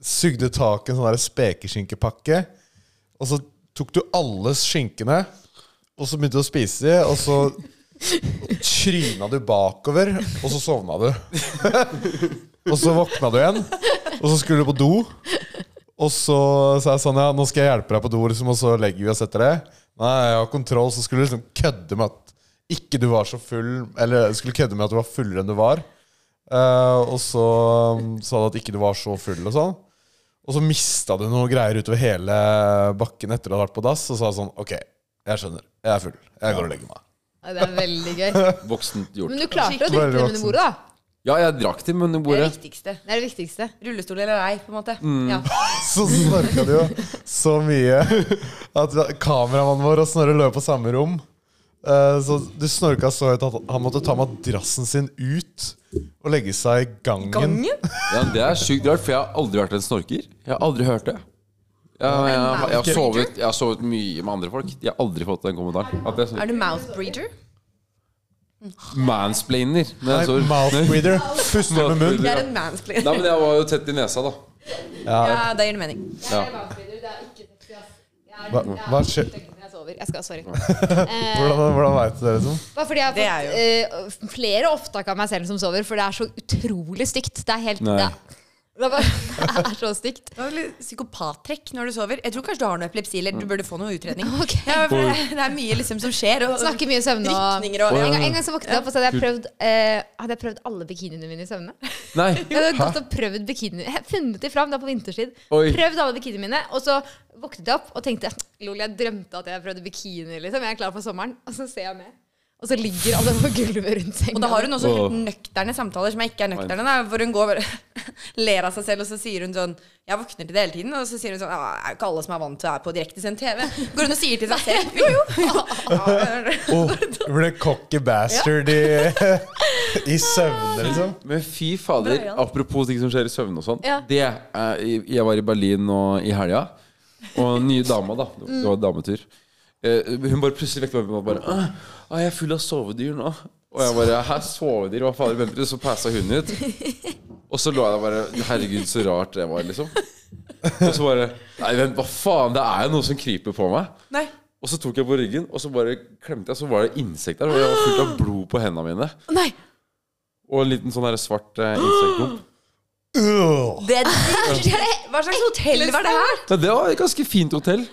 Speaker 2: Sugde tak i en sånn der spekeskinkepakke, og så tok du alle skinkene, og så begynte du å spise de, og så tryna du bakover, og så sovna du. og så våkna du igjen, og så skulle du på do. Og så sa jeg sånn, ja, nå skal jeg hjelpe deg på do, liksom, og så legger vi oss etter det. Nei, jeg har kontroll, så skulle du liksom kødde med at ikke du var så full, eller skulle kødde med at du var fullere enn du var. Eh, og så um, sa du at ikke du var så full og sånn. Og så mista du noe greier utover hele bakken etter du hadde vært på dass, og sa sånn, ok, jeg skjønner, jeg er full, jeg går og legger meg.
Speaker 3: Ja, Det er veldig gøy.
Speaker 1: Voksent gjort.
Speaker 3: Men du klarte å drikke
Speaker 2: Veldig
Speaker 3: dem under
Speaker 2: voksen.
Speaker 3: bordet, da.
Speaker 1: Ja, jeg drakk til munnen
Speaker 5: Det er
Speaker 1: bordet.
Speaker 5: det viktigste.
Speaker 3: Det er det viktigste.
Speaker 5: Rullestol eller ei, på en måte. Ja.
Speaker 2: Så snorka du jo så mye at kameramannen vår og Snorre løp på samme rom. Eh, Så du snorka så høyt at han måtte ta madrassen sin ut og legge seg i gangen.
Speaker 1: Ja, men det er sjukt rart, for jeg har aldri vært en snorker. Jeg har aldri hørt det. Ja, men jeg, jeg, har sovet, jeg har sovet mye med andre folk. Jeg har aldri fått den kommentaren. At jeg
Speaker 5: Er
Speaker 1: snorker.
Speaker 5: du mouth breeder?
Speaker 1: mansplainer. Når
Speaker 2: Nei,
Speaker 1: jeg sover.
Speaker 2: mouth breather. Puster med munnen.
Speaker 5: Det er en mansplainer.
Speaker 1: Nei, men jeg var jo tett i nesa, da.
Speaker 5: Ja, det gir det mening.
Speaker 1: Ja.
Speaker 2: Hva, hva skjer?
Speaker 3: Jeg sover. Jeg skal, sorry.
Speaker 2: Hvordan, hvordan veit du det, liksom?
Speaker 3: Bare fordi jeg
Speaker 5: Det
Speaker 3: har fått eh, flere opptak av meg selv som sover, for det er så utrolig stygt. Det er helt
Speaker 1: Nei.
Speaker 3: det, er- det, er bare, det er så stygt.
Speaker 5: Du har vel litt psykopattrekk når du sover. Jeg tror kanskje du har noe epilepsi, eller
Speaker 1: Mm.
Speaker 5: du burde få noe utredning.
Speaker 3: Ok.
Speaker 5: Ja, for det, det er mye liksom som skjer. Og,
Speaker 3: Snakker mye i søvne og
Speaker 5: Rykninger og-
Speaker 3: en, gang, en gang så våknet jeg opp, og så hadde jeg prøvd, eh, hadde jeg prøvd alle bikiniene mine i søvne.
Speaker 1: Nei.
Speaker 3: Jeg hadde gått og prøvd bikiniene Jeg funnet de fram da på vinterstid.
Speaker 1: Oi.
Speaker 3: Prøvd alle bikiniene mine. Og så våknet jeg opp og tenkte Lol, jeg drømte at jeg prøvde bikini. liksom Jeg er klar for sommeren. Og så ser jeg med. Og så ligger alle på gulvet rundt senga.
Speaker 5: og da har hun også helt nøkterne samtaler som ikke er nøkterne, da, hvor hun går bare ler av seg selv, og så sier hun sånn Jeg våkner til det hele tiden, og så sier hun sånn «Ja, Det er jo ikke alle som er vant til å være på direktesendt TV. Går hun og sier til seg selv Jo, jo. Ja,
Speaker 2: Oh, du ble cocky bastard i, i søvne, liksom.
Speaker 1: Men fy fader, apropos ting som skjer i søvne og sånn.
Speaker 3: Ja.
Speaker 1: Det er, Jeg var i Berlin nå i helga, og den nye dama, da. Det var dametur. Eh, Hun bare plutselig vekket meg opp og bare «Åh, «Åh, Jeg er full av sovedyr nå. Og jeg bare Hæ, sovedyr? Hva fader venter du? Så passa hun ut. Og så lå jeg der bare Herregud, så rart det var, liksom. Og så bare Nei, vent, hva faen? Det er jo noe som kryper på meg.
Speaker 5: Nei.
Speaker 1: Og så tok jeg på ryggen, og så bare klemte jeg, så var det insekt der. Og jeg var fullt av blod på hendene mine.
Speaker 5: Nei.
Speaker 1: Og en liten sånn der svart eh, insektklump.
Speaker 2: Ugh.
Speaker 5: Det, hva slags hotell var det her?
Speaker 1: Ja, det var et ganske fint hotell.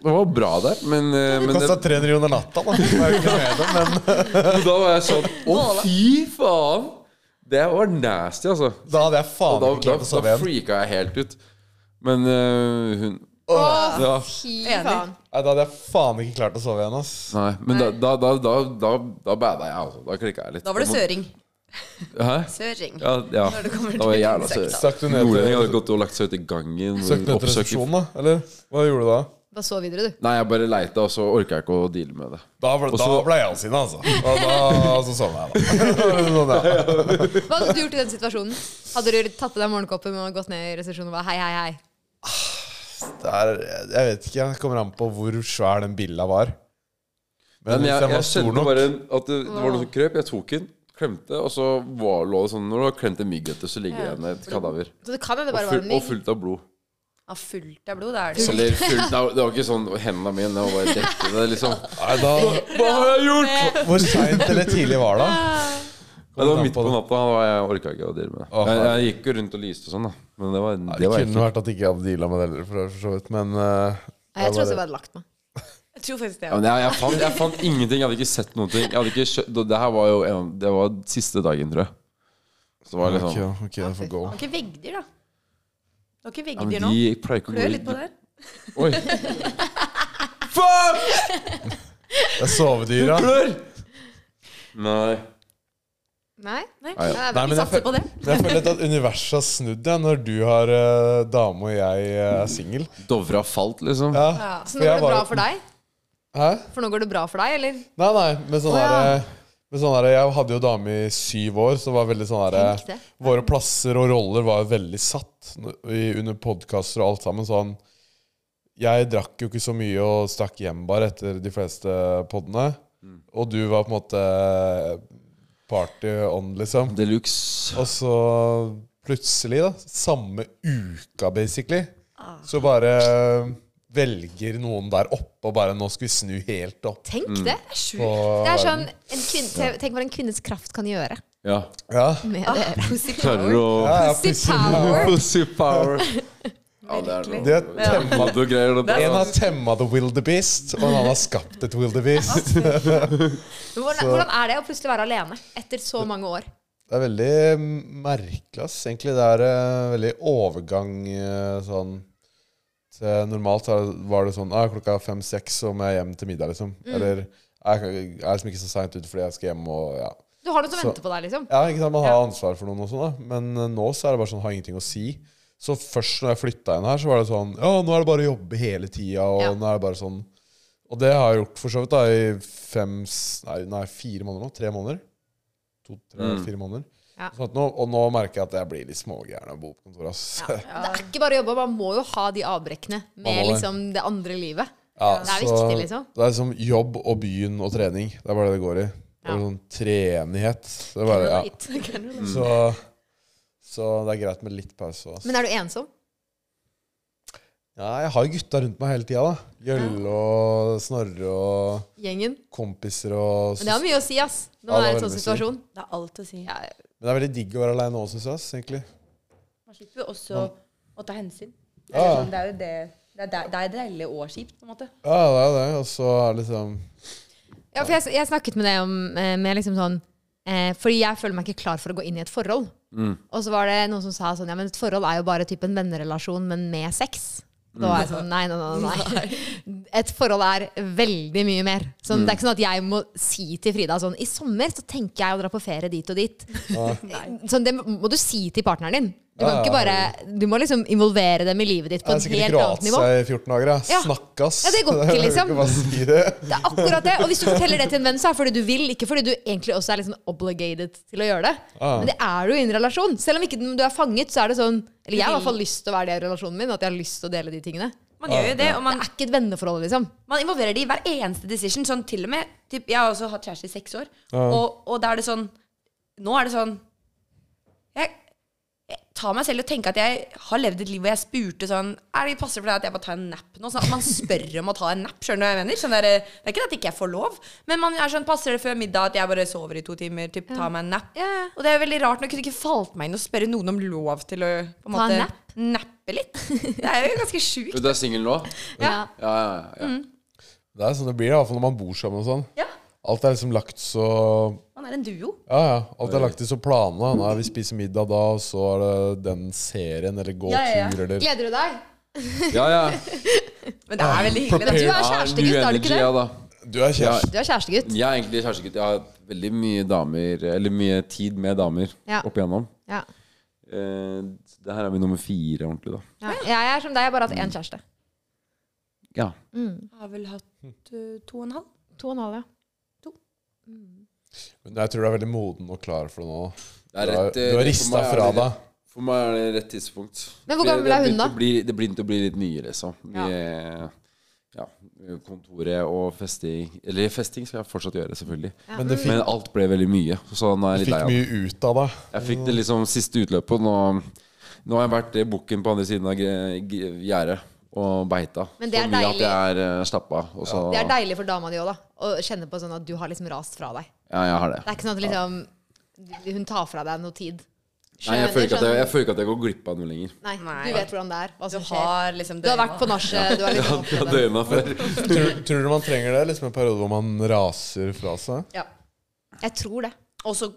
Speaker 1: Det var bra der, men, eh, men det,
Speaker 2: Kosta 300 kroner natta, da. Det er jo ikke noe med det, men
Speaker 1: da var jeg sånn Å, fy faen! Det var nasty, altså.
Speaker 2: da hadde jeg
Speaker 1: Og
Speaker 2: faen
Speaker 1: da,
Speaker 2: ikke
Speaker 1: da,
Speaker 2: klart å
Speaker 1: da
Speaker 2: sove igjen.
Speaker 1: freaka jeg helt ut. Men eh, hun ja,
Speaker 3: Fy
Speaker 5: Enig.
Speaker 3: faen.
Speaker 2: Nei, da hadde jeg faen ikke klart å sove igjen, ass.
Speaker 1: Nei, men da, da, da, da, da, da bada jeg, altså. Da klikka jeg litt.
Speaker 5: Da var det søring.
Speaker 1: Hæ?
Speaker 5: Søring.
Speaker 1: Ja, ja.
Speaker 5: Når det kommer
Speaker 1: Da var jeg
Speaker 5: til
Speaker 1: jævla
Speaker 5: insekter.
Speaker 1: søring.
Speaker 2: Stakk du ned
Speaker 1: Nordlending
Speaker 2: til
Speaker 1: hadde gått og lagt seg ut i gangen.
Speaker 2: Søkte du etter
Speaker 1: oppsøker-
Speaker 2: resepsjonen, da? Eller hva gjorde du da?
Speaker 3: Bare så videre, du.
Speaker 1: Nei, jeg bare leita, og så orka jeg ikke å deale med det.
Speaker 2: Da ble, da
Speaker 1: så-
Speaker 2: ble jeg sinna, altså. Og da så sovna jeg, da. sånn, ja.
Speaker 3: Hva hadde du gjort i den situasjonen? Hadde du tatt på deg morgenkåpen og gått ned i resepsjonen og bare hei, hei, hei?
Speaker 2: det er, jeg vet ikke, det kommer an på hvor svær den billa var. Men,
Speaker 1: Men
Speaker 2: hvis
Speaker 1: jeg,
Speaker 2: den
Speaker 1: jeg
Speaker 2: var stor
Speaker 1: kjente
Speaker 2: nok
Speaker 1: bare at det, det var noe som krøp. Jeg tok den, klemte, og så var, lå det sånn Når du har klemt en mygg etter, så ligger det igjen et kadaver.
Speaker 3: Så det kan hende det
Speaker 1: Og,
Speaker 3: bare var
Speaker 1: full,
Speaker 3: en
Speaker 1: og
Speaker 3: mygg.
Speaker 1: fullt av blod.
Speaker 5: Ja, fullt av blod, da er det
Speaker 1: Eller fullt av Det var ikke sånn hendene mine det var bare dekket det, liksom.
Speaker 2: Nei, da,
Speaker 1: Hva har jeg gjort?!
Speaker 2: Hvor seint eller tidlig var det?
Speaker 1: Nei, det var midt på natta. Da var jeg orka ikke å deale med det.
Speaker 2: Å,
Speaker 1: Jeg, jeg gikk jo rundt og lyste og sånn, da. Men det var,
Speaker 2: Det
Speaker 1: det var
Speaker 2: kunne
Speaker 1: ikke
Speaker 2: vært at ikke jeg hadde deala med det heller, for for så vidt, men eh,
Speaker 3: Nei, Jeg
Speaker 2: det
Speaker 3: tror
Speaker 2: var
Speaker 3: også jeg
Speaker 2: bare-
Speaker 3: hadde lagt meg.
Speaker 4: Jeg tror faktisk det.
Speaker 1: ja, men jeg, jeg, fant, jeg fant ingenting. Jeg hadde ikke sett noen ting. Jeg hadde ikke skjø... Det her var jo en, Det var siste dagen, tror jeg. Så det var liksom ja,
Speaker 2: Ok, ok, jeg får gå.
Speaker 5: var ikke veggdyr, da. Det var ikke
Speaker 1: men
Speaker 5: veggdyr nå.
Speaker 1: De pleier ikke å gå
Speaker 5: Prøv
Speaker 1: i-
Speaker 5: litt på det her.
Speaker 1: Oi. Fuck!
Speaker 2: Det er sovedyra.
Speaker 1: Blør! Nei.
Speaker 3: Nei?
Speaker 5: Nei.
Speaker 3: Det er
Speaker 2: Nei, men
Speaker 5: Vi
Speaker 2: jeg
Speaker 5: satser
Speaker 2: føler,
Speaker 5: på det.
Speaker 2: jeg føler litt at universet har snudd deg når du har eh, dame og jeg eh, er singel.
Speaker 1: Dovre har falt, liksom.
Speaker 2: Ja.
Speaker 3: Så nå går det bra for deg?
Speaker 2: Hæ?
Speaker 3: For nå går det bra for deg, eller?
Speaker 2: Nei, nei, men sånn
Speaker 3: Å, ja.
Speaker 2: derre men sånn derre- Jeg hadde jo dame i syv år, så var veldig sånn
Speaker 3: Tenk
Speaker 2: derre
Speaker 3: det.
Speaker 2: Våre plasser og roller var veldig satt i- under podkaster og alt sammen. Sånn Jeg drakk jo ikke så mye og stakk hjem bare etter de fleste podene. Og du var på en måte eh, party on, liksom.
Speaker 1: Deluxe.
Speaker 2: Og så plutselig, da, samme uka basically,
Speaker 3: Ah.
Speaker 2: så bare velger noen der oppe og bare Nå skal vi snu helt opp.
Speaker 3: Tenk det!
Speaker 2: På
Speaker 3: Det er sånn, en kvinne, te- Tenk hva en kvinnes kraft kan gjøre
Speaker 1: Ja.
Speaker 2: Ja.
Speaker 3: med det.
Speaker 5: Pussy
Speaker 1: Klarer du å
Speaker 2: Ja, ja,
Speaker 3: Pussy
Speaker 2: plutselig-
Speaker 3: power.
Speaker 1: Pussy power. Ja, det er
Speaker 2: De har temma,
Speaker 1: noe. Du greier det
Speaker 2: en
Speaker 1: bra.
Speaker 2: har temma the wildebeest, og en annen har skapt et wildebeest.
Speaker 3: Men Hvordan, hvordan er det å plutselig være alene etter så mange år?
Speaker 2: Det er veldig merkelig, ass. Egentlig det er eh, veldig overgang eh, sånn til, Normalt så er- var det sånn ah, klokka fem-seks, så må jeg hjem til middag, liksom. Eller jeg kan- jeg er liksom ikke så seint ute fordi jeg skal hjem og ja.
Speaker 3: Du har noe som
Speaker 2: Så-
Speaker 3: venter på deg, liksom.
Speaker 2: ja ikke sant? Man har ansvar for noen og sånn, da. Men eh, nå så er det bare sånn, har ingenting å si. Så først når jeg flytta inn her, så var det sånn Ja, nå er det bare å jobbe hele tida, og
Speaker 3: Ja.
Speaker 2: nå er det bare sånn Og det har jeg gjort for så vidt da i fem s- Nei, nei fire måneder nå. Tre måneder. To, tre,
Speaker 1: Mm.
Speaker 2: fire måneder.
Speaker 3: Ja.
Speaker 2: Sånn at nå, og nå merker jeg at jeg blir litt smågæren av å bo på kontoret, ass. Ja.
Speaker 3: Det er ikke bare å jobbe, man må jo ha de avbrekkene
Speaker 2: Man må
Speaker 3: med
Speaker 2: det.
Speaker 3: liksom det andre livet. Det er
Speaker 2: så
Speaker 3: viktig, liksom.
Speaker 2: Det er liksom jobb og byen og trening. Det er bare det det går i. Det
Speaker 3: Ja.
Speaker 2: er sånn treenighet. Det er bare, ja. så, så det er greit med litt pause også, ass.
Speaker 3: Men er du ensom?
Speaker 2: Ja, jeg har jo gutta rundt meg hele tida. da. Gjølle og Snorre og
Speaker 3: Gjengen?
Speaker 2: kompiser og
Speaker 3: Men det har mye å si, ass. Når
Speaker 2: Ja,
Speaker 3: man
Speaker 2: det
Speaker 3: er i en
Speaker 2: har veldig
Speaker 3: sånn
Speaker 2: mye å si.
Speaker 3: situasjon.
Speaker 5: Det er alt å si.
Speaker 3: Ja,
Speaker 2: Men det er veldig digg å være aleine òg, syns jeg. ass, egentlig.
Speaker 5: Man slipper jo også å ta hensyn. Det er,
Speaker 2: Ja.
Speaker 5: sånn, det er jo det Det er, det er deilig og kjipt, på en måte.
Speaker 2: Ja, det er jo det. Og så er det liksom
Speaker 3: ja for jeg, jeg snakket med deg om eh, med liksom sånn eh, Fordi jeg føler meg ikke klar for å gå inn i et forhold.
Speaker 2: Mm.
Speaker 3: Og så var det noen som sa sånn Ja, men et forhold er jo bare typ en vennerelasjon, men med sex. Da var jeg sånn Nei, nei, nei. nei. Et forhold er veldig mye mer.
Speaker 2: Mm.
Speaker 3: Sånn, Det er ikke sånn at jeg må si til Frida sånn I sommer så tenker jeg å dra på ferie dit og dit. Sånn, det må du si til partneren din. Du,
Speaker 2: Ja,
Speaker 3: kan ikke bare, du må liksom involvere dem i livet ditt
Speaker 2: Jeg
Speaker 3: på
Speaker 2: har
Speaker 3: et
Speaker 2: sikkert
Speaker 3: helt
Speaker 2: ikke
Speaker 3: annet
Speaker 2: rått
Speaker 3: nivå.
Speaker 2: seg i 14 dager. Jeg.
Speaker 3: Ja.
Speaker 2: Snakkes.
Speaker 3: Ja, det går ikke, liksom.
Speaker 2: Bare si det.
Speaker 3: Det er akkurat det. Og hvis du forteller det til en venn, så er det fordi du vil, ikke fordi du egentlig også er liksom obligated til å gjøre det.
Speaker 1: Ah.
Speaker 2: Ja.
Speaker 3: Men det er du i en relasjon. Selv om ikke du er fanget, så er det sånn Eller jeg har i hvert fall lyst til å være det i relasjonen min, at jeg har lyst til å dele de tingene.
Speaker 5: Man gjør jo det, og
Speaker 3: Det
Speaker 5: man,
Speaker 3: er ikke et venneforhold, liksom.
Speaker 5: man involverer det i hver eneste decision. Sånn til og med typ, Jeg har også hatt kjæreste i seks år, og, og da er det sånn Nå er det sånn Jeg, jeg tar meg selv og tenker at jeg har levd et liv hvor jeg spurte sånn Er det passer for deg at jeg bare tar en nap nå? Sånn at man spør om å ta en nap, skjønner du hva jeg mener? Sånn der, det er ikke at jeg ikke får lov, men man er sånn Passer det før middag at jeg bare sover i to timer, typ, tar meg en nap?
Speaker 3: Ja, ja.
Speaker 5: Og det er veldig rart når det ikke falt meg inn å spørre noen om lov til å
Speaker 3: Ta
Speaker 5: på en
Speaker 3: en
Speaker 5: måte,
Speaker 3: nap?
Speaker 5: nappe litt. Det er jo ganske sjukt.
Speaker 1: Du er singel nå?
Speaker 3: Ja.
Speaker 1: Ja, ja, ja.
Speaker 3: Mm.
Speaker 2: Det er sånn det blir, i hvert fall når man bor sammen og sånn.
Speaker 5: Ja,
Speaker 2: Alt er liksom lagt så
Speaker 5: man er en duo.
Speaker 2: Ja, ja. Alt er lagt i så planene. Nei, vi spiser middag da, og så er det den serien, eller gå
Speaker 5: Ja, ja, ja.
Speaker 2: tur, eller
Speaker 3: Gleder du deg?
Speaker 1: ja, ja.
Speaker 5: Men det er veldig hyggelig.
Speaker 3: Du
Speaker 5: Det.
Speaker 1: ah,
Speaker 3: er kjærestegutt, er du ikke det?
Speaker 1: ja, da.
Speaker 2: Du er kjæreste.
Speaker 3: Du er kjærestegutt.
Speaker 1: Jeg er egentlig kjærestegutt. Jeg har hatt veldig mye damer Eller mye tid med damer
Speaker 3: Ja.
Speaker 1: opp igjennom.
Speaker 3: Ja.
Speaker 1: Eh, det her er vi nummer fire ordentlig, da.
Speaker 3: Ja. Jeg er som deg, jeg har bare hatt én kjæreste.
Speaker 1: Ja.
Speaker 5: Jeg har vel hatt eh, to og en halv.
Speaker 3: To og en halv, ja.
Speaker 2: Men jeg tror du er veldig moden og klar for det nå.
Speaker 1: Det
Speaker 2: Du har,
Speaker 1: rett, eh,
Speaker 2: du har
Speaker 1: for
Speaker 2: rista
Speaker 1: meg er
Speaker 2: fra
Speaker 1: det-
Speaker 2: deg.
Speaker 1: For meg er det rett tidspunkt.
Speaker 3: Men hvor
Speaker 1: Det-
Speaker 3: gammel
Speaker 1: det
Speaker 3: er hun
Speaker 1: begynte
Speaker 3: da?
Speaker 1: å Bli, det begynte å bli litt nye, liksom. Med, ja, kontoret og festing. Eller festing skal jeg fortsatt gjøre, selvfølgelig.
Speaker 2: Men det
Speaker 1: Men
Speaker 2: fikk,
Speaker 1: alt ble veldig mye. Så nå er jeg litt lei
Speaker 2: fikk
Speaker 1: av det.
Speaker 2: mye ut av deg.
Speaker 1: Jeg fikk det liksom siste utløpet. og Nå, nå har jeg vært eh, bukken på andre siden av gre- gre- gjerdet og beita.
Speaker 3: Men det er
Speaker 1: så mye
Speaker 3: deilig.
Speaker 1: at jeg er eh, slappa. Og så
Speaker 3: Det er deilig for dama di òg, da. Å kjenne på sånn at du har liksom rast fra deg.
Speaker 1: Ja, jeg har det.
Speaker 3: Det er ikke sånn at liksom Hun tar fra deg noe tid.
Speaker 1: Nei, jeg føler, ikke at jeg, jeg føler ikke at jeg går glipp av noe lenger.
Speaker 3: Nei,
Speaker 5: Nei.
Speaker 3: Du vet hvordan det er. Hva
Speaker 5: Du
Speaker 3: som skjer.
Speaker 5: har liksom
Speaker 3: Du har vært på nachet. Du har
Speaker 1: Jeg har- jeg
Speaker 3: liksom
Speaker 1: har
Speaker 3: opplevd det.
Speaker 1: døgna før.
Speaker 2: Tror, tror du man trenger det? Liksom En periode hvor man raser fra seg?
Speaker 3: Ja. Jeg tror det.
Speaker 5: Og så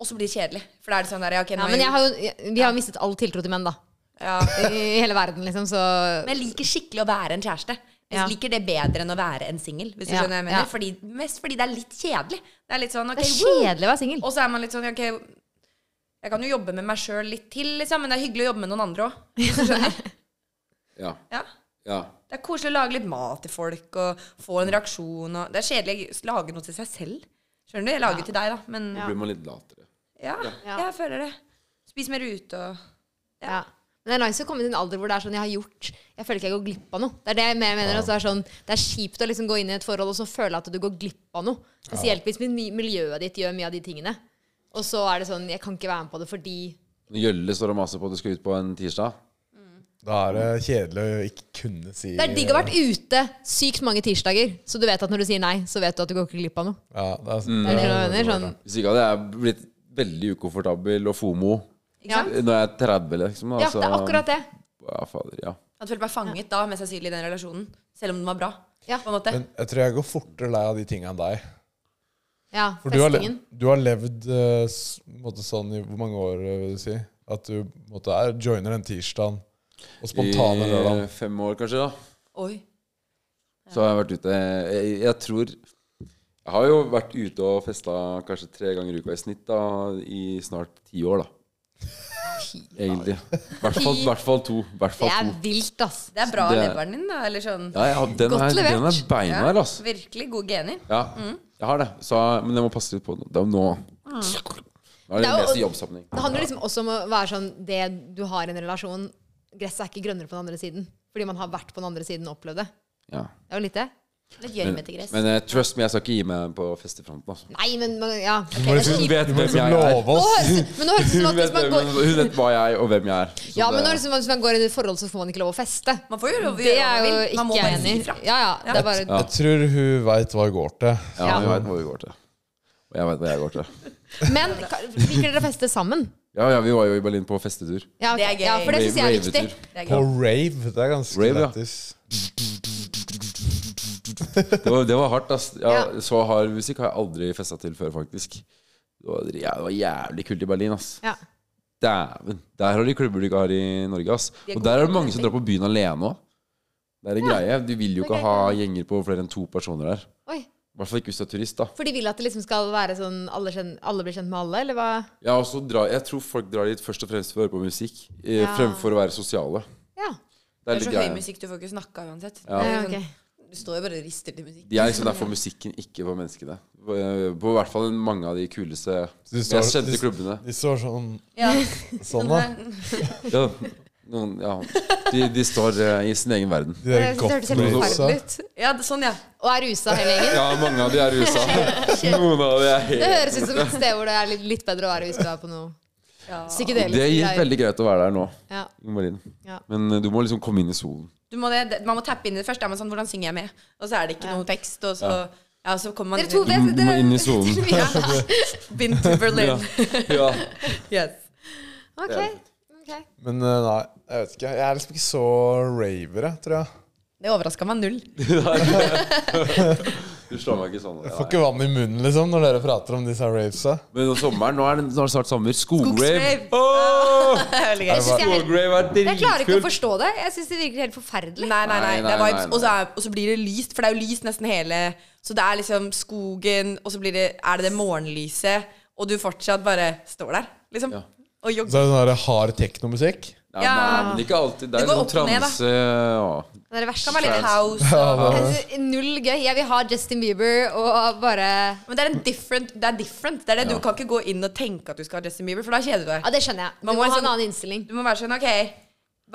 Speaker 5: og så blir det kjedelig. For da er det sånn der, ja, ok, nå
Speaker 3: Ja,
Speaker 5: har
Speaker 3: men
Speaker 5: jeg
Speaker 3: jeg har jo, jeg- vi har jo mistet all tiltro til menn, da.
Speaker 5: ja.
Speaker 3: I hele verden, liksom. Så
Speaker 5: Men jeg liker skikkelig å være en kjæreste. Jeg
Speaker 3: Ja.
Speaker 5: liker det bedre enn å være en singel. hvis du
Speaker 3: Ja,
Speaker 5: skjønner hva jeg mener.
Speaker 3: ja.
Speaker 5: Fordi, mest fordi det er litt kjedelig. Det er litt sånn, ok,
Speaker 3: det er
Speaker 5: woo!
Speaker 3: kjedelig å være singel.
Speaker 5: Og så er man litt sånn, ok, jeg kan jo jobbe med meg sjøl litt til, liksom, men det er hyggelig å jobbe med noen andre òg.
Speaker 1: Ja,
Speaker 5: Ja.
Speaker 1: ja.
Speaker 5: Det er koselig å lage litt mat til folk og få en reaksjon. Og det er kjedelig å lage noe til seg selv. Skjønner du? Jeg lager til deg, da, men
Speaker 1: Da
Speaker 5: ja,
Speaker 1: blir man litt latere.
Speaker 3: Ja.
Speaker 5: jeg føler det. Spis mer ute og
Speaker 3: Ja. Men det er nice å komme til en alder hvor det er sånn jeg har gjort Jeg føler ikke jeg går glipp av noe. Det er det jeg mer mener. altså, det, er sånn, det er kjipt å liksom gå inn i et forhold og så føle at du går glipp av noe. Spesielt hvis mi- miljøet ditt gjør mye av de tingene. Og så er det sånn Jeg kan ikke være med på det fordi
Speaker 1: Når Gjølle står og maser på at du skal ut på en tirsdag
Speaker 2: Da er det kjedelig å ikke kunne si
Speaker 3: Det er digg å ha vært ute sykt mange tirsdager, så du vet at når du sier nei, så vet du at du går ikke glipp av noe.
Speaker 2: Ja, det er,
Speaker 3: Det er det jeg mener. Sånn.
Speaker 1: Hvis ikke hadde jeg blitt veldig ukomfortabel og fomo
Speaker 3: Ja.
Speaker 1: når jeg er 30, liksom.
Speaker 3: ja, det er akkurat det.
Speaker 1: Ja, fader, ja.
Speaker 5: At føler meg fanget da, mest sannsynlig i den relasjonen. Selv om den var bra.
Speaker 3: Ja.
Speaker 5: På en måte.
Speaker 2: Men jeg tror jeg går fortere lei av de tinga enn deg.
Speaker 3: Ja,
Speaker 2: For du har, le-
Speaker 3: festingen.
Speaker 2: du har levd eh, s- på en måte sånn i hvor mange år, eh, vil du si? At du på en måte, er, joiner den tirsdagen og spontane
Speaker 1: I eh,
Speaker 2: lørdagen.
Speaker 1: fem år, kanskje, da.
Speaker 5: Oi.
Speaker 1: Så har jeg vært ute Jeg, jeg tror Jeg har jo vært ute og festa kanskje tre ganger i uka i snitt da i snart ti år, da. Egentlig. I hvert fall, hvert fall to. Hvert
Speaker 3: Det
Speaker 1: fall
Speaker 3: er
Speaker 1: to.
Speaker 3: vilt, ass.
Speaker 5: Det er bra
Speaker 1: Det-
Speaker 5: leveren din, da. Eller sånn.
Speaker 1: Ja, jeg har, den,
Speaker 3: Godt
Speaker 1: er,
Speaker 3: levert. Mm.
Speaker 1: den er beinhard, altså.
Speaker 5: Virkelig gode gener.
Speaker 1: Ja, jeg har det. Så, men jeg må passe litt på den. Det er jo nå Nå er
Speaker 3: Ah. Det
Speaker 1: det
Speaker 3: er jo-
Speaker 1: mest i jobbsammenheng.
Speaker 3: Det handler liksom også om å være sånn Det du har i en relasjon Gresset er ikke grønnere på den andre siden. Fordi man har vært på den andre siden og opplevd det.
Speaker 1: Ja.
Speaker 3: Det er jo litt det.
Speaker 5: Litt
Speaker 1: Men,
Speaker 5: gjørmete gress.
Speaker 1: men eh, trust me, jeg skal ikke gi meg på festefronten, altså.
Speaker 3: Nei, men man- ja. ok,
Speaker 2: må
Speaker 3: det er
Speaker 2: liksom-
Speaker 3: kjipt.
Speaker 1: vet
Speaker 2: Du må liksom love
Speaker 3: Nå
Speaker 2: oss.
Speaker 3: høres det- Men nå høres det som
Speaker 1: Hun
Speaker 3: at hvis
Speaker 1: vet,
Speaker 3: man
Speaker 1: hvem,
Speaker 3: går
Speaker 1: hun vet hva jeg er, og hvem jeg er. Så
Speaker 3: ja, men nå
Speaker 1: det-
Speaker 3: høres det som at hvis man går i et forhold, så får man ikke lov å feste.
Speaker 5: Man får jo lov å
Speaker 3: Det er
Speaker 5: gjøre hva
Speaker 3: jo
Speaker 5: man vil. Man må
Speaker 3: ikke jeg
Speaker 5: bare si
Speaker 3: enig i.
Speaker 5: ifra.
Speaker 3: Ja, ja. Det er bare
Speaker 2: Jeg tror hun veit hva hun går til.
Speaker 1: Ja,
Speaker 3: Ja.
Speaker 1: hun vet hvor vi går til. Og jeg vet hva jeg går til.
Speaker 3: Men ka- liker dere å feste sammen?
Speaker 1: Ja, ja, vi var jo i Berlin på festetur.
Speaker 3: Ja, ok.
Speaker 5: Det er gøy.
Speaker 3: ja for det syns jeg er viktig.
Speaker 1: Ravetur.
Speaker 5: Det er
Speaker 2: På
Speaker 5: gøy.
Speaker 2: rave. Det er ganske
Speaker 1: Rave, ja.
Speaker 2: lættis.
Speaker 1: Det var, det var hardt, ass. Ja,
Speaker 3: Ja.
Speaker 1: Så hard musikk har jeg aldri festa til før, faktisk. Det var, ja, det var jævlig kult i Berlin, ass.
Speaker 3: Ja.
Speaker 1: Dæven. Der har de klubber du ikke har i Norge, ass. Og der er det mange som drar på byen alene òg. Det er en greie. Du vil jo
Speaker 3: Det er
Speaker 1: ikke ha gjenger på flere enn to personer der.
Speaker 3: Oi.
Speaker 1: I hvert fall ikke hvis du er turist, da.
Speaker 3: For de vil at det liksom skal være sånn alle, kjen, alle blir kjent med alle, eller hva?
Speaker 1: Ja, og så drar- jeg tror folk drar dit først og fremst for å høre på musikk, eh,
Speaker 3: Ja.
Speaker 1: fremfor å være sosiale.
Speaker 3: Ja.
Speaker 1: Det
Speaker 5: Det
Speaker 1: er
Speaker 5: er
Speaker 1: litt
Speaker 5: så høy
Speaker 1: greia.
Speaker 5: musikk, du får ikke snakka uansett.
Speaker 1: Ja.
Speaker 5: Det er
Speaker 3: ja
Speaker 5: jo sånn-
Speaker 3: ok.
Speaker 5: Du står jo bare og rister til musikk.
Speaker 1: De er liksom der for musikken, ikke for menneskene. På, på hvert fall mange av de kuleste
Speaker 2: Så de
Speaker 1: mest
Speaker 2: står-
Speaker 1: kjente
Speaker 2: de-
Speaker 1: klubbene.
Speaker 2: De står sånn,
Speaker 5: Ja.
Speaker 2: sånn da.
Speaker 1: Ja, noen, ja. De, de står eh, i sin egen verden.
Speaker 2: De der
Speaker 3: Jeg synes det hørtes helt
Speaker 2: godtmerusa.
Speaker 3: forferdelig ut.
Speaker 5: ja, det- sånn, ja.
Speaker 3: Og er rusa hele gjengen.
Speaker 1: Ja, mange av de er i USA. Noen av de er
Speaker 3: Det
Speaker 1: helt
Speaker 3: høres ut som et sted hvor det er litt, litt bedre å være hvis du er på noe
Speaker 5: Ja.
Speaker 3: psykedelisk.
Speaker 1: Det gikk
Speaker 3: greier.
Speaker 1: veldig greit å være der nå.
Speaker 3: Ja.
Speaker 1: Marien.
Speaker 3: Ja.
Speaker 1: Men eh, du må liksom komme inn i solen.
Speaker 5: Du må det, det- man må tappe inn i det først. Er man sånn, hvordan synger jeg med? Og så er det ikke noe tekst. Og så, ja, så kommer man
Speaker 3: Dere to
Speaker 5: inn i-
Speaker 1: Du,
Speaker 3: vet
Speaker 1: du må inn i solen.
Speaker 5: Been to
Speaker 1: Ja.
Speaker 5: Berlin.
Speaker 1: Ja.
Speaker 5: Yes.
Speaker 3: Ok. ok.
Speaker 2: Men eh, nei, jeg vet ikke. Jeg er liksom ikke så raver, jeg, tror jeg.
Speaker 5: Det overraska meg null.
Speaker 1: Du slår meg ikke sånn.
Speaker 2: Jeg får
Speaker 1: Nei.
Speaker 2: ikke vann i munnen liksom når dere prater om disse ravesa.
Speaker 1: Men om sommeren, nå er det, nå er det snart sommer. Skograve.
Speaker 5: Skogsrave.
Speaker 1: Åh!
Speaker 5: Veldig gøy.
Speaker 3: Jeg, synes jeg,
Speaker 1: Skograve er
Speaker 3: jeg klarer ikke å
Speaker 1: dritkult.
Speaker 3: forstå det. Jeg syns det virker helt forferdelig.
Speaker 5: Nei, nei, nei.
Speaker 1: Nei,
Speaker 5: det er
Speaker 1: nei,
Speaker 5: vibes.
Speaker 1: nei,
Speaker 5: Og så er- Og så blir det lyst, for det er jo lyst nesten hele Så det er liksom skogen, og så blir det, er det det morgenlyset, og du fortsatt bare står der, liksom.
Speaker 1: Ja.
Speaker 5: Og jogger.
Speaker 2: Så er det sånn der hard teknomusikk.
Speaker 1: Ja,
Speaker 5: Ja.
Speaker 1: Nei, men ikke alltid. Det
Speaker 5: Det
Speaker 1: er
Speaker 5: går
Speaker 1: noe
Speaker 5: opp og ned, da.
Speaker 1: transe ja.
Speaker 3: Det er det verste.
Speaker 5: Kan være litt
Speaker 1: Trans.
Speaker 5: house.
Speaker 2: Ja, det-
Speaker 3: Altså, Null gøy. Jeg vil ha Justin Bieber og bare
Speaker 5: Men det er en different. Det er different. Det er det Du kan ikke gå inn og tenke at du skal ha Justin Bieber, for da kjeder du deg.
Speaker 3: Ja, det skjønner jeg. Du
Speaker 5: Man
Speaker 3: må
Speaker 5: må
Speaker 3: ha
Speaker 5: liksom-
Speaker 3: en annen innstilling.
Speaker 5: Du må være sånn OK,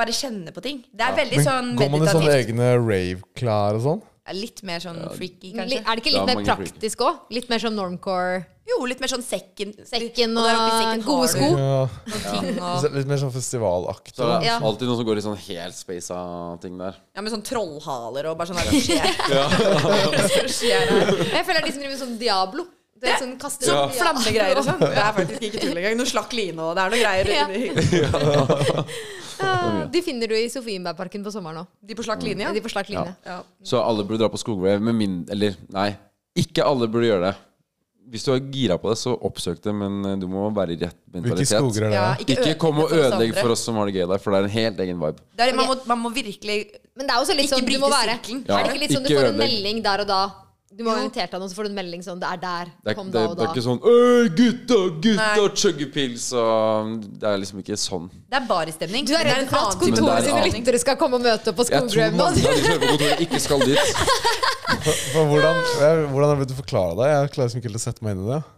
Speaker 5: bare kjenne på ting. Det er veldig
Speaker 2: Men
Speaker 5: sånn
Speaker 2: går man i sånne
Speaker 5: meditativt.
Speaker 2: egne rave-klær og sånn?
Speaker 5: Ja, Litt mer sånn freaky,
Speaker 3: Er
Speaker 5: kanskje.
Speaker 3: det ikke
Speaker 1: Ja,
Speaker 3: litt mer
Speaker 1: mange freaker.
Speaker 3: praktisk òg? Litt mer som normcore?
Speaker 5: Jo, litt mer sånn sekken.
Speaker 3: Sekken
Speaker 5: der oppi
Speaker 3: og
Speaker 5: sekken
Speaker 3: gode
Speaker 5: har du
Speaker 3: sko.
Speaker 2: Ja.
Speaker 5: noen ting og
Speaker 2: Litt mer sånn festivalaktig.
Speaker 1: Så er det
Speaker 3: Ja.
Speaker 1: alltid noen som går i sånn helt spasa ting der.
Speaker 5: Ja, med sånn trollhaler og bare sånn der, hva skjer? Hva skjer her?
Speaker 3: Jeg føler de som driver med sånn Diablo. Det er sånn kaster
Speaker 5: Sånn
Speaker 3: Ja.
Speaker 5: flammegreier og sånn. Det er faktisk ikke tull engang. Noe slakk line og det er noe greier.
Speaker 3: Ja.
Speaker 5: inni-
Speaker 3: Ja, De finner du i Sofienbergparken på sommeren òg.
Speaker 5: De på slakk line, ja.
Speaker 3: De på slakk linje.
Speaker 5: ja.
Speaker 1: Så alle burde dra på skogbrave med min Eller nei, ikke alle burde gjøre det. Hvis du er gira på det, så oppsøk det, men eh, du må være i rett
Speaker 2: Hvilke
Speaker 1: mentalitet.
Speaker 2: skoger er det?
Speaker 5: Ja,
Speaker 1: Ikke
Speaker 5: ødelegge
Speaker 1: kom og
Speaker 5: for oss
Speaker 1: ødelegg
Speaker 5: andre.
Speaker 1: for oss som har det gøy der, for det er en helt egen vibe.
Speaker 5: Det er, man, må, man må virkelig
Speaker 3: Men det er jo også litt
Speaker 5: Ikke
Speaker 3: sånn du
Speaker 5: bryte
Speaker 3: må være
Speaker 5: sirkelen.
Speaker 1: Ja.
Speaker 3: Er det ikke litt sånn du
Speaker 1: Ikke
Speaker 3: får en
Speaker 1: ødelegg.
Speaker 3: melding der og da? Du må
Speaker 5: Jo.
Speaker 3: være invitert av noen, så får du en melding sånn Det er der.
Speaker 1: Det er,
Speaker 3: Kom
Speaker 1: det,
Speaker 3: da og
Speaker 1: det er
Speaker 3: da.
Speaker 1: ikke sånn Øy, gutta, gutta,
Speaker 5: Nei.
Speaker 1: chugge pils og Det er liksom ikke sånn.
Speaker 5: Det er baristemning.
Speaker 3: Du er
Speaker 5: Det
Speaker 3: redd
Speaker 5: en
Speaker 3: for
Speaker 5: annen
Speaker 3: at
Speaker 5: type
Speaker 1: kontoret
Speaker 3: kontoret
Speaker 1: sine
Speaker 3: sine
Speaker 1: annen-
Speaker 3: lyttere skal komme og møte opp på
Speaker 1: Jeg tror
Speaker 3: skogbrøven?
Speaker 1: mange av de som hører på kontoret, ikke skal dit.
Speaker 2: For hvordan, jeg, hvordan har du forklare det? Jeg klarer liksom ikke helt å sette meg inn i det.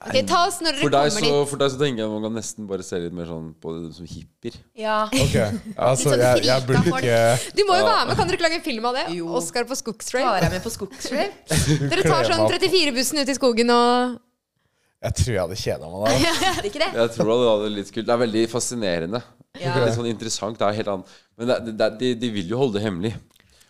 Speaker 3: Ok, ta oss når
Speaker 1: For
Speaker 3: dere
Speaker 1: deg,
Speaker 3: kommer
Speaker 1: så,
Speaker 3: dit.
Speaker 1: for deg så tenker jeg man kan nesten bare se litt mer sånn på det som hippier.
Speaker 5: Ja.
Speaker 2: Ok, altså
Speaker 5: sånn
Speaker 2: jeg, jeg burde ikke
Speaker 3: Du må jo være med, Kan dere ikke lage en film av det?
Speaker 5: Jo.
Speaker 3: Oscar på
Speaker 5: Bare
Speaker 3: skogstrave.
Speaker 5: jeg med på skogsrave.
Speaker 3: Dere tar sånn 34-bussen ut i skogen og
Speaker 2: Jeg tror jeg hadde kjeda meg der.
Speaker 5: Er det ikke det?
Speaker 1: Jeg tror det hadde litt kult. Det er veldig fascinerende.
Speaker 5: Ja.
Speaker 1: Litt sånn interessant. Det er helt annet. Men det, det, det, de, de vil jo holde det hemmelig.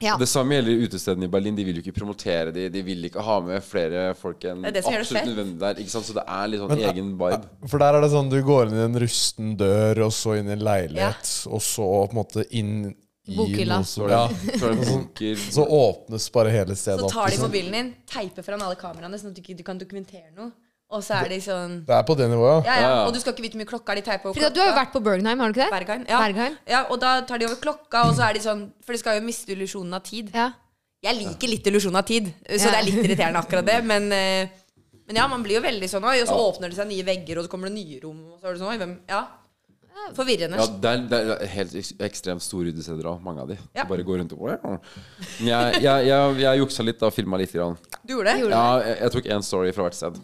Speaker 3: Ja.
Speaker 1: Det samme gjelder utestedene i Berlin. De vil jo ikke promotere de De vil ikke ha med flere folk enn
Speaker 5: Det er det som gjør det
Speaker 1: absolutt
Speaker 5: fett.
Speaker 1: nødvendig der. Ikke sant? Så det er litt sånn
Speaker 2: Men, eh,
Speaker 1: egen vibe.
Speaker 2: For der er det sånn du går inn i en rusten dør, og så inn i en leilighet, og så på en måte inn i
Speaker 3: Bokhylla.
Speaker 2: noe
Speaker 1: Så
Speaker 2: som- Ja. Sånn-
Speaker 1: er det- så er det bunker.
Speaker 2: Så åpnes bare hele stedet
Speaker 5: Så
Speaker 2: opp.
Speaker 5: tar de
Speaker 2: liksom.
Speaker 5: mobilen din, teiper foran alle kameraene, sånn at du ikke du kan dokumentere noe. Og så er de sånn
Speaker 2: Det er på det nivået, ja.
Speaker 5: Ja, ja.
Speaker 1: Ja, ja.
Speaker 5: Og du skal ikke vite hvor mye klokka er. De teiper over
Speaker 3: Frida,
Speaker 5: klokka.
Speaker 3: du har jo vært på Bergheim, har du ikke det?
Speaker 5: Bergheim, ja.
Speaker 3: Bergheim?
Speaker 5: ja. Og da tar de over klokka, og så er de sånn For de skal jo miste illusjonen av tid.
Speaker 3: Ja.
Speaker 5: Jeg liker litt illusjon av tid, så
Speaker 3: Ja.
Speaker 5: det er litt irriterende akkurat det. Men, eh, men ja, man blir jo veldig sånn Oi, og så åpner det seg nye vegger, og så kommer det nye rom, og så er det sånn Oi, hvem Ja. Forvirrende.
Speaker 1: Ja, det er, det er helt eks- ekstremt store utesteder òg, mange av de.
Speaker 5: Ja.
Speaker 1: De Bare går rundt og Men Jeg, jeg, jeg, jeg juksa litt og filma litt. Grann.
Speaker 5: Du gjorde det?
Speaker 3: Gjorde
Speaker 1: Ja, jeg, jeg tok én story fra hvert sted.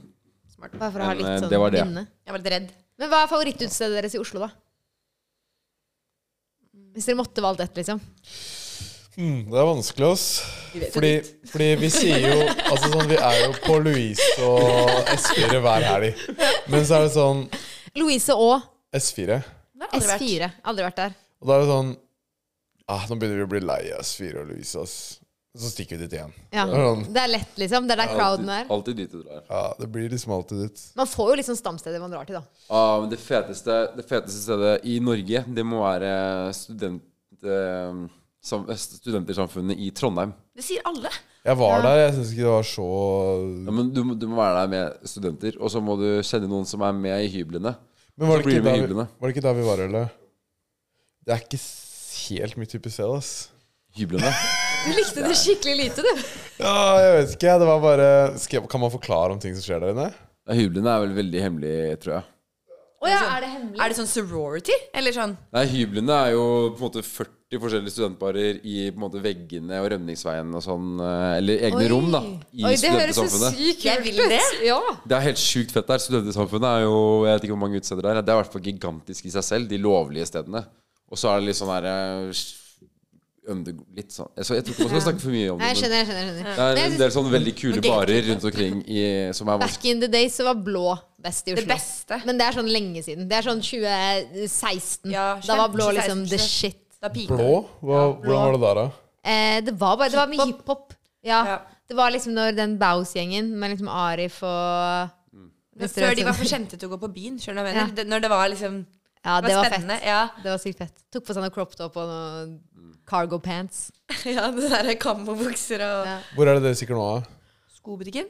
Speaker 3: Bare for å ha
Speaker 1: Men, eh,
Speaker 3: litt
Speaker 1: det var
Speaker 3: sånn
Speaker 1: det.
Speaker 3: minne.
Speaker 5: Jeg var litt redd.
Speaker 3: Men hva er favorittutstedet deres i Oslo, da? Hvis dere måtte valgt ett, liksom.
Speaker 2: Mm, det er vanskelig, ass.
Speaker 5: Vi vet jo
Speaker 2: Fordi,
Speaker 5: litt.
Speaker 2: fordi vi sier jo Altså sånn, vi er jo på Louise og S4 hver helg. Men så er det sånn
Speaker 3: Louise og
Speaker 2: S4.
Speaker 5: Det har jeg aldri vært.
Speaker 3: S4. Aldri vært der.
Speaker 2: Og da er det sånn ah, Nå begynner vi å bli lei av S4 og Louise, ass. Så stikker vi dit igjen.
Speaker 3: Ja.
Speaker 2: Det er sånn,
Speaker 3: Det er lett, liksom. Det er der crowden er.
Speaker 1: Alltid alltid dit du drar.
Speaker 2: ja, det blir liksom alltid dit.
Speaker 3: Man får jo litt sånn stamsteder man drar til, da.
Speaker 1: Ah, men det feteste, det feteste stedet i Norge, det må være student, eh, sam, Studentersamfunnet i Trondheim.
Speaker 5: Det sier alle.
Speaker 2: Jeg var der, jeg syns ikke det var så
Speaker 1: Ja, men du, må- du må være der med studenter, og så må du kjenne noen som er med i hyblene.
Speaker 2: Men var
Speaker 1: Så
Speaker 2: det, ikke
Speaker 1: blir det
Speaker 2: der,
Speaker 1: med
Speaker 2: vi-
Speaker 1: hyblene.
Speaker 2: var det ikke der vi var, eller? Det er ikke s- helt mitt type sted, ass.
Speaker 1: Hyblene?
Speaker 3: Du likte det skikkelig lite, du.
Speaker 2: Ja, jeg vet ikke. Det var bare skal, jeg- Kan man forklare om ting som skjer der inne?
Speaker 1: Ja, hyblene er vel veldig hemmelig, tror jeg.
Speaker 3: Å ja, er det hemmelig?
Speaker 5: Er det sånn sorority? Eller sånn
Speaker 1: Nei, hyblene er jo på en måte 40 forskjellige studentbarer i på en måte veggene og rømningsveien og sånn, eh, eller egne
Speaker 3: Oi.
Speaker 1: rom, da, i
Speaker 3: Oi, det høres så
Speaker 1: Studentersamfunnet.
Speaker 3: sykt
Speaker 5: Jeg
Speaker 3: kult
Speaker 5: vil
Speaker 3: ut.
Speaker 5: det.
Speaker 3: Ja.
Speaker 1: Det er helt sjukt fett der. Studentersamfunnet er jo Jeg vet ikke hvor mange utesteder det er. Det er i hvert fall gigantisk i seg selv, de lovlige stedene. Og så er det litt sånn derre Litt sånn Så Jeg tror ikke man skal snakke for mye om
Speaker 3: Nei, jeg
Speaker 1: det.
Speaker 3: skjønner, jeg skjønner. jeg
Speaker 1: men
Speaker 3: skjønner.
Speaker 1: Det er
Speaker 3: Men jeg
Speaker 1: en
Speaker 3: synes
Speaker 1: del sånne veldig kule
Speaker 5: Men det er
Speaker 1: barer rundt omkring i, som er vanskelig.
Speaker 3: Back in the days så var blå best i Oslo.
Speaker 5: Det beste.
Speaker 3: Men det er sånn lenge siden. Det er sånn 2016.
Speaker 5: Ja,
Speaker 3: da var blå
Speaker 5: 2016,
Speaker 3: liksom the
Speaker 5: 2016.
Speaker 3: shit.
Speaker 5: Da piker det.
Speaker 2: Blå? Hva, Hvordan var det der, da?
Speaker 3: Eh, det var bare Det var mye hiphop. Ja.
Speaker 5: Ja.
Speaker 3: Det var liksom når den Baus-gjengen med liksom Arif og
Speaker 1: Mm.
Speaker 5: Men Før de var for kjente til å gå på byen. Skjønner du hva jeg mener?
Speaker 3: Ja.
Speaker 5: Det- Når det var liksom
Speaker 3: Ja,
Speaker 5: Det var, spennende.
Speaker 3: fett.
Speaker 5: Ja.
Speaker 3: Det var sykt fett. Tok på seg noe crop top og noe
Speaker 1: Mm.
Speaker 3: cargo pants.
Speaker 5: ja, det derre kamobukser og
Speaker 3: Ja.
Speaker 2: Hvor er det dere stikker nå, da?
Speaker 5: Skobutikken.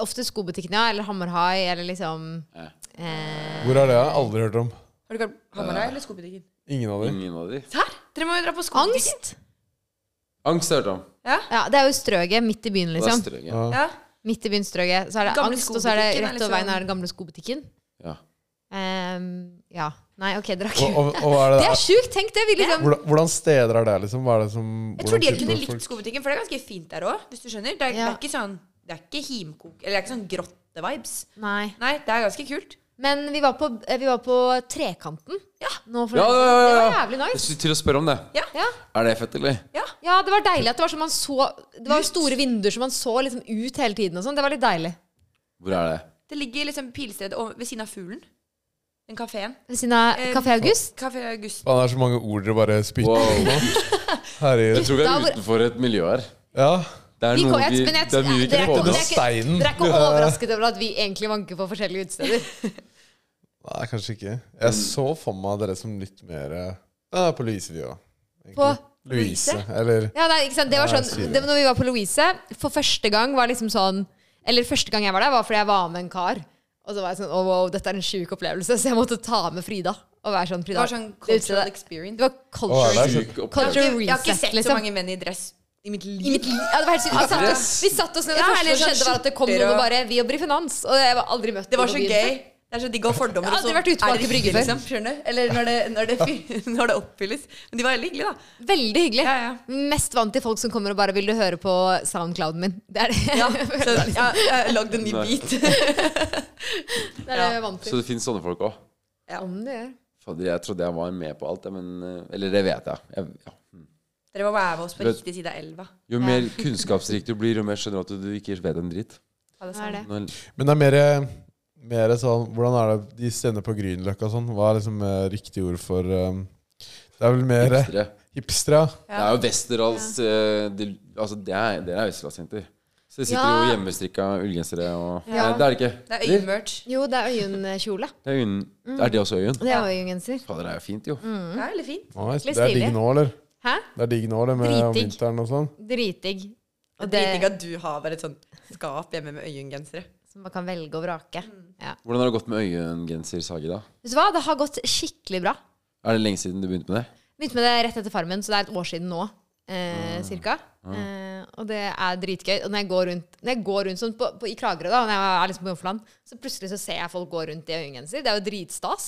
Speaker 3: Ofte skobutikken, ja. Eller Hammerhai, eller liksom
Speaker 1: Ja.
Speaker 3: eh,
Speaker 2: Hvor er det? Jeg har aldri hørt om.
Speaker 5: Har du ikke vært på Hamarøy
Speaker 2: Eh.
Speaker 5: eller skobutikken?
Speaker 2: Ingen av dem.
Speaker 1: Ingen av de.
Speaker 5: Her! Dere må jo dra på skobutikken.
Speaker 3: Angst!
Speaker 1: Angst har jeg hørt om.
Speaker 3: Ja, det er jo Strøget, midt i byen,
Speaker 1: Det er
Speaker 3: liksom.
Speaker 1: strøget.
Speaker 2: Ja.
Speaker 5: Ja.
Speaker 3: Midt i byen Strøget. Så er det
Speaker 5: Gamle
Speaker 3: angst, og så er det
Speaker 5: skobutikken er
Speaker 3: rett over veien
Speaker 5: liksom-
Speaker 3: er den gamle skobutikken.
Speaker 1: Ja.
Speaker 3: Ehm, ja. Nei, ok, dere har
Speaker 2: Og,
Speaker 3: ikke
Speaker 2: og, og hva er det
Speaker 3: Det
Speaker 2: der?
Speaker 3: er sjukt! Tenk det! Vi liksom
Speaker 2: Hvordan, hvordan steder er det, liksom? Hva er det som
Speaker 5: Jeg tror
Speaker 2: hvordan
Speaker 5: de hadde kunne
Speaker 2: type folk-
Speaker 5: likt skobutikken, for det er ganske fint der òg, hvis du skjønner. Det er, det
Speaker 3: Ja.
Speaker 5: er ikke sånn Det er ikke himkok Eller det er ikke sånn grotte-vibes.
Speaker 3: Nei.
Speaker 5: Nei, det er ganske kult.
Speaker 3: Men vi var på, eh, vi var på Trekanten. Nå for
Speaker 1: Ja, ja, ja, ja.
Speaker 3: Det var jævlig
Speaker 1: Jeg
Speaker 3: nice.
Speaker 1: skulle til å spørre om det.
Speaker 3: Ja.
Speaker 1: Er det fett, eller?
Speaker 5: Ja.
Speaker 3: ja, det var deilig at det var sånn man så Det var store vinduer som man så liksom ut hele tiden og sånn. Det var litt deilig.
Speaker 1: Hvor er det?
Speaker 5: Det ligger liksom pilstedet over- ved siden av fuglen. Den kafeen.
Speaker 3: Ved siden av
Speaker 5: Eh,
Speaker 3: Kafé August.
Speaker 5: Kafé August.
Speaker 2: Faen, det er så mange ord dere bare spytter
Speaker 1: Wow.
Speaker 2: på. Herregud.
Speaker 1: Jeg tror vi
Speaker 3: Da
Speaker 1: er
Speaker 3: hvor-
Speaker 1: utenfor et miljø her.
Speaker 2: Ja.
Speaker 1: Det er
Speaker 3: Vi
Speaker 1: noe
Speaker 3: kom- jeg-
Speaker 1: vi,
Speaker 3: men jeg-
Speaker 1: det er mye vi
Speaker 3: det
Speaker 1: ikke
Speaker 3: er
Speaker 1: får
Speaker 3: ikke-
Speaker 1: med
Speaker 2: Denne
Speaker 1: oss.
Speaker 3: ikke-
Speaker 2: steinen.
Speaker 3: Dere er ikke overrasket over at vi egentlig vanker på forskjellige utesteder?
Speaker 2: Nei, kanskje ikke. Jeg så for meg dere som litt mer Ja, på Louise vi òg.
Speaker 3: På
Speaker 2: Louise, eller
Speaker 3: Ja, nei, ikke sant? Det var
Speaker 2: Nei, jeg sier
Speaker 3: sånn, det, når vi var på Louise, for første gang var liksom sånn Eller første gang jeg var der, var fordi jeg var med en kar. Og så var jeg sånn oh, wow, dette er en sjuk opplevelse, så jeg måtte ta med Frida. Og være sånn,
Speaker 5: Det
Speaker 3: Frida
Speaker 5: var sånn
Speaker 3: det utstedet-
Speaker 5: cultural
Speaker 3: Det
Speaker 5: experience.
Speaker 3: var culture,
Speaker 2: Å, er det?
Speaker 1: Syk opplevelse.
Speaker 3: culture
Speaker 5: Jeg har ikke
Speaker 3: reset,
Speaker 5: sett så
Speaker 3: liksom.
Speaker 5: mange menn i dress i mitt liv.
Speaker 3: I mitt liv ja, det var helt sykt. Vi satt, oss, vi satt oss ned, og det
Speaker 5: Ja,
Speaker 3: første
Speaker 5: eller
Speaker 3: som
Speaker 5: sånn
Speaker 3: skjedde, var at det kom
Speaker 5: skjorter
Speaker 3: noen og
Speaker 5: og-
Speaker 3: bare Vi jobber i finans. Og jeg var aldri møtt
Speaker 5: Det var
Speaker 3: i
Speaker 5: så
Speaker 3: lobbyen
Speaker 5: gøy.
Speaker 3: før.
Speaker 5: Det er så digg å ha fordommer.
Speaker 3: Jeg har
Speaker 5: og så
Speaker 3: aldri vært ute på
Speaker 5: er det
Speaker 3: Aker Brygge
Speaker 5: hyggelig,
Speaker 3: før.
Speaker 5: liksom, skjønner du? Eller når det, når, det, fyr- når det oppfylles. Men de var veldig hyggelige, da.
Speaker 3: Veldig hyggelig.
Speaker 5: Ja, ja.
Speaker 3: Mest vant til folk som kommer og bare vil du høre på soundclouden min. Det er det,
Speaker 5: Ja, så jeg, jeg lagde en ny
Speaker 1: Nei.
Speaker 5: bit.
Speaker 3: det, er det jeg er vant
Speaker 1: Så
Speaker 3: til.
Speaker 1: det fins sånne folk òg.
Speaker 3: Om det gjør.
Speaker 1: Fader, jeg trodde jeg var med på alt, jeg, men eh, Eller det vet jeg. jeg ja.
Speaker 5: Dere må være med oss på
Speaker 1: Vet-
Speaker 5: riktig side av elva.
Speaker 1: Jo mer kunnskapsrik du blir, jo mer skjønner du at du ikke vet en dritt.
Speaker 5: Ja,
Speaker 3: Hva
Speaker 5: det er
Speaker 3: er
Speaker 5: sant.
Speaker 3: det?
Speaker 1: Nå-
Speaker 2: Men det er mer, mer sånn Hvordan er det de stedene på Grünerløkka og sånn? Hva er liksom eh, riktig ord for eh, Det er vel mer eh,
Speaker 1: Dere.
Speaker 2: hipstere, ja.
Speaker 1: Det er jo Westerdals eh, de, Altså, det er, dere er Westerdalsjenter. Så de sitter
Speaker 3: Ja.
Speaker 1: jo hjemmestrikka ullgensere og Nei,
Speaker 3: Ja.
Speaker 1: det er det ikke.
Speaker 5: Det er øyemerch.
Speaker 3: Jo, det er Øyunn-kjole.
Speaker 1: Det er, øyen,
Speaker 3: Mm.
Speaker 1: er det også øyen?
Speaker 3: Det er Øyunn-genser.
Speaker 1: Fader, det er jo fint, jo.
Speaker 3: Mm.
Speaker 5: Det er veldig fint.
Speaker 2: Nice. Det
Speaker 3: Litt
Speaker 2: er digg
Speaker 3: stilig.
Speaker 2: nå, eller?
Speaker 3: Hæ?
Speaker 2: Det er digg nå, eller? Med om
Speaker 3: Dritdigg.
Speaker 2: vinteren og sånn?
Speaker 3: Dritdigg. Og
Speaker 5: Det er
Speaker 3: det
Speaker 5: dritdigg at du har bare et sånt skap hjemme med øyengensere.
Speaker 3: som man kan velge og vrake. Ja.
Speaker 1: Hvordan har det gått med øyengensersaget, da?
Speaker 3: Vet du hva? Det har gått skikkelig bra.
Speaker 1: Er det lenge siden du begynte med det?
Speaker 3: Begynte med det rett etter Farmen, så det er et år siden nå. Eh, cirka. Eh, og det er dritgøy. Og når jeg går rundt, når jeg går rundt sånn på, på, i Kragerø, da, når jeg er liksom på Jomfruland, så plutselig så ser jeg folk gå rundt i øyengenser. Det er jo dritstas.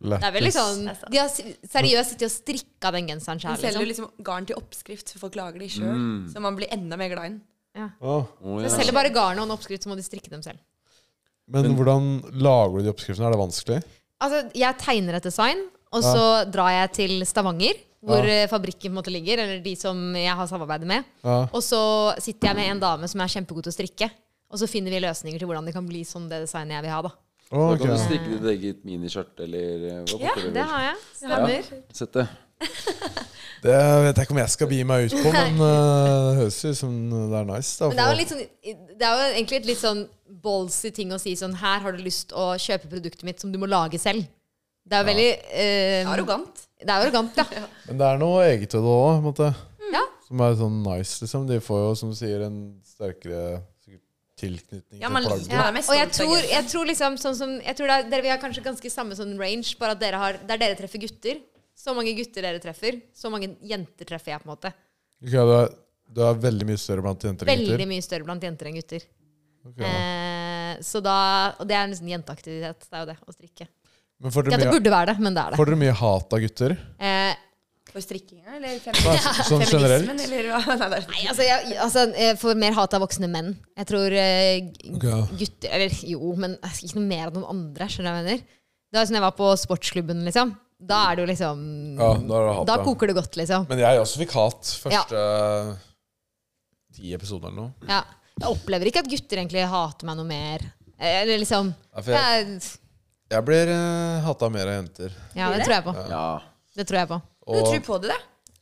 Speaker 3: Det er vel
Speaker 2: Lættis.
Speaker 3: liksom, De har si- seriøst sittet og strikka den genseren
Speaker 5: De
Speaker 3: sjæl.
Speaker 5: selger jo
Speaker 3: Liksom.
Speaker 5: liksom garn til oppskrift, så folk lager de sjøl.
Speaker 1: Mm.
Speaker 5: Så man blir enda mer glad i den.
Speaker 2: Å,
Speaker 1: Å,
Speaker 3: De
Speaker 1: ja.
Speaker 3: selger bare garn og en oppskrift, så må de strikke dem selv.
Speaker 2: Men hvordan lager du de oppskriftene? Er det vanskelig?
Speaker 3: Altså, jeg tegner et design, og så drar jeg til Stavanger, hvor eh, fabrikken på en måte ligger, eller de som jeg har samarbeidet med.
Speaker 2: Ja.
Speaker 3: Og så sitter jeg med en dame som er kjempegod til å strikke. Og så finner vi løsninger til hvordan det kan bli sånn det designet jeg vil ha. da.
Speaker 2: Å,
Speaker 1: Da
Speaker 2: ok.
Speaker 1: kan du strikke ditt eget miniskjørt eller eh, hva
Speaker 5: Ja,
Speaker 1: pokker
Speaker 3: Det har jeg.
Speaker 1: Stemmer. Sett det.
Speaker 2: Det vet jeg ikke om jeg skal begi meg ut på, men eh, det høres ut som det er nice. Da,
Speaker 3: Men det er, jo litt sånn, det er jo egentlig et litt sånn ballsy ting å si sånn Her har du lyst å kjøpe produktet mitt som du må lage selv. Det er jo veldig eh,
Speaker 5: Arrogant.
Speaker 3: Det er arrogant, ja.
Speaker 2: men det er noe eget ved det òg, på en måte.
Speaker 3: ja.
Speaker 2: Som er sånn nice, liksom. De får jo, som du sier, en sterkere sikkert, tilknytning
Speaker 5: Ja,
Speaker 2: til
Speaker 5: man
Speaker 2: plagget.
Speaker 5: liker det mest.
Speaker 3: Og jeg
Speaker 5: stolt av
Speaker 3: tror,
Speaker 5: genseren.
Speaker 3: jeg tror liksom sånn som jeg tror det er, dere, Vi har kanskje ganske samme sånn range, bare at dere har, der dere treffer gutter. Så mange gutter dere treffer, så mange jenter treffer jeg. på en måte
Speaker 2: Ok, du er, du er veldig mye større blant jenter enn
Speaker 3: Veldig
Speaker 2: gutter.
Speaker 3: mye større blant jenter enn gutter.
Speaker 2: Ok.
Speaker 3: Eh, så da, Og det er nesten jenteaktivitet. Det er jo det, å strikke.
Speaker 2: Men får
Speaker 3: Ja,
Speaker 2: dere,
Speaker 3: det
Speaker 2: mye,
Speaker 3: burde være det, men det er det.
Speaker 2: får dere mye hat av gutter?
Speaker 3: Eh,
Speaker 5: For strikkinga, eller
Speaker 2: Nei,
Speaker 5: feminismen?
Speaker 2: sånn generelt?
Speaker 5: Feminismen, eller hva? Nei, det er-
Speaker 3: nei, altså, jeg, altså, jeg får mer hat av voksne menn. Jeg tror eh, g-
Speaker 2: Ok.
Speaker 3: gutter Eller jo, men altså, ikke noe mer enn noen andre. Skjønner du hva jeg mener? Det var sånn jeg var på sportsklubben, liksom. Da er det jo liksom
Speaker 2: Ja, da er det hat,
Speaker 3: Da
Speaker 2: ja.
Speaker 3: koker det godt, liksom.
Speaker 2: Men jeg også fikk hat første eh, ti episoder eller noe.
Speaker 3: Ja. Jeg opplever ikke at gutter egentlig hater meg noe mer. Eh, Eller liksom
Speaker 2: Ja, for jeg,
Speaker 3: jeg,
Speaker 2: jeg blir uh, hata mer av jenter.
Speaker 3: Ja, det tror jeg på.
Speaker 1: Ja.
Speaker 3: Det tror jeg på.
Speaker 5: Du
Speaker 2: Og
Speaker 5: tror på det, da?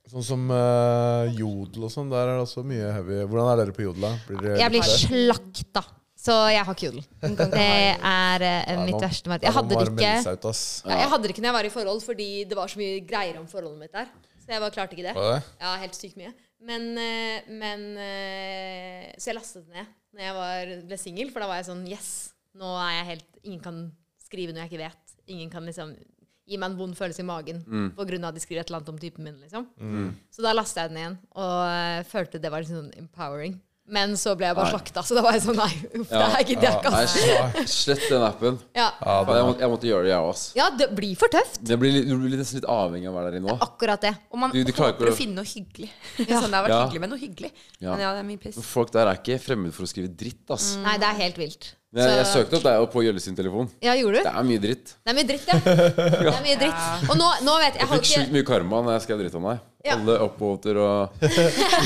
Speaker 2: sånn som eh, jodel og sånn, der er det også mye heavy. Hvordan er dere på jodel, da? Blir dere
Speaker 3: Jeg blir
Speaker 2: litt der?
Speaker 3: slakta. Så jeg har ikke jodel. Det er eh,
Speaker 2: Nei,
Speaker 3: mitt
Speaker 2: man-
Speaker 3: verste mareritt.
Speaker 2: Nei,
Speaker 3: Jeg
Speaker 2: man
Speaker 3: hadde det
Speaker 2: må
Speaker 3: ikke
Speaker 2: melde seg ut, ass.
Speaker 3: Ja, Jeg hadde det ikke når jeg var i forhold, fordi det var så mye greier om forholdet mitt der. Så jeg bare klarte ikke det.
Speaker 2: Var det det?
Speaker 3: Ja, helt sykt mye. Men, eh, men eh, Så jeg lastet det ned når jeg var, ble singel, for da var jeg sånn Yes, nå er jeg helt Ingen kan skrive noe jeg ikke vet. Ingen kan liksom gi meg en vond følelse i magen
Speaker 1: Mm.
Speaker 3: på grunn av at de skriver et eller annet om typen min. liksom. Så da lastet jeg den igjen, og eh, følte det var liksom sånn empowering. Men så ble jeg bare
Speaker 1: Nei.
Speaker 3: slakta, så da var jeg sånn nei, uff, det
Speaker 1: Ja.
Speaker 3: her gidder jeg ikke.
Speaker 1: Nei,
Speaker 3: ass.
Speaker 1: sl- slett den appen.
Speaker 3: Ja.
Speaker 2: Ja,
Speaker 1: Faen, Jeg, må, jeg måtte gjøre det, jeg òg.
Speaker 3: ja, det blir for tøft.
Speaker 1: Du blir litt- du blir nesten litt avhengig av å være der inne òg.
Speaker 3: Akkurat det.
Speaker 5: Og man
Speaker 1: Du- du klarer ikke
Speaker 5: håper
Speaker 1: å-
Speaker 5: å finne noe hyggelig. sånn det har vært
Speaker 1: Ja.
Speaker 5: hyggelig med noe hyggelig.
Speaker 1: Ja.
Speaker 5: Men ja, det er mye piss.
Speaker 1: Folk der er ikke fremmed for å skrive dritt, ass.
Speaker 3: Nei, det er helt vilt.
Speaker 1: Men jeg, jeg
Speaker 3: Mm. Så-
Speaker 1: søkte opp deg og på Gjølle sin telefon.
Speaker 3: Ja, gjorde
Speaker 1: Det
Speaker 3: du?
Speaker 1: er mye dritt.
Speaker 3: Det er mye dritt, ja. Det er mye dritt. Og nå, nå vet jeg, jeg
Speaker 1: Jeg
Speaker 3: har
Speaker 1: fikk
Speaker 3: ikke
Speaker 1: sjukt mye karma når jeg skrev dritt om deg.
Speaker 3: Ja.
Speaker 1: Alle oppvåter og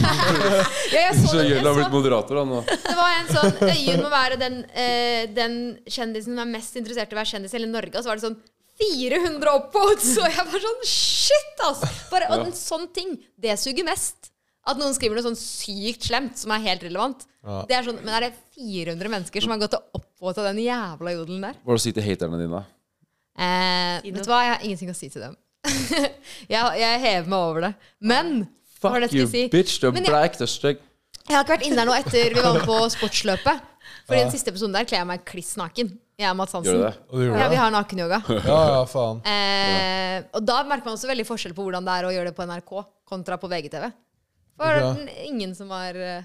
Speaker 3: ja, jeg så
Speaker 1: Så
Speaker 3: det, jeg
Speaker 1: Gjølle har
Speaker 3: så,
Speaker 1: blitt moderator, han nå.
Speaker 3: det var en sånn Øyunn må være den, eh, den kjendisen som er mest interessert i å være kjendis i hele Norge. Og så var det sånn 400 opphold! Så jeg var sånn Shit, ass! Bare, og en sånn ting, det suger mest. At noen skriver noe sånn sykt slemt som er helt relevant. Det er sånn, men er det 400 mennesker som har gått og oppvåta den jævla jodelen der?
Speaker 1: Hva er det du sier til haterne dine?
Speaker 3: Eh, vet du hva, jeg har ingenting å si til dem. jeg, jeg hever meg over det. Men hva var det
Speaker 1: Fuck
Speaker 3: jeg
Speaker 1: you,
Speaker 3: skulle si?
Speaker 1: bitch. Du er
Speaker 3: Men jeg-
Speaker 1: bleik, du er stygg.
Speaker 3: Jeg har ikke vært inne der nå etter vi var med på sportsløpet. For i den siste episoden der kler jeg meg kliss naken. Jeg og Mads
Speaker 1: Gjør
Speaker 3: Hansen.
Speaker 1: du det?
Speaker 2: Og du gjorde
Speaker 3: Ja, vi
Speaker 2: det?
Speaker 3: har nakenyoga.
Speaker 2: Ja, ja, faen.
Speaker 3: Eh, og da merker man også veldig forskjell på hvordan det er å gjøre det på NRK kontra på VGTV. For
Speaker 2: Ja.
Speaker 3: den- ingen som var eh,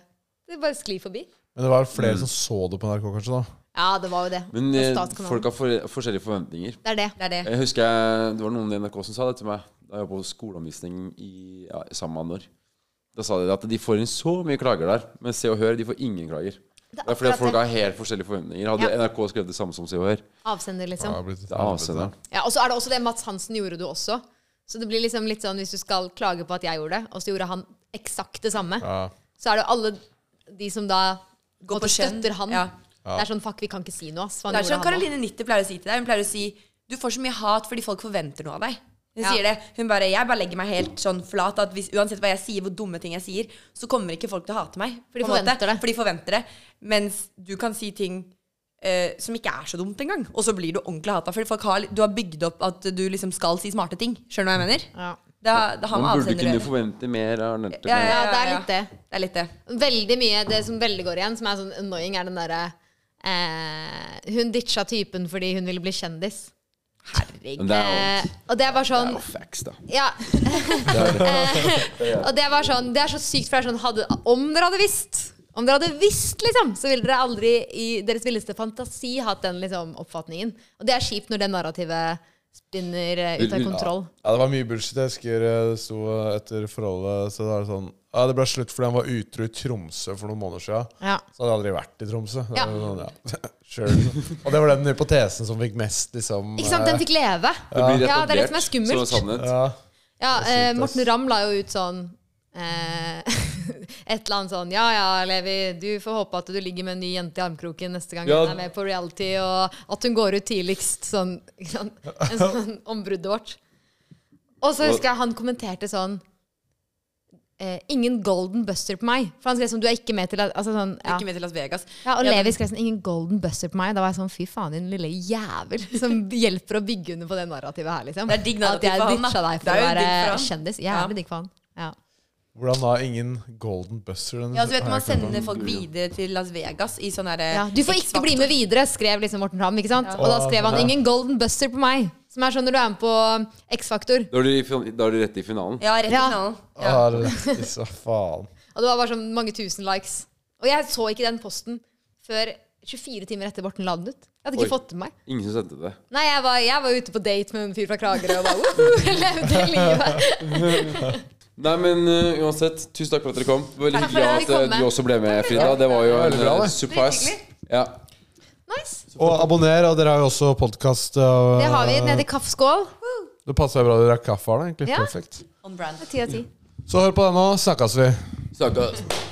Speaker 3: Det bare sklir forbi.
Speaker 2: Men det var flere som så det på NRK, kanskje? da
Speaker 3: Ja, det var jo det.
Speaker 1: Men
Speaker 3: Det er
Speaker 1: eh,
Speaker 3: statskanalen.
Speaker 1: folk har for, forskjellige forventninger.
Speaker 3: Det er det. det, er det.
Speaker 1: Jeg husker jeg, Det var noen i NRK som sa det til meg da jeg var på skoleomvisning i ja, samme anår. Da sa de at de får inn så mye klager der, men Se og Hør de får ingen klager. Det er fordi
Speaker 3: akkurat
Speaker 1: at folk
Speaker 3: det.
Speaker 1: har helt forskjellige forventninger. Hadde
Speaker 3: Ja.
Speaker 1: NRK skrevet det samme som Se og Hør,
Speaker 3: Avsender, liksom.
Speaker 2: Det har blitt et
Speaker 1: det er avsenderen.
Speaker 3: Ja, og så er det også det Mats Hansen gjorde du også. Så det blir liksom litt sånn hvis du skal klage på at jeg gjorde det, og så gjorde han eksakt det samme,
Speaker 2: Ja.
Speaker 3: så er det jo alle de som da
Speaker 5: Går
Speaker 3: på
Speaker 5: på skjønn.
Speaker 3: støtter han.
Speaker 5: Ja.
Speaker 3: Det er sånn fuck, vi kan ikke si noe, ass. for han
Speaker 5: Det er
Speaker 3: gjorde
Speaker 5: sånn som
Speaker 3: han nå.
Speaker 5: Caroline Nitter pleier å si til deg. Hun pleier å si du får så mye hat fordi folk forventer noe av deg. Hun
Speaker 3: Ja.
Speaker 5: sier det. Hun bare, jeg bare legger meg helt sånn flat at hvis, uansett hva jeg sier, hvor dumme ting jeg sier, så kommer ikke folk til å hate meg.
Speaker 3: For de
Speaker 5: på en måte.
Speaker 3: forventer det.
Speaker 5: For de forventer det. Mens du kan si ting eh, som ikke er så dumt engang. Og så blir du ordentlig hata. Fordi folk har, du har bygd opp at du liksom skal si smarte ting. Skjønner du hva jeg mener?
Speaker 3: Ja.
Speaker 5: Det, har- det har med
Speaker 1: Man burde
Speaker 5: avsender å
Speaker 1: kunne
Speaker 5: gjøre.
Speaker 1: forvente mer av nettet.
Speaker 5: Ja,
Speaker 3: ja, det er litt det.
Speaker 5: Det er litt det.
Speaker 3: Veldig mye det som veldig går igjen, som er sånn annoying, er den derre eh, Hun ditcha typen fordi hun ville bli kjendis.
Speaker 1: Men det er jo
Speaker 3: Eh, og det er bare
Speaker 1: det er
Speaker 3: sånn
Speaker 1: jo facts, da.
Speaker 3: Ja. og det var sånn Det er så sykt, for det er sånn hadde, Om dere hadde visst Om dere hadde visst, liksom, så ville dere aldri i deres villeste fantasi hatt den liksom, oppfatningen. Og det er kjipt når det narrativet spinner eh, ut av
Speaker 1: Vil- vil-
Speaker 3: kontroll.
Speaker 2: Ja, det var mye bullshit. Jeg husker eh, det sto eh, etter forholdet Så det var det sånn Ja, det ble slutt fordi han var utro i Tromsø for noen måneder siden.
Speaker 3: Ja.
Speaker 2: Så hadde jeg aldri vært i Tromsø. Det
Speaker 3: Ja.
Speaker 2: var Sånn, ja. Sure. Og det var den hypotesen som fikk mest, liksom.
Speaker 3: Ikke sant? Den fikk leve.
Speaker 1: Det blir
Speaker 3: Ja, det er det som er
Speaker 1: etablert Som
Speaker 3: skummelt.
Speaker 1: en sannhet.
Speaker 2: Ja.
Speaker 3: Ja, eh,
Speaker 2: sykt, ass.
Speaker 3: Morten Ramm la jo ut sånn eh, Et eller annet sånn Ja ja, Levi, du får håpe at du ligger med en ny jente i armkroken neste gang
Speaker 1: Ja.
Speaker 3: hun er med på reality, og at hun går ut tidligst. Sånn, ikke sant? En sånn ombruddet vårt. Og så husker jeg han kommenterte sånn eh, Ingen golden buster på meg. For han skrev sånn Du er ikke med til altså sånn, ja.
Speaker 5: Ikke med til Las Vegas.
Speaker 3: Ja, og
Speaker 5: Ja,
Speaker 3: Levi skrev sånn 'ingen golden buster på meg'. Da var jeg sånn 'fy faen, din lille jævel', som hjelper å bygge under på det narrativet her, liksom.
Speaker 5: Det er digg
Speaker 3: At jeg
Speaker 5: narrativ for han, da.
Speaker 3: ditcha deg for
Speaker 5: Det er
Speaker 3: å
Speaker 5: jo
Speaker 3: være
Speaker 5: digg for han.
Speaker 3: kjendis.
Speaker 5: Ja.
Speaker 3: Jævlig digg for han. Ja.
Speaker 2: Hvordan da ingen golden buzzer? Den
Speaker 5: Ja, så vet man,
Speaker 2: har jeg
Speaker 5: man
Speaker 2: ikke hørt om.
Speaker 5: sender folk videre til Las Vegas i sånn derre
Speaker 3: Ja, du får ikke bli med videre, skrev liksom Morten Ramm. ikke sant? Og da skrev han 'ingen golden buster på meg', som er sånn når du er med på X-Faktor.
Speaker 1: Da er du i fin- da er du rett i finalen.
Speaker 5: Ja, rett i
Speaker 3: Ja.
Speaker 5: finalen.
Speaker 2: Ah, lættis, hva faen.
Speaker 3: Og det var bare sånn mange tusen likes. Og jeg så ikke den posten før 24 timer etter Morten la den ut. Jeg hadde ikke
Speaker 1: Oi.
Speaker 3: fått det med meg.
Speaker 1: Ingen som sendte det.
Speaker 3: Nei, jeg var, jeg var ute på date med en fyr fra Kragerø og bare woohoo, levde livet.
Speaker 1: Nei, men eh, uansett, tusen takk for at dere kom. Det var Veldig
Speaker 3: Takk for
Speaker 1: hyggelig
Speaker 3: at
Speaker 1: at
Speaker 3: vi
Speaker 1: eh,
Speaker 3: kom med.
Speaker 1: du også ble med, Frida. Det var jo en
Speaker 2: Veldig bra,
Speaker 1: eh,
Speaker 2: det.
Speaker 1: surprise. Ja.
Speaker 3: Nice.
Speaker 2: Og abonner, og dere har jo også podkast.
Speaker 3: Det har vi nede i kaffeskål.
Speaker 2: Det passa bra dere har kaffe her, da. egentlig.
Speaker 3: Ja.
Speaker 2: Perfekt.
Speaker 5: On brand.
Speaker 3: Ti av ti.
Speaker 2: Så hør på den nå, snakkes vi.
Speaker 1: Snakkes.